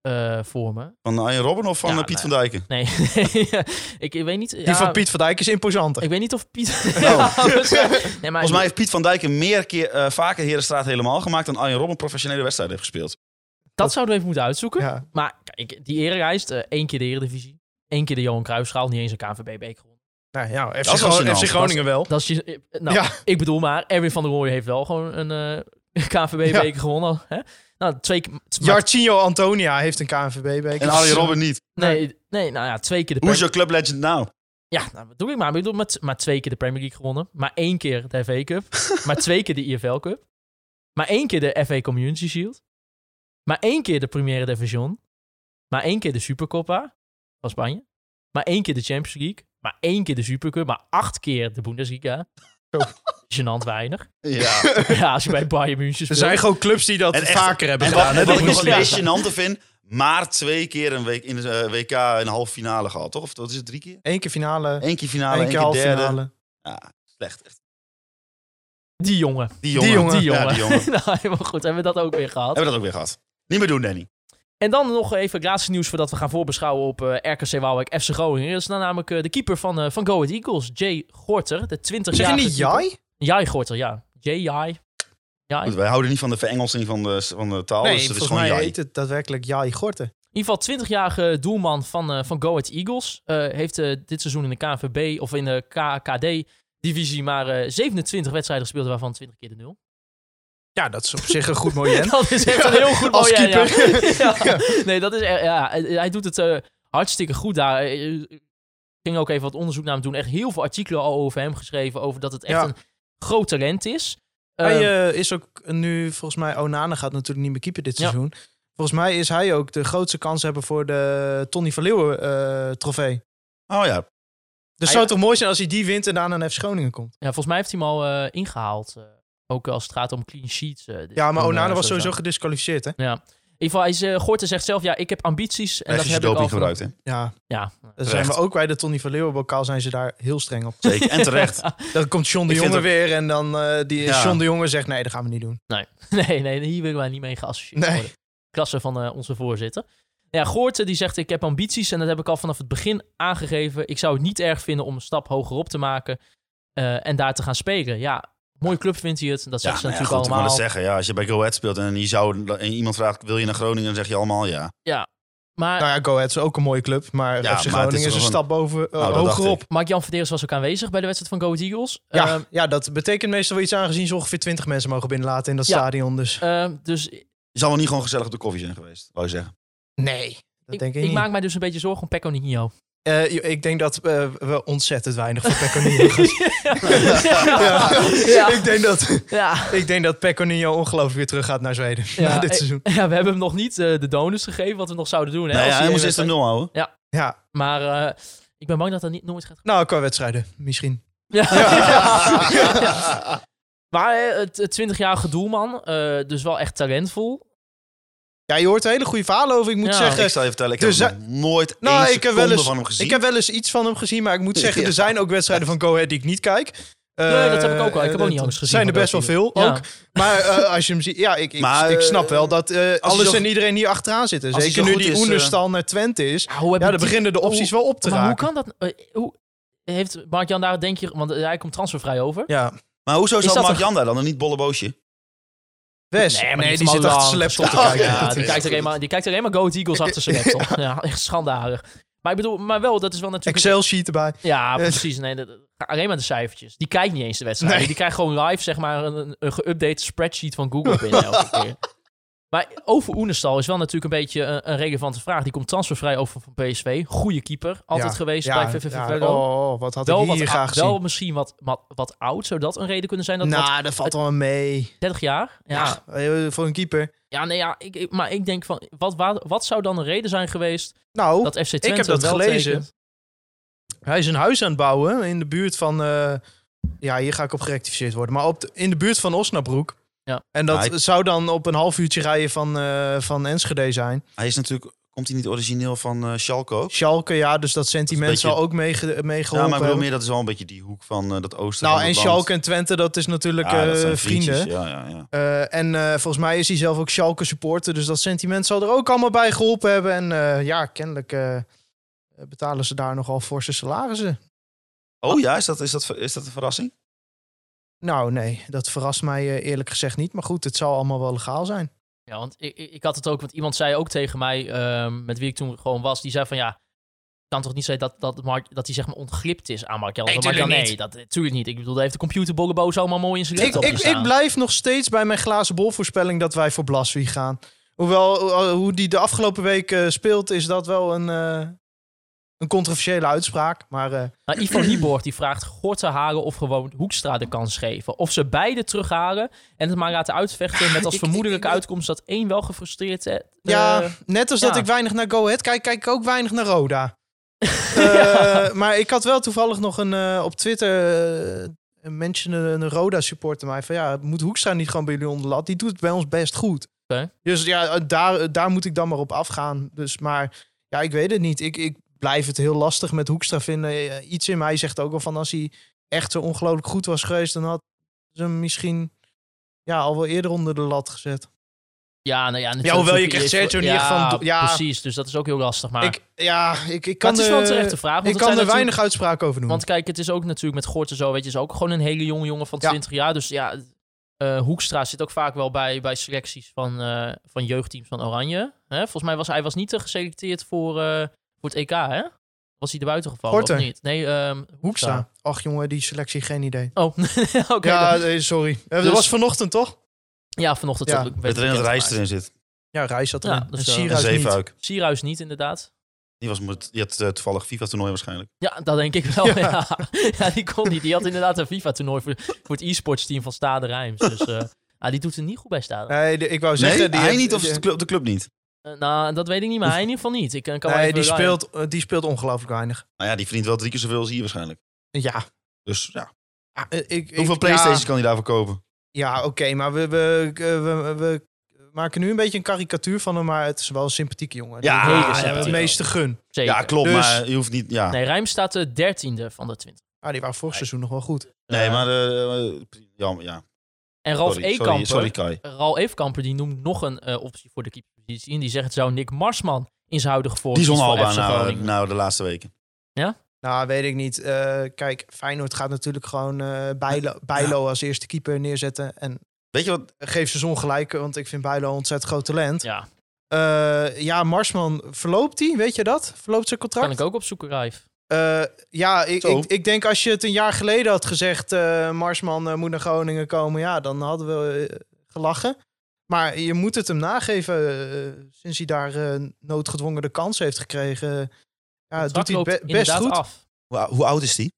[SPEAKER 4] eh, voor me.
[SPEAKER 6] Van Arjen Robben of van
[SPEAKER 4] Ja,
[SPEAKER 6] eh, Piet
[SPEAKER 4] nou
[SPEAKER 6] van Dijken?
[SPEAKER 4] Nee, ik, ik weet niet...
[SPEAKER 5] Die van Piet van Dijk is imposanter.
[SPEAKER 4] Ik weet niet of Piet... Ja, waarschijnlijk. nee, maar
[SPEAKER 6] Volgens mij heeft Piet van Dijken meer keer, eh, vaker Herenstraat helemaal gemaakt dan Arjen Robben professionele wedstrijden heeft gespeeld.
[SPEAKER 4] dat zouden we even moeten uitzoeken.
[SPEAKER 5] Ja.
[SPEAKER 4] Maar kijk, die erenlijst, eh één keer de Eredivisie, één keer de Johan Cruijffschaal, niet eens een KNVB-beker gewonnen.
[SPEAKER 5] Nou, ja, FC,
[SPEAKER 6] Dat is wel
[SPEAKER 5] Gro-
[SPEAKER 6] gênant.
[SPEAKER 5] FC Groningen wel.
[SPEAKER 4] Dat is je, eh, nou,
[SPEAKER 5] Ja.
[SPEAKER 4] ik bedoel maar, Erwin van der Rooij heeft wel gewoon een eh KNVB-beker gewonnen. Hè? Nou, twee keer... maar-
[SPEAKER 5] Jarcinho Antonia heeft een KNVB-beker.
[SPEAKER 6] En Arjen Robben niet.
[SPEAKER 4] nee, nee, nou ja, twee keer de
[SPEAKER 6] Hoe is
[SPEAKER 4] Premier
[SPEAKER 6] jouw clublegend nou?
[SPEAKER 4] Ja, nou, wat doe ik maar. Ik bedoel, maar, t- maar twee keer de Premier League gewonnen. Maar één keer de FA Cup. maar twee keer de IFL Cup. Maar één keer de FA Community Shield. Maar één keer de Premiere Division. Maar één keer de Supercoppa van Spanje. Maar één keer de Champions League. Maar één keer de Supercup. Maar acht keer de Bundesliga.
[SPEAKER 6] Oh.
[SPEAKER 4] Genant weinig.
[SPEAKER 6] Ja.
[SPEAKER 4] Ja, als je bij Bayern München
[SPEAKER 5] Er
[SPEAKER 4] speelt.
[SPEAKER 5] zijn gewoon clubs die dat
[SPEAKER 6] En echt-
[SPEAKER 5] vaker hebben
[SPEAKER 6] en
[SPEAKER 5] gedaan.
[SPEAKER 6] wat,
[SPEAKER 5] hè?
[SPEAKER 6] en wat
[SPEAKER 5] Dat
[SPEAKER 6] ik
[SPEAKER 5] moet
[SPEAKER 6] nog
[SPEAKER 5] je
[SPEAKER 6] het meest
[SPEAKER 5] zeggen.
[SPEAKER 6] gênante vind, maar twee keer een week in de eh, WK een halve finale gehad, toch? Of dat is het drie keer?
[SPEAKER 5] Eén keer finale,
[SPEAKER 6] Eén keer finale,
[SPEAKER 5] één
[SPEAKER 6] één
[SPEAKER 5] keer
[SPEAKER 6] keer,
[SPEAKER 5] halve
[SPEAKER 6] derde.
[SPEAKER 5] finale.
[SPEAKER 6] Ja, slecht. Echt.
[SPEAKER 4] Die jongen.
[SPEAKER 6] Die jongen.
[SPEAKER 5] jongen.
[SPEAKER 4] Die jongen.
[SPEAKER 6] Ja, die jongen.
[SPEAKER 4] nou, helemaal goed. Hebben we dat ook weer gehad.
[SPEAKER 6] Hebben we dat ook weer gehad? Niet meer doen, Danny.
[SPEAKER 4] En dan nog even het laatste nieuws voordat we gaan voorbeschouwen op eh, RKC Waalwijk FC Groningen. Dat is dan namelijk eh, de keeper van, eh van Go Ahead Eagles, Jay Gorter, de 20
[SPEAKER 5] Zeg je
[SPEAKER 4] jaar.
[SPEAKER 5] niet jij?
[SPEAKER 4] Jai Gorter, ja. Jay Jai. Jai.
[SPEAKER 6] Goed,
[SPEAKER 4] In
[SPEAKER 6] wij houden niet van de verengelsing van de, van de taal, dus het is
[SPEAKER 5] volgens
[SPEAKER 6] gewoon
[SPEAKER 5] mij
[SPEAKER 6] jij.
[SPEAKER 5] heet het daadwerkelijk Jai Gorten.
[SPEAKER 4] ieder geval 20-jarige doelman van, eh van Go Ahead Eagles. Eh, heeft eh, dit seizoen in de KNVB of in de KKD-divisie maar eh, 27 wedstrijden gespeeld, waarvan 20 keer de nul.
[SPEAKER 5] Ja, dat is op zich een goed mooi
[SPEAKER 4] Dat is echt een heel goed
[SPEAKER 5] Als
[SPEAKER 4] mooi, ja,
[SPEAKER 5] keeper.
[SPEAKER 4] Ja. Ja. Nee, dat is echt- ja, hij doet het eh, hartstikke goed daar. Eh, Ik ging ook even wat onderzoek naar hem doen. Echt heel veel artikelen al over hem geschreven over dat het echt
[SPEAKER 5] Ja.
[SPEAKER 4] een groot talent is.
[SPEAKER 5] Hij
[SPEAKER 4] Ehm,
[SPEAKER 5] eh, is ook nu, volgens mij, Onana gaat natuurlijk niet meer keeper dit
[SPEAKER 4] Ja.
[SPEAKER 5] seizoen. Volgens mij is hij ook de grootste kans hebben voor de Tony van Leeuwen eh, trofee.
[SPEAKER 6] Oh ja.
[SPEAKER 5] Dus
[SPEAKER 4] Hij-
[SPEAKER 5] zou het toch mooi zijn als hij die wint en daarna naar FC Groningen komt.
[SPEAKER 4] ja, volgens mij heeft hij hem al eh, ingehaald. eh, ook als het gaat om clean sheets. eh, dit
[SPEAKER 5] Ja, maar
[SPEAKER 4] seizoen,
[SPEAKER 5] Onana
[SPEAKER 4] eh,
[SPEAKER 5] was
[SPEAKER 4] sowieso.
[SPEAKER 5] sowieso gedisqualificeerd, hè?
[SPEAKER 4] Ja. In ieder geval, hij is, eh, Gorter zegt zelf, ja, ik heb ambities. En dat
[SPEAKER 6] Technische
[SPEAKER 4] heb ik al
[SPEAKER 6] doping
[SPEAKER 4] vanaf-
[SPEAKER 6] gebruikt, hè?
[SPEAKER 5] Ja,
[SPEAKER 4] Ja,
[SPEAKER 5] daar zijn we
[SPEAKER 6] Terecht.
[SPEAKER 5] ook bij de Tony van Leeuwen bokaal zijn ze daar heel streng op.
[SPEAKER 6] Zeker. En terecht.
[SPEAKER 5] Dan komt John de
[SPEAKER 6] Ik vind
[SPEAKER 5] Jonge
[SPEAKER 6] dat-
[SPEAKER 5] weer en dan eh die
[SPEAKER 6] Ja.
[SPEAKER 5] John de Jonge zegt nee, dat gaan we niet doen.
[SPEAKER 4] Nee, nee, hier willen wij niet mee geassocieerd
[SPEAKER 5] Nee.
[SPEAKER 4] worden. Klasse van eh, onze voorzitter. Ja, Goorten die zegt, ik heb ambities en dat heb ik al vanaf het begin aangegeven. Ik zou het niet erg vinden om een stap hoger op te maken eh, en daar te gaan spelen. Ja, mooie club vindt hij het. Dat
[SPEAKER 6] Ja,
[SPEAKER 4] zegt ze
[SPEAKER 6] nou ja,
[SPEAKER 4] natuurlijk
[SPEAKER 6] goed, ik wou
[SPEAKER 4] allemaal.
[SPEAKER 6] dat zeggen. Ja, als je bij Go Ahead speelt en, je zou, en iemand vraagt, wil je naar Groningen? Dan zeg je allemaal ja.
[SPEAKER 4] Maar
[SPEAKER 5] Nou ja, Go Ahead is ook een mooie club, maar
[SPEAKER 6] Ja,
[SPEAKER 5] FC
[SPEAKER 6] maar het
[SPEAKER 5] Groningen
[SPEAKER 6] is
[SPEAKER 5] is, een
[SPEAKER 6] wel een-
[SPEAKER 5] stap boven, eh,
[SPEAKER 6] Nou, dat dacht
[SPEAKER 5] hoger op.
[SPEAKER 4] Mark-Jan Verderens was ook aanwezig bij de wedstrijd van Go Ahead Eagles.
[SPEAKER 5] Ja,
[SPEAKER 4] Ehm,
[SPEAKER 5] ja, dat betekent meestal wel iets aangezien ze ongeveer 20 mensen mogen binnenlaten in dat
[SPEAKER 4] Ja.
[SPEAKER 5] stadion. Dus
[SPEAKER 4] ehm, dus
[SPEAKER 6] Je zal wel niet gewoon gezellig op de koffie zijn geweest, wou je zeggen.
[SPEAKER 5] nee, dat
[SPEAKER 4] ik,
[SPEAKER 5] denk ik,
[SPEAKER 4] ik
[SPEAKER 5] niet.
[SPEAKER 4] maak mij dus een beetje zorgen om Pecco Nignio.
[SPEAKER 5] Eh, joh, ik denk dat eh, we ontzettend weinig van Pecorino gaan zien.
[SPEAKER 4] ja.
[SPEAKER 5] ja. ik, denk dat,
[SPEAKER 4] Ja.
[SPEAKER 5] ik denk dat Pecorino ongelooflijk weer terug gaat naar Zweden na dit
[SPEAKER 4] eh,
[SPEAKER 5] seizoen.
[SPEAKER 4] ja, we hebben hem nog niet eh, de donors gegeven, wat we nog zouden doen. Hè,
[SPEAKER 6] Nou
[SPEAKER 4] als
[SPEAKER 6] ja, hij moest eerst een
[SPEAKER 4] wedstrijd-
[SPEAKER 6] nul houden.
[SPEAKER 5] Ja,
[SPEAKER 4] Maar eh, ik ben bang dat dat niet, nooit gaat
[SPEAKER 5] nou, qua wedstrijden misschien.
[SPEAKER 4] Ja. Ja. Maar hè, het het 20-jarige doelman, eh, dus wel echt talentvol.
[SPEAKER 5] Ja, je hoort er hele goede verhalen over, ik moet
[SPEAKER 4] Ja.
[SPEAKER 5] zeggen.
[SPEAKER 6] Ik zal je vertellen, ik
[SPEAKER 5] Dus
[SPEAKER 6] heb
[SPEAKER 5] hij-
[SPEAKER 6] nog nooit
[SPEAKER 5] Nou,
[SPEAKER 6] één
[SPEAKER 5] ik heb,
[SPEAKER 6] seconde
[SPEAKER 5] wel eens,
[SPEAKER 6] van hem gezien.
[SPEAKER 5] ik heb wel eens iets van hem gezien, maar ik moet zeggen,
[SPEAKER 6] Ja.
[SPEAKER 5] er zijn ook wedstrijden van Go Ahead die ik niet kijk.
[SPEAKER 4] Nee, dat heb ik ook wel. Ik heb
[SPEAKER 5] Eh,
[SPEAKER 4] ook niet
[SPEAKER 5] dat
[SPEAKER 4] alles gezien
[SPEAKER 5] zijn er
[SPEAKER 4] van
[SPEAKER 5] best
[SPEAKER 4] Go
[SPEAKER 5] wel
[SPEAKER 4] Ahead
[SPEAKER 5] veel
[SPEAKER 4] Ja.
[SPEAKER 5] ook. Maar eh, als je hem ziet, ja, ik, ik,
[SPEAKER 6] Maar,
[SPEAKER 5] ik snap
[SPEAKER 6] eh,
[SPEAKER 5] wel dat eh,
[SPEAKER 6] hij
[SPEAKER 5] alles
[SPEAKER 6] zo-
[SPEAKER 5] en iedereen hier achteraan zitten.
[SPEAKER 6] hij
[SPEAKER 5] Zeker
[SPEAKER 6] zo
[SPEAKER 5] nu
[SPEAKER 6] goed
[SPEAKER 5] die
[SPEAKER 6] is, eh,
[SPEAKER 5] Oenerstal naar Twente is.
[SPEAKER 4] Ja, hoe
[SPEAKER 5] Ja,
[SPEAKER 4] hebben
[SPEAKER 5] dan
[SPEAKER 4] die-
[SPEAKER 5] beginnen de opties wel op te
[SPEAKER 4] Maar hoe
[SPEAKER 5] raken.
[SPEAKER 4] kan dat? eh, hoe, heeft Mark-Jan daar, denk je, want eh, hij komt transfervrij over.
[SPEAKER 5] Ja,
[SPEAKER 6] Maar hoezo zal
[SPEAKER 4] dat
[SPEAKER 6] Mark
[SPEAKER 4] een-
[SPEAKER 6] Jan daar dan en niet Bolleboosje?
[SPEAKER 5] Wes.
[SPEAKER 4] maar
[SPEAKER 5] nee,
[SPEAKER 4] heeft
[SPEAKER 5] die
[SPEAKER 4] hem
[SPEAKER 5] zit
[SPEAKER 4] al
[SPEAKER 5] achter zijn
[SPEAKER 4] lang
[SPEAKER 5] laptop te
[SPEAKER 4] gespeeld.
[SPEAKER 5] kijken.
[SPEAKER 4] Ja,
[SPEAKER 5] Dat
[SPEAKER 4] die,
[SPEAKER 5] is-
[SPEAKER 4] kijkt er helemaal, die kijkt er helemaal Go Ahead Eagles achter zijn laptop. Ja. echt schandalig. Maar ik bedoel, maar wel, dat is wel natuurlijk...
[SPEAKER 5] Excel-sheet erbij.
[SPEAKER 4] Ja, precies. Nee, dat, alleen maar de cijfertjes. Die kijkt niet eens de wedstrijd.
[SPEAKER 5] Nee.
[SPEAKER 4] Die krijgt gewoon live, zeg maar, een, een geüpdate spreadsheet van Google binnen elke keer. Maar over Oenestal is wel natuurlijk een beetje een, een relevante vraag. Die komt transfervrij over van PSV. Goede keeper. Altijd
[SPEAKER 5] Ja,
[SPEAKER 4] geweest
[SPEAKER 5] ja,
[SPEAKER 4] bij VVV.
[SPEAKER 5] ja,
[SPEAKER 4] Venlo.
[SPEAKER 5] Oh, wat had
[SPEAKER 4] wel,
[SPEAKER 5] ik
[SPEAKER 4] wat,
[SPEAKER 5] hier
[SPEAKER 4] ou-
[SPEAKER 5] graag
[SPEAKER 4] wel
[SPEAKER 5] gezien.
[SPEAKER 4] misschien wat, wat, wat oud. Zou dat een reden kunnen zijn? Dat wat
[SPEAKER 5] Nou, dat valt wel mee.
[SPEAKER 4] 30 jaar? Ja.
[SPEAKER 5] Ja, eh, voor een keeper.
[SPEAKER 4] Ja, nee, ja, ik, ik- maar ik denk van, wat, wat, wat zou dan een reden zijn geweest
[SPEAKER 5] Nou,
[SPEAKER 4] dat FC Twente
[SPEAKER 5] heb dat
[SPEAKER 4] wel
[SPEAKER 5] gelezen.
[SPEAKER 4] tekent?
[SPEAKER 5] Hij is een huis aan het bouwen in de buurt van. eh, ja, hier ga ik op gerectificeerd worden. Maar op de- in de buurt van Osnabroek.
[SPEAKER 4] Ja.
[SPEAKER 5] En dat
[SPEAKER 6] Nou,
[SPEAKER 5] zou dan op een half uurtje rijden van, eh, van Enschede zijn.
[SPEAKER 6] Hij is natuurlijk, komt hij niet origineel van eh Schalke ook?
[SPEAKER 5] Schalke, ja, dus dat sentiment
[SPEAKER 6] beetje-
[SPEAKER 5] zal ook meege-
[SPEAKER 6] Ja,
[SPEAKER 5] meegeholpen
[SPEAKER 6] maar ik bedoel
[SPEAKER 5] hebben.
[SPEAKER 6] meer, dat is wel een beetje die hoek van eh, dat oosten.
[SPEAKER 5] Nou,
[SPEAKER 6] van
[SPEAKER 5] en
[SPEAKER 6] het
[SPEAKER 5] Schalke en Twente, dat is natuurlijk
[SPEAKER 6] land. Ja,
[SPEAKER 5] eh,
[SPEAKER 6] dat zijn
[SPEAKER 5] vrienden.
[SPEAKER 6] vriendjes, Ja, ja, ja.
[SPEAKER 5] Eh, en eh, volgens mij is hij zelf ook Schalke supporter. Dus dat sentiment zal er ook allemaal bij geholpen hebben. En eh, ja, kennelijk eh, betalen ze daar nogal forse salarissen.
[SPEAKER 6] Oh ja, is dat, is, dat, is dat een verrassing?
[SPEAKER 5] Nou nee, dat verrast mij eh, eerlijk gezegd niet. Maar goed, het zal allemaal wel legaal zijn.
[SPEAKER 4] Ja, want ik, ik ik had het ook, want iemand zei ook tegen mij, ehm, met wie ik toen gewoon was, die zei van ja, het kan toch niet zijn dat, dat, Mark, dat hij zeg maar ontglipt is aan Mark Jan?
[SPEAKER 5] Nee,
[SPEAKER 4] Want Mark Jan,
[SPEAKER 5] tuurlijk
[SPEAKER 4] nee, dat natuurlijk niet. Ik bedoel, daar heeft de computer Bolleboos allemaal mooi in zijn
[SPEAKER 5] Ik,
[SPEAKER 4] laptop
[SPEAKER 5] ik, ik
[SPEAKER 4] staan.
[SPEAKER 5] blijf nog steeds bij mijn glazen bol voorspelling dat wij voor Blaswie gaan. Hoewel, eh, hoe die de afgelopen week eh, speelt, is dat wel een, eh, een controversiële uitspraak. Maar eh,
[SPEAKER 4] Nou, Ivo Nieborg die vraagt Gorten halen of gewoon Hoekstra de kans geven. Of ze beide terughalen en het maar laten uitvechten met als
[SPEAKER 5] ik-
[SPEAKER 4] vermoedelijke
[SPEAKER 5] ik- ik-
[SPEAKER 4] uitkomst dat één wel gefrustreerd eh,
[SPEAKER 5] ja,
[SPEAKER 4] eh,
[SPEAKER 5] net als dat
[SPEAKER 4] ja.
[SPEAKER 5] ik weinig naar Go Ahead kijk, kijk ik ook weinig naar Roda. Eh, Maar ik had wel toevallig nog een, eh, op Twitter eh, een mensen, een, een Roda supporter mij van ja, moet Hoekstra niet gewoon bij jullie onder de lat? Die doet het bij ons best goed.
[SPEAKER 4] Oké.
[SPEAKER 5] Dus ja, eh, daar, eh, daar moet ik dan maar op afgaan. Dus, maar ja, ik weet het niet. Ik, ik blijf het heel lastig met Hoekstra vinden. Eh, Iets in mij zegt ook al van als hij echt zo ongelooflijk goed was geweest, dan had ze hem misschien ja, al wel eerder onder de lat gezet.
[SPEAKER 4] Ja, nou ja, natuurlijk.
[SPEAKER 5] Ja, hoewel je krijgt
[SPEAKER 4] is-
[SPEAKER 5] Sergio in ieder geval een do- ja.
[SPEAKER 4] precies. Dus dat is ook heel lastig. Maar,
[SPEAKER 5] Ik, ja, ik, ik
[SPEAKER 4] Maar
[SPEAKER 5] kan
[SPEAKER 4] het is wel een
[SPEAKER 5] er-
[SPEAKER 4] terechte vraag. Want
[SPEAKER 5] Ik
[SPEAKER 4] het
[SPEAKER 5] kan
[SPEAKER 4] zijn
[SPEAKER 5] er
[SPEAKER 4] natuurlijk-
[SPEAKER 5] weinig uitspraak over doen.
[SPEAKER 4] Want kijk, het is ook natuurlijk met Gort en zo, weet je, is ook gewoon een hele jonge jongen van
[SPEAKER 5] Ja.
[SPEAKER 4] 20 jaar. Dus ja, eh, Hoekstra zit ook vaak wel bij, bij selecties van, eh, van jeugdteams van Oranje. Hè? Volgens mij was hij was niet eh, geselecteerd voor, eh, voor het EK, hè? Was hij er buiten gevallen
[SPEAKER 5] Gorter.
[SPEAKER 4] of niet? Nee, ehm, Hoekstra.
[SPEAKER 5] Hoekstra. Ach jongen, die selectie, geen idee.
[SPEAKER 4] Oh, oké.
[SPEAKER 5] ja,
[SPEAKER 4] dan-
[SPEAKER 5] nee, sorry. Eh,
[SPEAKER 4] Dus-
[SPEAKER 5] dat was vanochtend, toch?
[SPEAKER 4] ja, vanochtend.
[SPEAKER 5] Ja.
[SPEAKER 4] werd het
[SPEAKER 6] Met erin dat
[SPEAKER 4] bekendgemaakt.
[SPEAKER 6] Rijs erin zit.
[SPEAKER 5] Ja, Reis zat
[SPEAKER 4] Ja,
[SPEAKER 5] erin.
[SPEAKER 4] dat
[SPEAKER 5] en
[SPEAKER 4] is wel-
[SPEAKER 6] En
[SPEAKER 5] Sierhuis niet.
[SPEAKER 6] Zeefuik.
[SPEAKER 4] Sierhuis niet, inderdaad.
[SPEAKER 6] Die, was met, die had eh, toevallig FIFA-toernooi waarschijnlijk.
[SPEAKER 4] Ja, dat denk ik wel. Ja,
[SPEAKER 5] Ja.
[SPEAKER 4] Ja, die kon niet. Die had inderdaad een FIFA-toernooi voor, voor het e-sports team van Stade Rijms. Dus eh, ah, die doet er niet goed bij Stade.
[SPEAKER 5] Nee, de- ik wou zeggen...
[SPEAKER 6] Nee,
[SPEAKER 5] die
[SPEAKER 6] hij
[SPEAKER 5] heeft-
[SPEAKER 6] niet of
[SPEAKER 5] die-
[SPEAKER 6] de club, de club niet?
[SPEAKER 4] Eh, nou, dat weet ik niet, maar hij in ieder geval niet. Ik eh, kan wel
[SPEAKER 5] Nee,
[SPEAKER 4] even
[SPEAKER 5] die
[SPEAKER 4] Ryan-
[SPEAKER 5] speelt, eh, die speelt ongelooflijk weinig.
[SPEAKER 6] Nou ja, die verdient wel drie keer zoveel als hier waarschijnlijk.
[SPEAKER 5] Ja.
[SPEAKER 6] Dus ja,
[SPEAKER 5] Ja, eh, ik,
[SPEAKER 6] hoeveel
[SPEAKER 5] ik-
[SPEAKER 6] Playstations
[SPEAKER 5] Ja,
[SPEAKER 6] kan hij daarvoor kopen?
[SPEAKER 5] ja oké, maar we, we, eh, we, we maken nu een beetje een karikatuur van hem, maar het is wel een sympathieke jongen.
[SPEAKER 6] Ja,
[SPEAKER 5] Die-
[SPEAKER 4] hele
[SPEAKER 5] die hebben
[SPEAKER 4] sympathieke.
[SPEAKER 5] het meeste gun.
[SPEAKER 4] Zeker.
[SPEAKER 6] Ja, klopt,
[SPEAKER 5] Dus-
[SPEAKER 6] maar je hoeft niet... Ja.
[SPEAKER 4] Nee, Rijm staat de dertiende van de 20.
[SPEAKER 5] Ah, die waren vorig seizoen nog wel goed.
[SPEAKER 6] Nee,
[SPEAKER 4] Eh,
[SPEAKER 6] maar... eh, eh, jammer, ja.
[SPEAKER 4] En Ralf
[SPEAKER 6] Sorry, sorry,
[SPEAKER 4] Eekamper,
[SPEAKER 6] sorry, Kai.
[SPEAKER 4] Ralf Eekamper, die noemt nog een eh, optie voor de keeperpositie. En die zegt, zou Nick Marsman in zijn huidige vorm
[SPEAKER 6] Die is
[SPEAKER 4] kiezen voor
[SPEAKER 6] onhaalbaar
[SPEAKER 4] FC
[SPEAKER 6] nou,
[SPEAKER 4] Groningen?
[SPEAKER 6] nou de laatste weken.
[SPEAKER 5] Nou, weet ik niet. Eh, kijk, Feyenoord gaat natuurlijk gewoon eh, Bijlo, Bijlo als eerste keeper neerzetten. En
[SPEAKER 6] Weet je wat?
[SPEAKER 5] geef ze zon gelijk, want ik vind Bijlo een ontzettend groot talent.
[SPEAKER 4] Ja.
[SPEAKER 5] Eh, ja, Marsman, verloopt die? Weet je dat? Verloopt zijn contract?
[SPEAKER 4] Kan ik ook opzoeken, Rijf.
[SPEAKER 5] Eh, ja, ik,
[SPEAKER 6] Zo.
[SPEAKER 5] ik, ik denk als je het een jaar geleden had gezegd... eh, Marsman eh, moet naar Groningen komen, ja, dan hadden we eh, gelachen. Maar je moet het hem nageven. eh, sinds hij daar eh, noodgedwongen de kans heeft gekregen... eh, ja,
[SPEAKER 4] Het
[SPEAKER 5] doet hij het
[SPEAKER 4] loopt
[SPEAKER 5] be- best
[SPEAKER 4] inderdaad
[SPEAKER 5] goed.
[SPEAKER 4] af.
[SPEAKER 6] Hoe, hoe oud is die?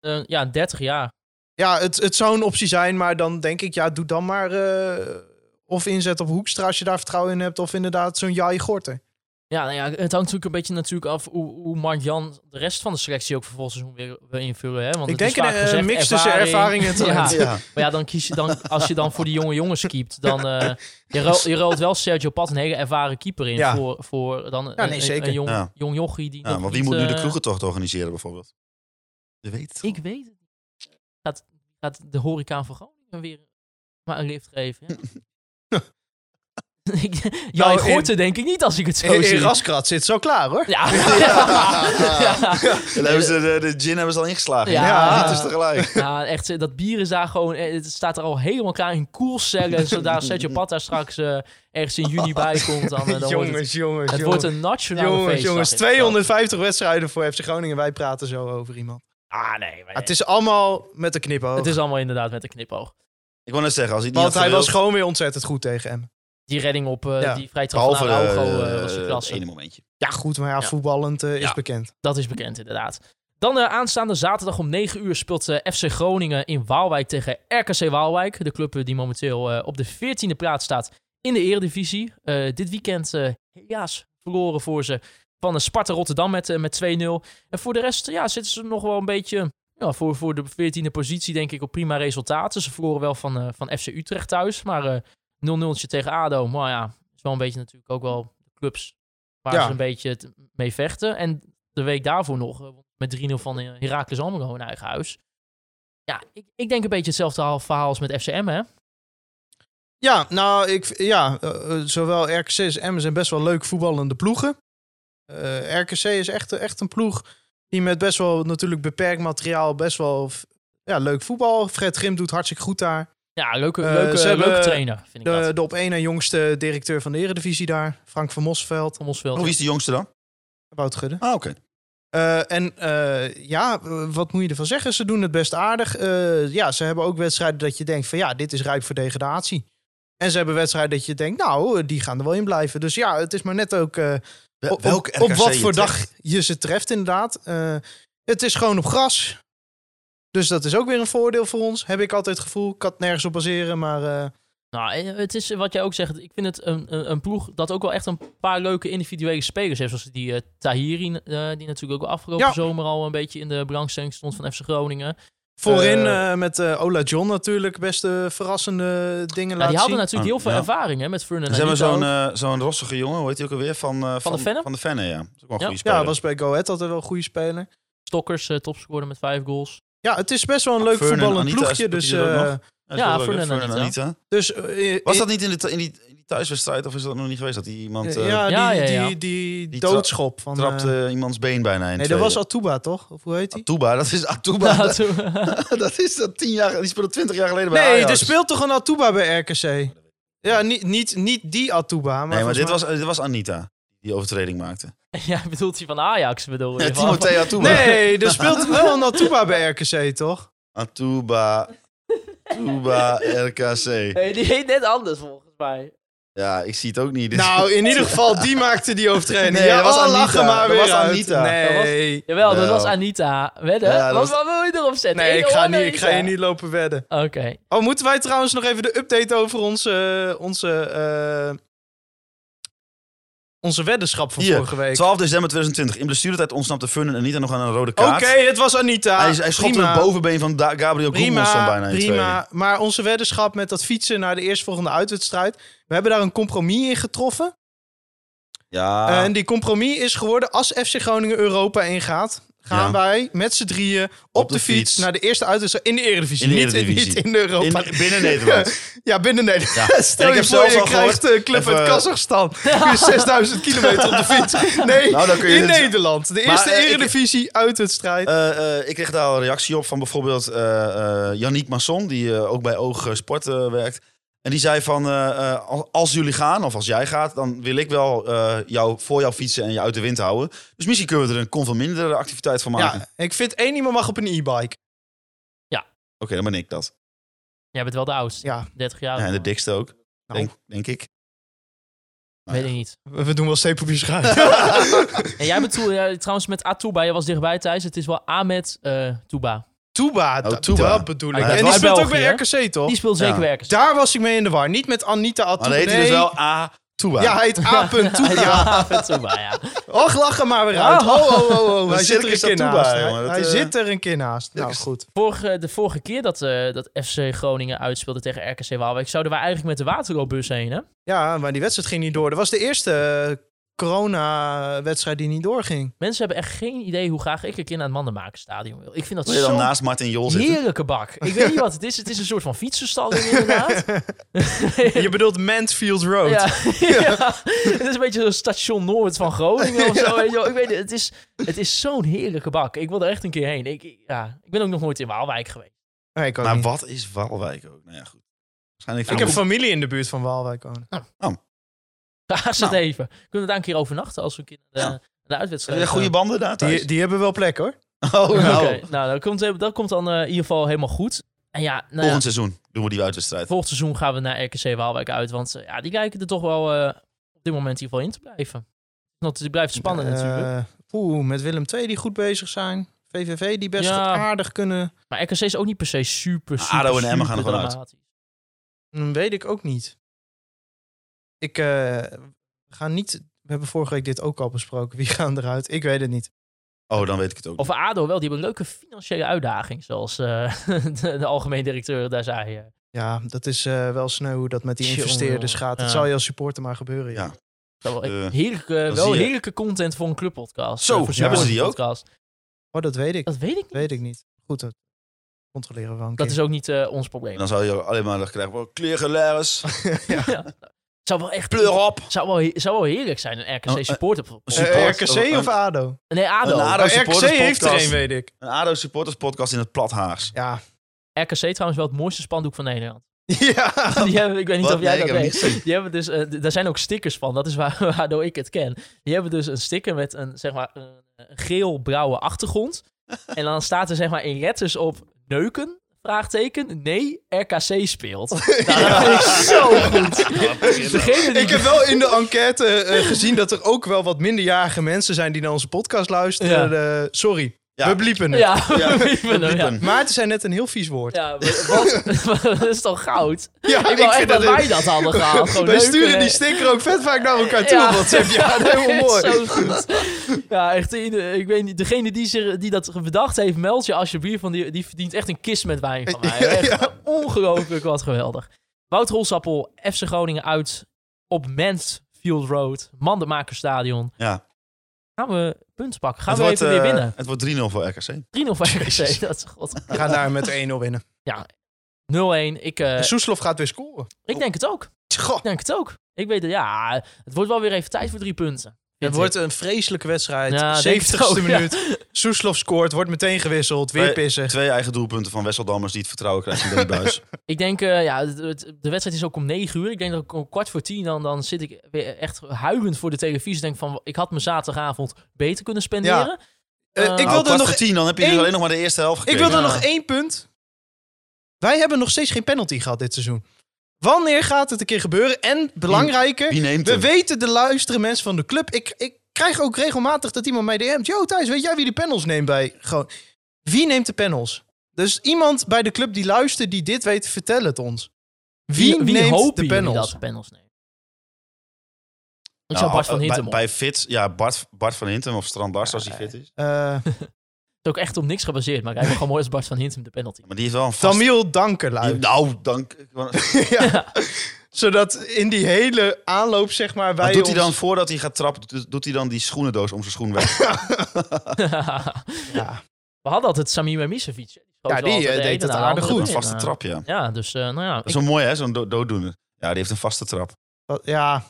[SPEAKER 4] Eh, ja, 30 jaar.
[SPEAKER 5] Ja, het, het zou een optie zijn, maar dan denk ik... ja, doe dan maar eh, of inzet op Hoekstra als je daar vertrouwen in hebt... of inderdaad zo'n Jai Gorter.
[SPEAKER 4] Ja, nou ja, het hangt natuurlijk een beetje natuurlijk af hoe, hoe Marjan de rest van de selectie ook vervolgens weer wil invullen. Hè? Want
[SPEAKER 5] Ik
[SPEAKER 4] het
[SPEAKER 5] denk
[SPEAKER 4] is vaak
[SPEAKER 5] een, eh,
[SPEAKER 4] gezegd,
[SPEAKER 5] mix tussen ervaring en talent.
[SPEAKER 4] Ja. Maar ja, dan kies je dan, als je dan voor die jonge jongens keept, dan eh je, ro je rolt wel Sergio Pat een hele ervaren keeper in
[SPEAKER 5] Ja.
[SPEAKER 4] voor, voor dan
[SPEAKER 5] Ja,
[SPEAKER 4] een,
[SPEAKER 5] nee,
[SPEAKER 4] een-
[SPEAKER 5] zeker.
[SPEAKER 4] een jong,
[SPEAKER 6] Ja.
[SPEAKER 4] jong jochie die
[SPEAKER 6] Ja,
[SPEAKER 4] nog
[SPEAKER 6] maar wie
[SPEAKER 4] niet,
[SPEAKER 6] moet nu de
[SPEAKER 4] eh,
[SPEAKER 6] kroegentocht organiseren bijvoorbeeld? Je weet het.
[SPEAKER 4] Ik weet het niet. Gaat, gaat de horeca van Groningen weer maar een lift geven? ja? Ik- ja,
[SPEAKER 5] Nou,
[SPEAKER 4] ik hoort
[SPEAKER 5] in-
[SPEAKER 4] er denk ik niet als ik het zo
[SPEAKER 5] In,
[SPEAKER 4] zie.
[SPEAKER 5] in Raskrat zit zo klaar, hoor.
[SPEAKER 4] ja. ja.
[SPEAKER 6] Dan hebben ze de, de gin hebben ze al ingeslagen.
[SPEAKER 4] Ja.
[SPEAKER 6] het is tegelijk.
[SPEAKER 4] Ja, echt, eh, dat bier is daar gewoon... eh, Het staat er al helemaal klaar in koelcellen. Zodra Sergio Pata straks eh, ergens in juni bij komt, dan, eh, dan wordt het...
[SPEAKER 5] jongens, jongens,
[SPEAKER 4] Het wordt
[SPEAKER 5] jongens.
[SPEAKER 4] een nationale
[SPEAKER 5] Jongens,
[SPEAKER 4] feestdag,
[SPEAKER 5] jongens,
[SPEAKER 4] is
[SPEAKER 5] 250 wedstrijden voor FC Groningen. Wij praten zo over iemand.
[SPEAKER 4] dat. Ah, nee. maar
[SPEAKER 5] Maar het is allemaal met de knipoog.
[SPEAKER 4] het is allemaal inderdaad met een knipoog.
[SPEAKER 6] Ik wil net zeggen, als hij het niet
[SPEAKER 5] Want
[SPEAKER 6] had
[SPEAKER 5] hij was
[SPEAKER 6] gewild,
[SPEAKER 5] gewoon weer ontzettend goed tegen hem.
[SPEAKER 4] Die redding op eh,
[SPEAKER 5] Ja.
[SPEAKER 4] die vrijtrap van
[SPEAKER 6] Behalve
[SPEAKER 4] Araujo
[SPEAKER 6] de,
[SPEAKER 4] eh, was de
[SPEAKER 6] eh,
[SPEAKER 4] klasse.
[SPEAKER 6] het ene momentje.
[SPEAKER 5] Ja, goed, maar ja,
[SPEAKER 4] Ja.
[SPEAKER 5] voetballend eh, is
[SPEAKER 6] Ja.
[SPEAKER 5] bekend.
[SPEAKER 4] Dat is bekend inderdaad. Dan eh, aanstaande zaterdag om 9 uur speelt eh, FC Groningen in Waalwijk tegen RKC Waalwijk. De club eh, die momenteel eh, op de 14e plaats staat in de Eredivisie. Eh, dit weekend eh helaas verloren voor ze van eh, Sparta Rotterdam met, eh, met 2-0. En voor de rest eh, ja, zitten ze nog wel een beetje ja, voor, voor de 14e positie denk ik op prima resultaten. Ze verloren wel van, eh, van FC Utrecht thuis, maar eh 0-0 tegen ADO. Maar ja, is wel een beetje natuurlijk ook wel de clubs waar
[SPEAKER 5] Ja.
[SPEAKER 4] ze een beetje het- mee vechten. En de week daarvoor nog eh, met 3-0 van eh, Heracles Almelo in eigen huis. Ja, ik, ik denk een beetje hetzelfde haal- verhaal als met FCM, hè?
[SPEAKER 5] Ja, nou, ik, v- ja, eh, eh, zowel RKC als Emmen zijn best wel leuk voetballende ploegen. Eh, RKC is echt, echt een ploeg die met best wel natuurlijk beperkt materiaal best wel f- ja, leuk voetbal. Fred Grim doet hartstikke goed daar.
[SPEAKER 4] Ja, leuke,
[SPEAKER 5] Eh,
[SPEAKER 4] leuke,
[SPEAKER 5] ze hebben
[SPEAKER 4] leuke trainer, vind ik
[SPEAKER 5] De,
[SPEAKER 4] dat.
[SPEAKER 5] de op één na jongste directeur van de Eredivisie daar, Frank van Mosveld,
[SPEAKER 4] Van Osveld.
[SPEAKER 6] Oh, wie is de jongste dan?
[SPEAKER 5] Wout Gudde.
[SPEAKER 6] Ah, oké.
[SPEAKER 5] Eh, en eh, ja, eh, wat moet je ervan zeggen? Ze doen het best aardig. Eh, ja, ze hebben ook wedstrijden dat je denkt van ja, dit is rijp voor degradatie. En ze hebben wedstrijden dat je denkt, nou, eh, die gaan er wel in blijven. Dus ja, het is maar net ook eh,
[SPEAKER 6] Wel-
[SPEAKER 5] op,
[SPEAKER 6] welk
[SPEAKER 5] op
[SPEAKER 6] RKC
[SPEAKER 5] wat
[SPEAKER 6] je
[SPEAKER 5] voor dag
[SPEAKER 6] treft.
[SPEAKER 5] je ze treft inderdaad. Eh, het is gewoon op gras. Dus dat is ook weer een voordeel voor ons. Heb ik altijd het gevoel. Ik kan het nergens op baseren, maar eh,
[SPEAKER 4] Nou, eh, het is eh, wat jij ook zegt. Ik vind het een, een, een ploeg dat ook wel echt een paar leuke individuele spelers heeft. Zoals die eh, Tahiri, eh, die natuurlijk ook afgelopen
[SPEAKER 5] Ja.
[SPEAKER 4] zomer al een beetje in de belangstelling stond van FC Groningen.
[SPEAKER 5] voorin
[SPEAKER 4] Eh,
[SPEAKER 5] eh, met eh, Ola John natuurlijk best eh, verrassende
[SPEAKER 4] Nou,
[SPEAKER 5] dingen laten
[SPEAKER 4] die hadden
[SPEAKER 5] zien.
[SPEAKER 4] natuurlijk heel veel
[SPEAKER 6] Ah, Ja.
[SPEAKER 4] ervaring hè, met Fernand.
[SPEAKER 6] Ze hebben zo'n eh, zo'n rossige jongen, hoe heet hij ook alweer? Van, eh, van,
[SPEAKER 4] de Venne?
[SPEAKER 6] Van de Venne, ja. Dat is ook wel een
[SPEAKER 4] Ja.
[SPEAKER 6] goede speler.
[SPEAKER 5] Ja, was bij Go Ahead altijd wel een goede speler.
[SPEAKER 4] Stokkers, eh, topscorer met vijf goals.
[SPEAKER 5] Ja, het is best wel een leuk
[SPEAKER 6] Fern en
[SPEAKER 5] voetballend
[SPEAKER 6] Anita
[SPEAKER 5] ploegje.
[SPEAKER 6] is-
[SPEAKER 5] Dus,
[SPEAKER 6] doet hij dat
[SPEAKER 5] eh,
[SPEAKER 6] nog?
[SPEAKER 4] Ja,
[SPEAKER 6] dat is wel leuk, hè?
[SPEAKER 4] Fernand
[SPEAKER 6] Fernand
[SPEAKER 4] en
[SPEAKER 6] Anita.
[SPEAKER 5] dus eh,
[SPEAKER 6] Was
[SPEAKER 5] eh,
[SPEAKER 6] dat niet in, de, thu- in, die, in die thuiswedstrijd of is dat nog niet geweest? Dat die iemand
[SPEAKER 5] eh,
[SPEAKER 6] eh,
[SPEAKER 5] ja,
[SPEAKER 4] Ja,
[SPEAKER 5] die,
[SPEAKER 4] ja, ja.
[SPEAKER 5] Die, die,
[SPEAKER 6] Die tra-
[SPEAKER 5] doodschop van. eh,
[SPEAKER 6] trapte iemands been bijna in
[SPEAKER 5] nee, dat
[SPEAKER 6] tweeën.
[SPEAKER 5] was Atuba toch? Of hoe heet die?
[SPEAKER 6] Atuba, dat is Atuba.
[SPEAKER 4] Ja,
[SPEAKER 6] dat,
[SPEAKER 4] toen-
[SPEAKER 6] dat is dat tien jaar, die speelde twintig jaar geleden bij
[SPEAKER 5] Nee,
[SPEAKER 6] Ajax.
[SPEAKER 5] er speelt toch een Atuba bij RKC? Ja, niet, niet, niet die Atuba. Maar
[SPEAKER 6] nee, maar
[SPEAKER 5] volgens Oh,
[SPEAKER 6] dit was, eh, dit was Anita die overtreding maakte.
[SPEAKER 4] ja, bedoelt hij van Ajax, bedoel je?
[SPEAKER 6] Ja,
[SPEAKER 4] Van-
[SPEAKER 6] Timothée Atuba.
[SPEAKER 5] mij- Nee, er speelt wel een Atuba bij RKC, toch?
[SPEAKER 6] Atuba. Atuba RKC.
[SPEAKER 4] Nee, die heet net anders volgens mij.
[SPEAKER 6] Ja, ik zie het ook niet. Dit-
[SPEAKER 5] Nou, in ieder geval, die maakte die overtreding.
[SPEAKER 6] Nee,
[SPEAKER 5] ja,
[SPEAKER 6] dat was
[SPEAKER 5] oh,
[SPEAKER 6] Anita.
[SPEAKER 5] lachen maar
[SPEAKER 6] Dat
[SPEAKER 5] weer
[SPEAKER 6] was
[SPEAKER 5] uit.
[SPEAKER 6] Anita.
[SPEAKER 5] Nee,
[SPEAKER 4] Jawel, dat
[SPEAKER 6] Wel.
[SPEAKER 4] was Anita. Wedden?
[SPEAKER 6] Ja, dat
[SPEAKER 4] wat,
[SPEAKER 6] was-
[SPEAKER 4] wat wil je erop zetten?
[SPEAKER 5] nee
[SPEAKER 4] Eén
[SPEAKER 5] ik, ga
[SPEAKER 4] of
[SPEAKER 5] niet, ik ga je
[SPEAKER 4] Anita?
[SPEAKER 5] niet lopen wedden.
[SPEAKER 4] Oké.
[SPEAKER 5] Oh, moeten wij trouwens nog even de update over onze, onze, eh, onze weddenschap van
[SPEAKER 6] Hier,
[SPEAKER 5] vorige week?
[SPEAKER 6] 12 december 2020. In blessuretijd ontsnapte Funnen Anita nog aan een rode
[SPEAKER 5] Oké,
[SPEAKER 6] kaart.
[SPEAKER 5] het was Anita.
[SPEAKER 6] Hij, hij schopte
[SPEAKER 5] Prima,
[SPEAKER 6] het bovenbeen van Da- Gabriel Gudmundsson
[SPEAKER 5] Prima,
[SPEAKER 6] bijna in tweeën.
[SPEAKER 5] prima. Maar onze weddenschap met dat fietsen naar de eerstvolgende uitwedstrijd. We hebben daar een compromis in getroffen.
[SPEAKER 6] Ja,
[SPEAKER 5] En die compromis is geworden als FC Groningen Europa ingaat. Gaan
[SPEAKER 6] Ja.
[SPEAKER 5] wij met z'n drieën op,
[SPEAKER 6] Op
[SPEAKER 5] de,
[SPEAKER 6] de
[SPEAKER 5] fiets,
[SPEAKER 6] fiets.
[SPEAKER 5] naar de eerste uitwedstrijd in de Eredivisie.
[SPEAKER 6] In de
[SPEAKER 5] Niet
[SPEAKER 6] Eredivisie.
[SPEAKER 5] Niet, in de
[SPEAKER 6] in,
[SPEAKER 5] Europa.
[SPEAKER 6] binnen Nederland.
[SPEAKER 5] Ja, binnen Nederland. Stel
[SPEAKER 6] Ja. En ik
[SPEAKER 5] je
[SPEAKER 6] heb
[SPEAKER 5] voor,
[SPEAKER 6] zelfs
[SPEAKER 5] je
[SPEAKER 6] al
[SPEAKER 5] krijgt
[SPEAKER 6] gehoord-
[SPEAKER 5] de club
[SPEAKER 6] Even-
[SPEAKER 5] uit Kazachstan. Kun je 6000 kilometer op de fiets. Nee,
[SPEAKER 6] Nou, dan kun je
[SPEAKER 5] in
[SPEAKER 6] het-
[SPEAKER 5] Nederland. De eerste
[SPEAKER 6] eh, ik-
[SPEAKER 5] Eredivisie uitwedstrijd.
[SPEAKER 6] Eh, eh, ik kreeg daar al een reactie op van bijvoorbeeld eh eh Yannick Masson, die eh, ook bij Oog Sport eh, werkt. En die zei van, eh, eh, als- als jullie gaan, of als jij gaat, dan wil ik wel eh, jou, voor jou fietsen en je uit de wind houden. Dus misschien kunnen we er een kon van mindere activiteit van maken.
[SPEAKER 5] Ja, ik vind één iemand mag op een e-bike.
[SPEAKER 6] Oké, dan ben ik dat.
[SPEAKER 4] Jij bent wel de oudste.
[SPEAKER 5] Ja.
[SPEAKER 4] 30 jaar.
[SPEAKER 6] Ja, en de
[SPEAKER 4] man.
[SPEAKER 6] dikste ook,
[SPEAKER 5] Nou.
[SPEAKER 6] denk, denk ik.
[SPEAKER 4] Weet ik niet.
[SPEAKER 5] We we doen wel steepopjes gaan.
[SPEAKER 4] En jij bent toe- ja, trouwens met Atuba. Jij was dichtbij Thijs. Het is wel Ahmed eh Touba.
[SPEAKER 5] Tuba,
[SPEAKER 6] Oh,
[SPEAKER 5] dat-
[SPEAKER 6] Tuba.
[SPEAKER 5] dat bedoel ik.
[SPEAKER 4] Hij
[SPEAKER 5] en
[SPEAKER 4] blijft
[SPEAKER 5] die
[SPEAKER 4] wel
[SPEAKER 5] speelt
[SPEAKER 4] in
[SPEAKER 5] ook bij
[SPEAKER 4] België,
[SPEAKER 5] RKC, toch?
[SPEAKER 4] Die speelt
[SPEAKER 6] Ja.
[SPEAKER 4] zeker werkers.
[SPEAKER 5] Daar was ik mee in de war. Niet met Anita
[SPEAKER 6] Maar
[SPEAKER 5] Atoubé.
[SPEAKER 6] dan heet hij dus wel A. Tuba.
[SPEAKER 5] Ja, hij heet A. Tuba.
[SPEAKER 4] Ahmed Touba, ja.
[SPEAKER 5] Och, lach er maar weer uit.
[SPEAKER 4] Ah.
[SPEAKER 5] Oh, oh, oh, oh. Hij
[SPEAKER 6] Een
[SPEAKER 5] zit er een
[SPEAKER 6] circus
[SPEAKER 5] keer
[SPEAKER 6] Atuba,
[SPEAKER 5] naast. hè.
[SPEAKER 6] jongen. Dat,
[SPEAKER 5] Hij
[SPEAKER 6] eh,
[SPEAKER 5] zit er een keer naast. Nou,
[SPEAKER 6] circus.
[SPEAKER 5] goed.
[SPEAKER 4] Vorige, de vorige keer dat, eh, dat FC Groningen uitspeelde tegen RKC Waalwijk... zouden wij eigenlijk met de Waterloopbus heen, hè?
[SPEAKER 5] Ja, maar die wedstrijd ging niet door. Dat was de eerste eh, corona-wedstrijd die niet doorging.
[SPEAKER 4] Mensen hebben echt geen idee hoe graag ik een keer naar het Mandenmakerstadion wil. Ik vind dat
[SPEAKER 6] Wil je dan
[SPEAKER 4] zo'n
[SPEAKER 6] naast Martin Jol zitten?
[SPEAKER 4] heerlijke bak. Ik weet niet wat het is. Het is een soort van fietsenstalling inderdaad.
[SPEAKER 5] Je bedoelt Mansfield Road.
[SPEAKER 4] Ja. ja. Het is een beetje zo'n station Noord van Groningen of zo. weet je wel. Ik weet het, het is, het is zo'n heerlijke bak. Ik wil er echt een keer heen. Ik, ik- ja, ik ben ook nog nooit in Waalwijk geweest.
[SPEAKER 5] Nee, ik ook
[SPEAKER 6] Maar
[SPEAKER 5] niet.
[SPEAKER 6] wat is Walwijk ook? Nou ja, goed. Waarschijnlijk
[SPEAKER 5] Ik
[SPEAKER 6] van-
[SPEAKER 5] heb familie in de buurt van Waalwijk wonen.
[SPEAKER 4] Nou, Daar is het even. Kunnen we daar een keer overnachten als we een keer naar de,
[SPEAKER 6] Nou. Ja.
[SPEAKER 4] naar de
[SPEAKER 6] Heb
[SPEAKER 4] uitwedstrijd
[SPEAKER 6] jij goede
[SPEAKER 4] gaan?
[SPEAKER 6] banden daar thuis?
[SPEAKER 5] Die, die hebben wel plek hoor.
[SPEAKER 6] Oh, nou.
[SPEAKER 4] Oké, nou, dat komt, dat komt dan eh, in ieder geval helemaal goed. En ja, nou ja,
[SPEAKER 6] Volgend seizoen doen we die uitwedstrijd.
[SPEAKER 4] volgend seizoen gaan we naar RKC Waalwijk uit. Want eh, ja, die lijken er toch wel eh, op dit moment in ieder geval in te blijven. Want het blijft spannend
[SPEAKER 5] Eh,
[SPEAKER 4] natuurlijk.
[SPEAKER 5] Oeh, met Willem II die goed bezig zijn. VVV die best
[SPEAKER 4] Ja.
[SPEAKER 5] aardig kunnen.
[SPEAKER 4] Maar RKC is ook niet per se super, super,
[SPEAKER 6] ADO en Emmen
[SPEAKER 4] super
[SPEAKER 6] gaan er gewoon uit.
[SPEAKER 4] dramatisch.
[SPEAKER 5] Hm, weet ik ook niet. Ik eh, we ga niet. We hebben vorige week dit ook al besproken. Wie gaan eruit? Ik weet het niet.
[SPEAKER 6] Oh, dan weet ik het ook.
[SPEAKER 4] Of ADO wel, die hebben een leuke financiële uitdaging. Zoals eh, de, de algemeen directeur daar zei. eh.
[SPEAKER 5] Ja, dat is eh, wel sneu hoe dat met die
[SPEAKER 4] Tjonge,
[SPEAKER 5] investeerders
[SPEAKER 4] jongen.
[SPEAKER 5] gaat. Dat
[SPEAKER 4] Ja.
[SPEAKER 5] zal je als supporter maar gebeuren. Ja.
[SPEAKER 6] Ja.
[SPEAKER 4] Dat wel,
[SPEAKER 6] Eh,
[SPEAKER 4] heerlijke,
[SPEAKER 6] dan
[SPEAKER 4] wel
[SPEAKER 6] zie je-
[SPEAKER 4] heerlijke content voor een clubpodcast.
[SPEAKER 6] Zo,
[SPEAKER 4] Eh, voor zo'n
[SPEAKER 5] hebben ze
[SPEAKER 6] die ook?
[SPEAKER 4] podcast.
[SPEAKER 5] Oh, dat weet ik. Dat
[SPEAKER 4] Dat weet ik niet.
[SPEAKER 5] weet ik niet. Goed, dat controleren we wel een
[SPEAKER 4] Dat
[SPEAKER 5] keer.
[SPEAKER 4] is ook niet eh, ons probleem.
[SPEAKER 6] En dan zou je alleen maar nog krijgen van kleergelares,
[SPEAKER 4] Ja. Zou wel echt...
[SPEAKER 6] pleur op.
[SPEAKER 4] Zou wel, he- zou wel heerlijk zijn, een
[SPEAKER 6] Oh, eh,
[SPEAKER 4] RKC supporter.
[SPEAKER 6] een
[SPEAKER 5] Eh,
[SPEAKER 6] support-
[SPEAKER 5] RKC of
[SPEAKER 6] een-
[SPEAKER 5] ADO?
[SPEAKER 4] nee, ADO.
[SPEAKER 6] een ADO.
[SPEAKER 5] Oh, RKC
[SPEAKER 6] supporters
[SPEAKER 5] heeft er
[SPEAKER 6] podcast.
[SPEAKER 5] een, weet ik.
[SPEAKER 6] Een ADO supporters podcast in het Plathaars.
[SPEAKER 5] Ja.
[SPEAKER 4] RKC trouwens wel het mooiste spandoek van Nederland.
[SPEAKER 5] ja.
[SPEAKER 4] Die hebben, ik weet niet
[SPEAKER 6] Wat?
[SPEAKER 4] of jij
[SPEAKER 6] Nee, ik
[SPEAKER 4] dat
[SPEAKER 6] heb het
[SPEAKER 4] weet. Die hebben dus, eh, d- daar zijn ook stickers van. Dat is waar, waardoor ik het ken. Die hebben dus een sticker met een, zeg maar, een een geel-blauwe achtergrond. En dan staat er zeg maar in letters op neuken. Vraagteken. Nee, RKC speelt. Nou, dat vind ik zo goed. Degene die
[SPEAKER 5] Ik heb wel in de enquête eh, gezien dat er ook wel wat minderjarige mensen zijn die naar onze podcast luisteren. Eh, sorry,
[SPEAKER 6] Ja.
[SPEAKER 5] we bliepen het.
[SPEAKER 4] Ja, we liepen hem, ja.
[SPEAKER 6] Liepen.
[SPEAKER 5] Maar het is net een heel vies woord.
[SPEAKER 4] Ja, maar wat? dat is toch goud?
[SPEAKER 5] Ja,
[SPEAKER 4] ik wil echt dat
[SPEAKER 5] het-
[SPEAKER 4] wij dat hadden gehaald. Gewoon
[SPEAKER 5] Wij
[SPEAKER 4] neuken,
[SPEAKER 5] sturen die
[SPEAKER 4] nee.
[SPEAKER 5] sticker ook vet vaak naar elkaar toe.
[SPEAKER 4] Ja.
[SPEAKER 5] op WhatsApp. Ja, dat is heel mooi.
[SPEAKER 4] Zo goed. Ja, echt. eh, ieder- Ik weet niet. Degene die, zich, die dat bedacht heeft, meld je alsjeblieft. Want die, die verdient echt een kist met wijn van mij. Echt ongelooflijk wat geweldig. Wout Holsappel, FC Groningen uit op Mansfield Road. Mandenmakerstadion.
[SPEAKER 6] Ja.
[SPEAKER 4] Gaan we punten pakken? Gaan
[SPEAKER 6] Het
[SPEAKER 4] we
[SPEAKER 6] wordt,
[SPEAKER 4] even weer
[SPEAKER 6] eh,
[SPEAKER 4] winnen?
[SPEAKER 6] Het wordt 3-0 voor RKC.
[SPEAKER 4] 3-0 voor RKC. Dat is god.
[SPEAKER 5] We gaan daar met 1-0 winnen.
[SPEAKER 4] 0-1. Ik, eh,
[SPEAKER 5] En Soeslof gaat weer scoren.
[SPEAKER 4] ik denk het ook.
[SPEAKER 5] Goh,
[SPEAKER 4] Ik denk het ook. Ik weet het. Ja, het wordt wel weer even tijd voor drie punten.
[SPEAKER 5] het wordt een vreselijke wedstrijd.
[SPEAKER 4] Ja, denk het
[SPEAKER 5] 70ste
[SPEAKER 4] ook, ja.
[SPEAKER 5] minuut. Soeslof scoort, wordt meteen gewisseld. Weer
[SPEAKER 6] Twee-
[SPEAKER 5] pissig.
[SPEAKER 6] Twee eigen doelpunten van Wesseldammers die het vertrouwen krijgt in Danny Buis.
[SPEAKER 4] Ik denk, eh, ja, het- het- de wedstrijd is ook om negen uur. Ik denk dat ik om kwart voor tien, dan, dan zit ik weer echt huilend voor de televisie. Denk van, ik had mijn zaterdagavond beter kunnen spenderen. eh,
[SPEAKER 5] Eh, ik
[SPEAKER 4] nou,
[SPEAKER 5] wil
[SPEAKER 6] Nou,
[SPEAKER 5] er
[SPEAKER 6] kwart voor
[SPEAKER 5] nog,
[SPEAKER 6] tien, dan heb je dus
[SPEAKER 5] één-
[SPEAKER 6] alleen nog maar de eerste helft
[SPEAKER 5] ik
[SPEAKER 6] gekregen.
[SPEAKER 5] wil er
[SPEAKER 4] Ja.
[SPEAKER 5] nog één punt. Wij hebben nog steeds geen penalty gehad dit seizoen. Wanneer gaat het een keer gebeuren? En belangrijker,
[SPEAKER 6] Wie neemt
[SPEAKER 5] We
[SPEAKER 6] hem?
[SPEAKER 5] weten, de luisteren mensen van de club. Ik, ik krijg ook regelmatig dat iemand mij DM't. Yo, Thijs, weet jij wie de panels neemt bij? Gewoon, wie neemt de panels? Dus iemand bij de club die luistert, die dit weet, vertel het ons. Wie, neemt
[SPEAKER 4] hopen
[SPEAKER 5] de
[SPEAKER 4] jullie
[SPEAKER 5] panels?
[SPEAKER 4] dat de panels nemen? Ik
[SPEAKER 6] Nou,
[SPEAKER 4] zou Bart van
[SPEAKER 6] eh,
[SPEAKER 4] Hintem op.
[SPEAKER 6] Bij, bij Fit, ja, Bart, Bart van Hintem of Strand Bars als hij fit is.
[SPEAKER 5] Eh,
[SPEAKER 4] Het is ook echt op niks gebaseerd, maar ik heb gewoon mooi als Bart van Hintem de penalty.
[SPEAKER 6] Maar die heeft wel een vast...
[SPEAKER 5] Tamiel Dankerlui.
[SPEAKER 6] die- nou, dank.
[SPEAKER 5] Ja. Zodat in die hele aanloop, zeg maar, wij
[SPEAKER 6] Maar doet hij dan,
[SPEAKER 5] ons-
[SPEAKER 6] voordat hij gaat trappen, doet- doet hij dan die schoenendoos om zijn schoen weg?
[SPEAKER 5] Ja.
[SPEAKER 4] We hadden altijd Samir Memisevic. Die schoot
[SPEAKER 5] Ja,
[SPEAKER 4] wel
[SPEAKER 5] die, eh,
[SPEAKER 4] altijd de
[SPEAKER 5] deed
[SPEAKER 4] ene
[SPEAKER 5] het
[SPEAKER 4] na de
[SPEAKER 5] aardig
[SPEAKER 4] andere
[SPEAKER 5] goed.
[SPEAKER 6] Een
[SPEAKER 4] in,
[SPEAKER 6] vaste
[SPEAKER 4] eh.
[SPEAKER 6] trap, ja.
[SPEAKER 4] Ja, dus eh, nou ja.
[SPEAKER 6] Dat is wel mooi, hè? Zo'n do- dooddoener. Ja, die heeft een vaste trap.
[SPEAKER 5] Wat- ja.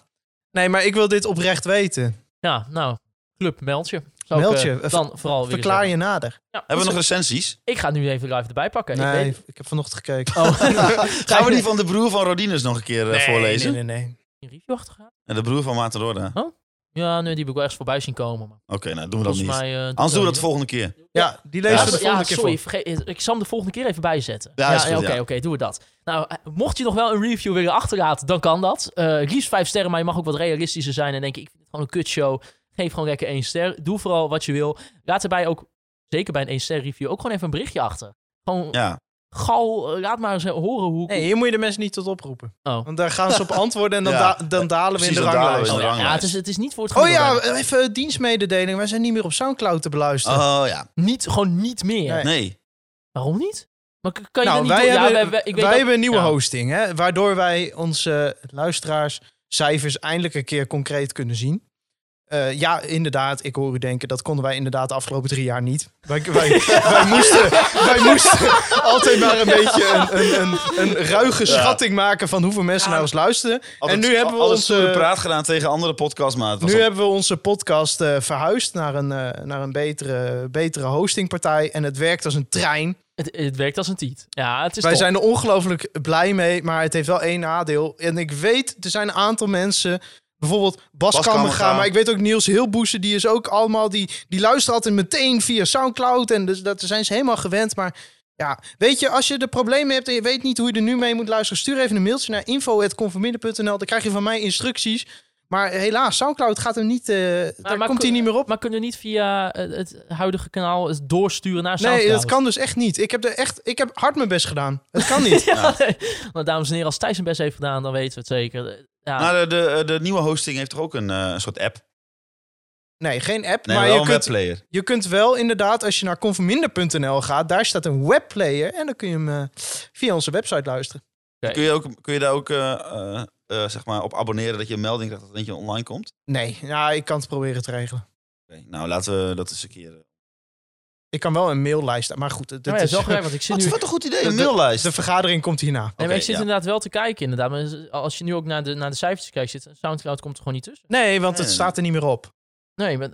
[SPEAKER 5] Nee, maar ik wil dit oprecht weten.
[SPEAKER 4] Ja, nou, club meld je. Zou ik,
[SPEAKER 5] Meld
[SPEAKER 4] eh,
[SPEAKER 5] je, eh,
[SPEAKER 4] dan vooral weer eens
[SPEAKER 5] Verklaar
[SPEAKER 4] doen.
[SPEAKER 5] je nader.
[SPEAKER 4] Ja,
[SPEAKER 6] Hebben
[SPEAKER 4] dus
[SPEAKER 6] we nog recensies?
[SPEAKER 4] Ik ga het nu even live erbij pakken. Ik
[SPEAKER 5] Nee,
[SPEAKER 4] weet-
[SPEAKER 5] ik heb vanochtend gekeken.
[SPEAKER 4] Oh,
[SPEAKER 6] Gaan we die van de broer van Rodinus nog een keer eh, voorlezen?
[SPEAKER 5] Nee, nee, nee.
[SPEAKER 4] een review achtergaan?
[SPEAKER 6] En de broer van Materorda. Oké,
[SPEAKER 4] Ja, nee, die heb ik wel ergens voorbij zien komen. Maar
[SPEAKER 6] nou doen we dat
[SPEAKER 4] volgens
[SPEAKER 6] niet.
[SPEAKER 4] mij... eh,
[SPEAKER 6] Anders doen we
[SPEAKER 4] niet.
[SPEAKER 6] dat de volgende keer.
[SPEAKER 5] Ja, die
[SPEAKER 4] Ja,
[SPEAKER 5] lezen we de
[SPEAKER 4] ja,
[SPEAKER 5] volgende keer
[SPEAKER 4] sorry,
[SPEAKER 5] voor.
[SPEAKER 4] vergeet- ik zal hem de volgende keer even bijzetten.
[SPEAKER 6] Ja, is goed,
[SPEAKER 4] oké,
[SPEAKER 6] ja.
[SPEAKER 4] oké, doen we dat. Nou, eh, mocht je nog wel een review willen achterlaten, dan kan dat. Eh liefst vijf sterren, maar je mag ook wat realistischer zijn en denken, ik vind het gewoon een kutshow. Geef gewoon lekker één ster. Doe vooral wat je wil. Laat erbij ook, zeker bij een één ster review, ook gewoon even een berichtje achter. Gewoon,
[SPEAKER 6] Ja.
[SPEAKER 4] gal, eh, laat maar eens horen hoe...
[SPEAKER 5] Nee, hier moet je de mensen niet tot oproepen.
[SPEAKER 4] Oh.
[SPEAKER 5] Want daar gaan ze op antwoorden en dan,
[SPEAKER 6] Ja.
[SPEAKER 5] da- dan dalen we in
[SPEAKER 6] Precies,
[SPEAKER 5] de
[SPEAKER 6] dan dalen we
[SPEAKER 5] ranglijst.
[SPEAKER 6] in
[SPEAKER 4] Oh,
[SPEAKER 6] de
[SPEAKER 4] ja,
[SPEAKER 6] ranglijst.
[SPEAKER 4] het, is, het is niet voor het
[SPEAKER 5] Oh
[SPEAKER 4] gemiddelde.
[SPEAKER 5] ja, even eh, dienstmededeling. Wij zijn niet meer op Soundcloud te beluisteren.
[SPEAKER 6] Oh ja.
[SPEAKER 4] Niet, gewoon niet meer.
[SPEAKER 5] Nee.
[SPEAKER 6] Nee.
[SPEAKER 4] Waarom niet? Maar k- kan Oh, je
[SPEAKER 5] nou,
[SPEAKER 4] dat niet doen?
[SPEAKER 5] wij
[SPEAKER 4] Ja,
[SPEAKER 5] hebben,
[SPEAKER 4] wij- wij- ik weet
[SPEAKER 5] wij
[SPEAKER 4] dat-
[SPEAKER 5] hebben een nieuwe
[SPEAKER 4] ja.
[SPEAKER 5] hosting, hè, waardoor wij onze luisteraars cijfers eindelijk een keer concreet kunnen zien. Eh, ja, inderdaad, ik hoor u denken, dat konden wij inderdaad de afgelopen drie jaar niet. Wij, wij, wij, moesten, wij moesten altijd maar een beetje eh, een, een, een, een ruige
[SPEAKER 6] Ja.
[SPEAKER 5] schatting maken van hoeveel mensen naar ons luisteren.
[SPEAKER 6] Altijd-
[SPEAKER 5] en nu hebben we
[SPEAKER 6] altijd
[SPEAKER 5] onze...
[SPEAKER 6] stoere praat gedaan tegen andere podcastmaten.
[SPEAKER 5] Nu hebben we onze podcast eh, verhuisd naar een, eh, naar een betere, betere hostingpartij. En het werkt als een trein.
[SPEAKER 4] Het, het werkt als een tiet. Ja, het is
[SPEAKER 5] Wij
[SPEAKER 4] top.
[SPEAKER 5] zijn er ongelooflijk blij mee, maar het heeft wel één nadeel. En ik weet, er zijn een aantal mensen, bijvoorbeeld Bas
[SPEAKER 6] Bas
[SPEAKER 5] Kammerga,
[SPEAKER 6] Kammerga.
[SPEAKER 5] maar ik weet ook Niels Hilboesen, die is ook allemaal, die, die luistert altijd meteen via Soundcloud. En dus dat daar zijn ze helemaal gewend, maar... Ja, weet je, als je er problemen hebt en je weet niet hoe je er nu mee moet luisteren, stuur even een mailtje naar info.conforminder.nl. Dan krijg je van mij instructies. Maar helaas, Soundcloud gaat hem niet, eh, daar
[SPEAKER 4] maar
[SPEAKER 5] komt hij
[SPEAKER 4] kun-
[SPEAKER 5] niet meer op.
[SPEAKER 4] Maar kunnen we niet via eh, het huidige kanaal het doorsturen naar Soundcloud?
[SPEAKER 5] Nee, dat kan dus echt niet. Ik heb, er echt, ik heb hard mijn best gedaan. Het kan niet.
[SPEAKER 4] Ja, nee. Nou, dames en heren, als Thijs zijn best heeft gedaan, dan weten we het zeker.
[SPEAKER 5] Nou,
[SPEAKER 4] Ja, Nou
[SPEAKER 6] Maar eh, de, de, de nieuwe hosting heeft toch ook een, eh, een soort app?
[SPEAKER 5] Nee, geen app.
[SPEAKER 6] Nee,
[SPEAKER 5] maar
[SPEAKER 6] wel
[SPEAKER 5] je
[SPEAKER 6] een
[SPEAKER 5] kunt,
[SPEAKER 6] webplayer.
[SPEAKER 5] je kunt wel inderdaad, als je naar conforminder.nl gaat, daar staat een webplayer. En dan kun je hem eh, via onze website luisteren.
[SPEAKER 6] Kun je, ook, kun je daar ook eh, eh, eh, zeg maar op abonneren dat je een melding krijgt dat er eentje online komt?
[SPEAKER 5] Nee, nou, ik kan het proberen te regelen.
[SPEAKER 6] Oké, nou, laten we dat eens een keer... eh,
[SPEAKER 5] Ik kan wel een maillijst. Maar goed, dat
[SPEAKER 4] Maar Nou ja,
[SPEAKER 5] is,
[SPEAKER 4] zo gelijk, want ik zit
[SPEAKER 6] Wat,
[SPEAKER 4] nu...
[SPEAKER 6] wat een goed idee,
[SPEAKER 5] de-
[SPEAKER 6] een maillijst.
[SPEAKER 5] de vergadering komt hierna.
[SPEAKER 4] Nee, maar ik
[SPEAKER 6] Oké,
[SPEAKER 4] zit
[SPEAKER 6] ja.
[SPEAKER 4] inderdaad wel te kijken, inderdaad. Maar als je nu ook naar de, naar de cijfertjes kijkt, zit Soundcloud komt er gewoon niet tussen.
[SPEAKER 5] Nee, want het
[SPEAKER 6] Nee.
[SPEAKER 5] staat er niet meer op.
[SPEAKER 4] Nee, maar...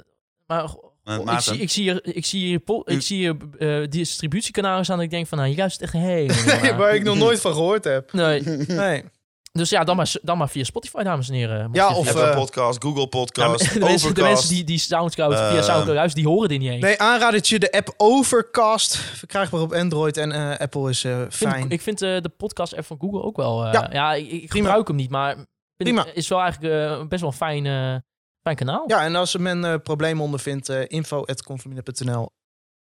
[SPEAKER 4] maar goh,
[SPEAKER 6] Maar
[SPEAKER 4] ik,
[SPEAKER 6] Maarten.
[SPEAKER 4] zie, ik zie hier, ik zie hier, po-
[SPEAKER 6] U-
[SPEAKER 4] ik zie hier eh, distributiekanalen staan en ik denk van, nou, je luistert echt helemaal niet naar.
[SPEAKER 5] Waar ik nog nooit van gehoord heb.
[SPEAKER 4] Nee,
[SPEAKER 5] Nee.
[SPEAKER 4] dus ja, dan maar, dan maar via Spotify, dames en heren. mocht
[SPEAKER 5] Ja,
[SPEAKER 4] je-
[SPEAKER 5] of,
[SPEAKER 6] Apple
[SPEAKER 5] eh,
[SPEAKER 6] Podcast,
[SPEAKER 4] Ja,
[SPEAKER 6] Google
[SPEAKER 4] maar
[SPEAKER 6] Podcast,
[SPEAKER 4] de, mensen, de mensen
[SPEAKER 6] Overcast.
[SPEAKER 4] die, die Soundcloud, via
[SPEAKER 6] Eh,
[SPEAKER 4] Soundcloud luisteren, die horen dit niet eens.
[SPEAKER 5] nee, aanradertje, de app Overcast. Verkrijgbaar op Android en eh, Apple is eh,
[SPEAKER 4] Ik vind-
[SPEAKER 5] fijn.
[SPEAKER 4] Ik vind eh, de podcast-app van Google ook wel... eh, ja,
[SPEAKER 5] Ja.
[SPEAKER 4] ik, ik
[SPEAKER 5] Prima.
[SPEAKER 4] gebruik hem niet, maar vind
[SPEAKER 5] Prima.
[SPEAKER 4] het is wel eigenlijk eh, best wel een fijn, eh, fijn kanaal.
[SPEAKER 5] Ja, en als men eh, problemen ondervindt, eh info.conforminder.nl.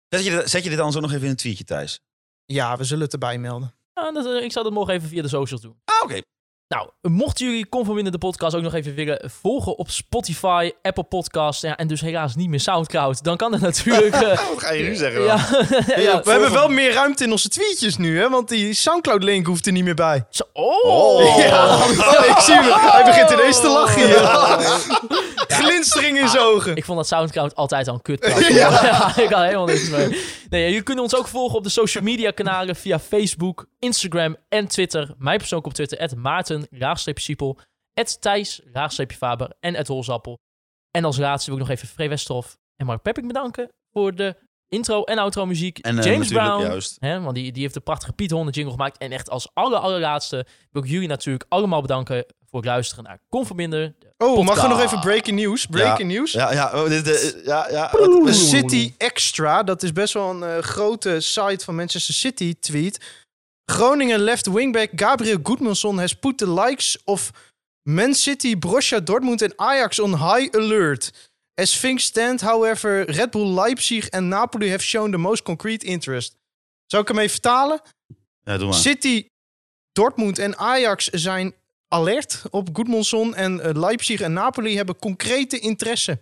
[SPEAKER 6] Zet je, dit- zet je dit anders ook nog even in een tweetje, Thijs?
[SPEAKER 5] Ja, we zullen het erbij melden.
[SPEAKER 4] Ja, dat, eh, ik zal dat morgen even via de socials doen.
[SPEAKER 6] Ah, oké.
[SPEAKER 4] Nou, mochten jullie Conforminder de podcast ook nog even willen volgen op Spotify, Apple Podcasts ja, en dus helaas niet meer Soundcloud, dan kan dat natuurlijk... eh,
[SPEAKER 6] Oh, Wat ga je nu zeggen?
[SPEAKER 4] ja, ja.
[SPEAKER 5] We hebben wel meer ruimte in onze tweetjes nu, hè? Want die Soundcloud-link hoeft er niet meer bij.
[SPEAKER 4] Zo- Oh!
[SPEAKER 5] ik zie hem. Hij begint ineens te lachen hier. Glinstering in zijn ogen.
[SPEAKER 4] Ah. Ik vond dat Soundcloud altijd al een kut platform. ja. ik had helemaal niks mee. Nee, jullie kunnen ons ook volgen op de social media kanalen via Facebook, Instagram en Twitter. Mij persoonlijk op Twitter, at Maarten, laagstreepje Siepel, at Thijs, laagstreepje Faber en at Holzappel. En als laatste wil ik nog even Free Westhoff en Mark Pepping bedanken voor de intro en outro muziek.
[SPEAKER 6] En, eh,
[SPEAKER 4] James
[SPEAKER 6] natuurlijk,
[SPEAKER 4] Brown,
[SPEAKER 6] juist.
[SPEAKER 4] hè, want die, die heeft de prachtige Piet Honden jingle gemaakt. En echt als aller allerlaatste wil ik jullie natuurlijk allemaal bedanken voor het luisteren naar Conforminder.
[SPEAKER 5] Oh, mag
[SPEAKER 4] Podcast.
[SPEAKER 5] er nog even breaking news? Breaking news.
[SPEAKER 6] Ja, ja, oh, dit, eh, ja, ja. wat-
[SPEAKER 5] De City Extra, dat is best wel een eh, grote site van Manchester City tweet. Groningen left wingback Gabriel Goodmanson has put the likes of Man City, Borussia Dortmund en Ajax on high alert. As things stand, however, Red Bull Leipzig en Napoli have shown the most concrete interest. Zou ik hem even vertalen?
[SPEAKER 6] Ja, doe maar.
[SPEAKER 5] City, Dortmund en Ajax zijn alert op Goodmanson en eh, Leipzig en Napoli hebben concrete interesse.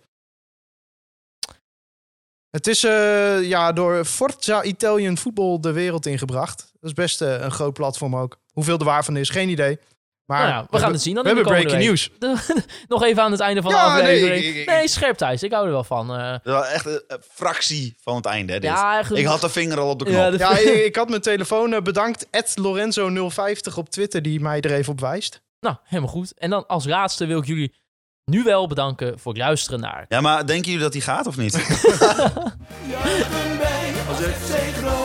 [SPEAKER 5] Het is eh, ja, door Forza Italian Football de wereld ingebracht. Dat is best eh, een groot platform ook. Hoeveel er waar van is, geen idee. Maar
[SPEAKER 4] Nou ja, we, gaan
[SPEAKER 5] hebben-
[SPEAKER 4] het zien. Dan
[SPEAKER 5] we
[SPEAKER 4] in de
[SPEAKER 5] hebben breaking
[SPEAKER 4] komende
[SPEAKER 5] news.
[SPEAKER 4] De- nog even aan het einde van de
[SPEAKER 5] Ja, nee,
[SPEAKER 4] aflevering. Nee,
[SPEAKER 5] ik- ik- ik-
[SPEAKER 4] scherp Thijs. Ik hou er wel van. Eh,
[SPEAKER 6] Dat was echt een, een fractie van het einde, hè, dit.
[SPEAKER 4] ja, echt-
[SPEAKER 6] Ik had de vinger al op de knop.
[SPEAKER 4] Ja, de-
[SPEAKER 5] Ja, ik, ik had mijn telefoon eh, bedankt. Lorenzo050 op Twitter die mij er even op wijst.
[SPEAKER 4] Nou, helemaal goed. En dan als laatste wil ik jullie nu wel bedanken voor het luisteren naar
[SPEAKER 6] Ja, maar denken jullie dat die gaat of niet?
[SPEAKER 1] Juichen wij als FC Groningen.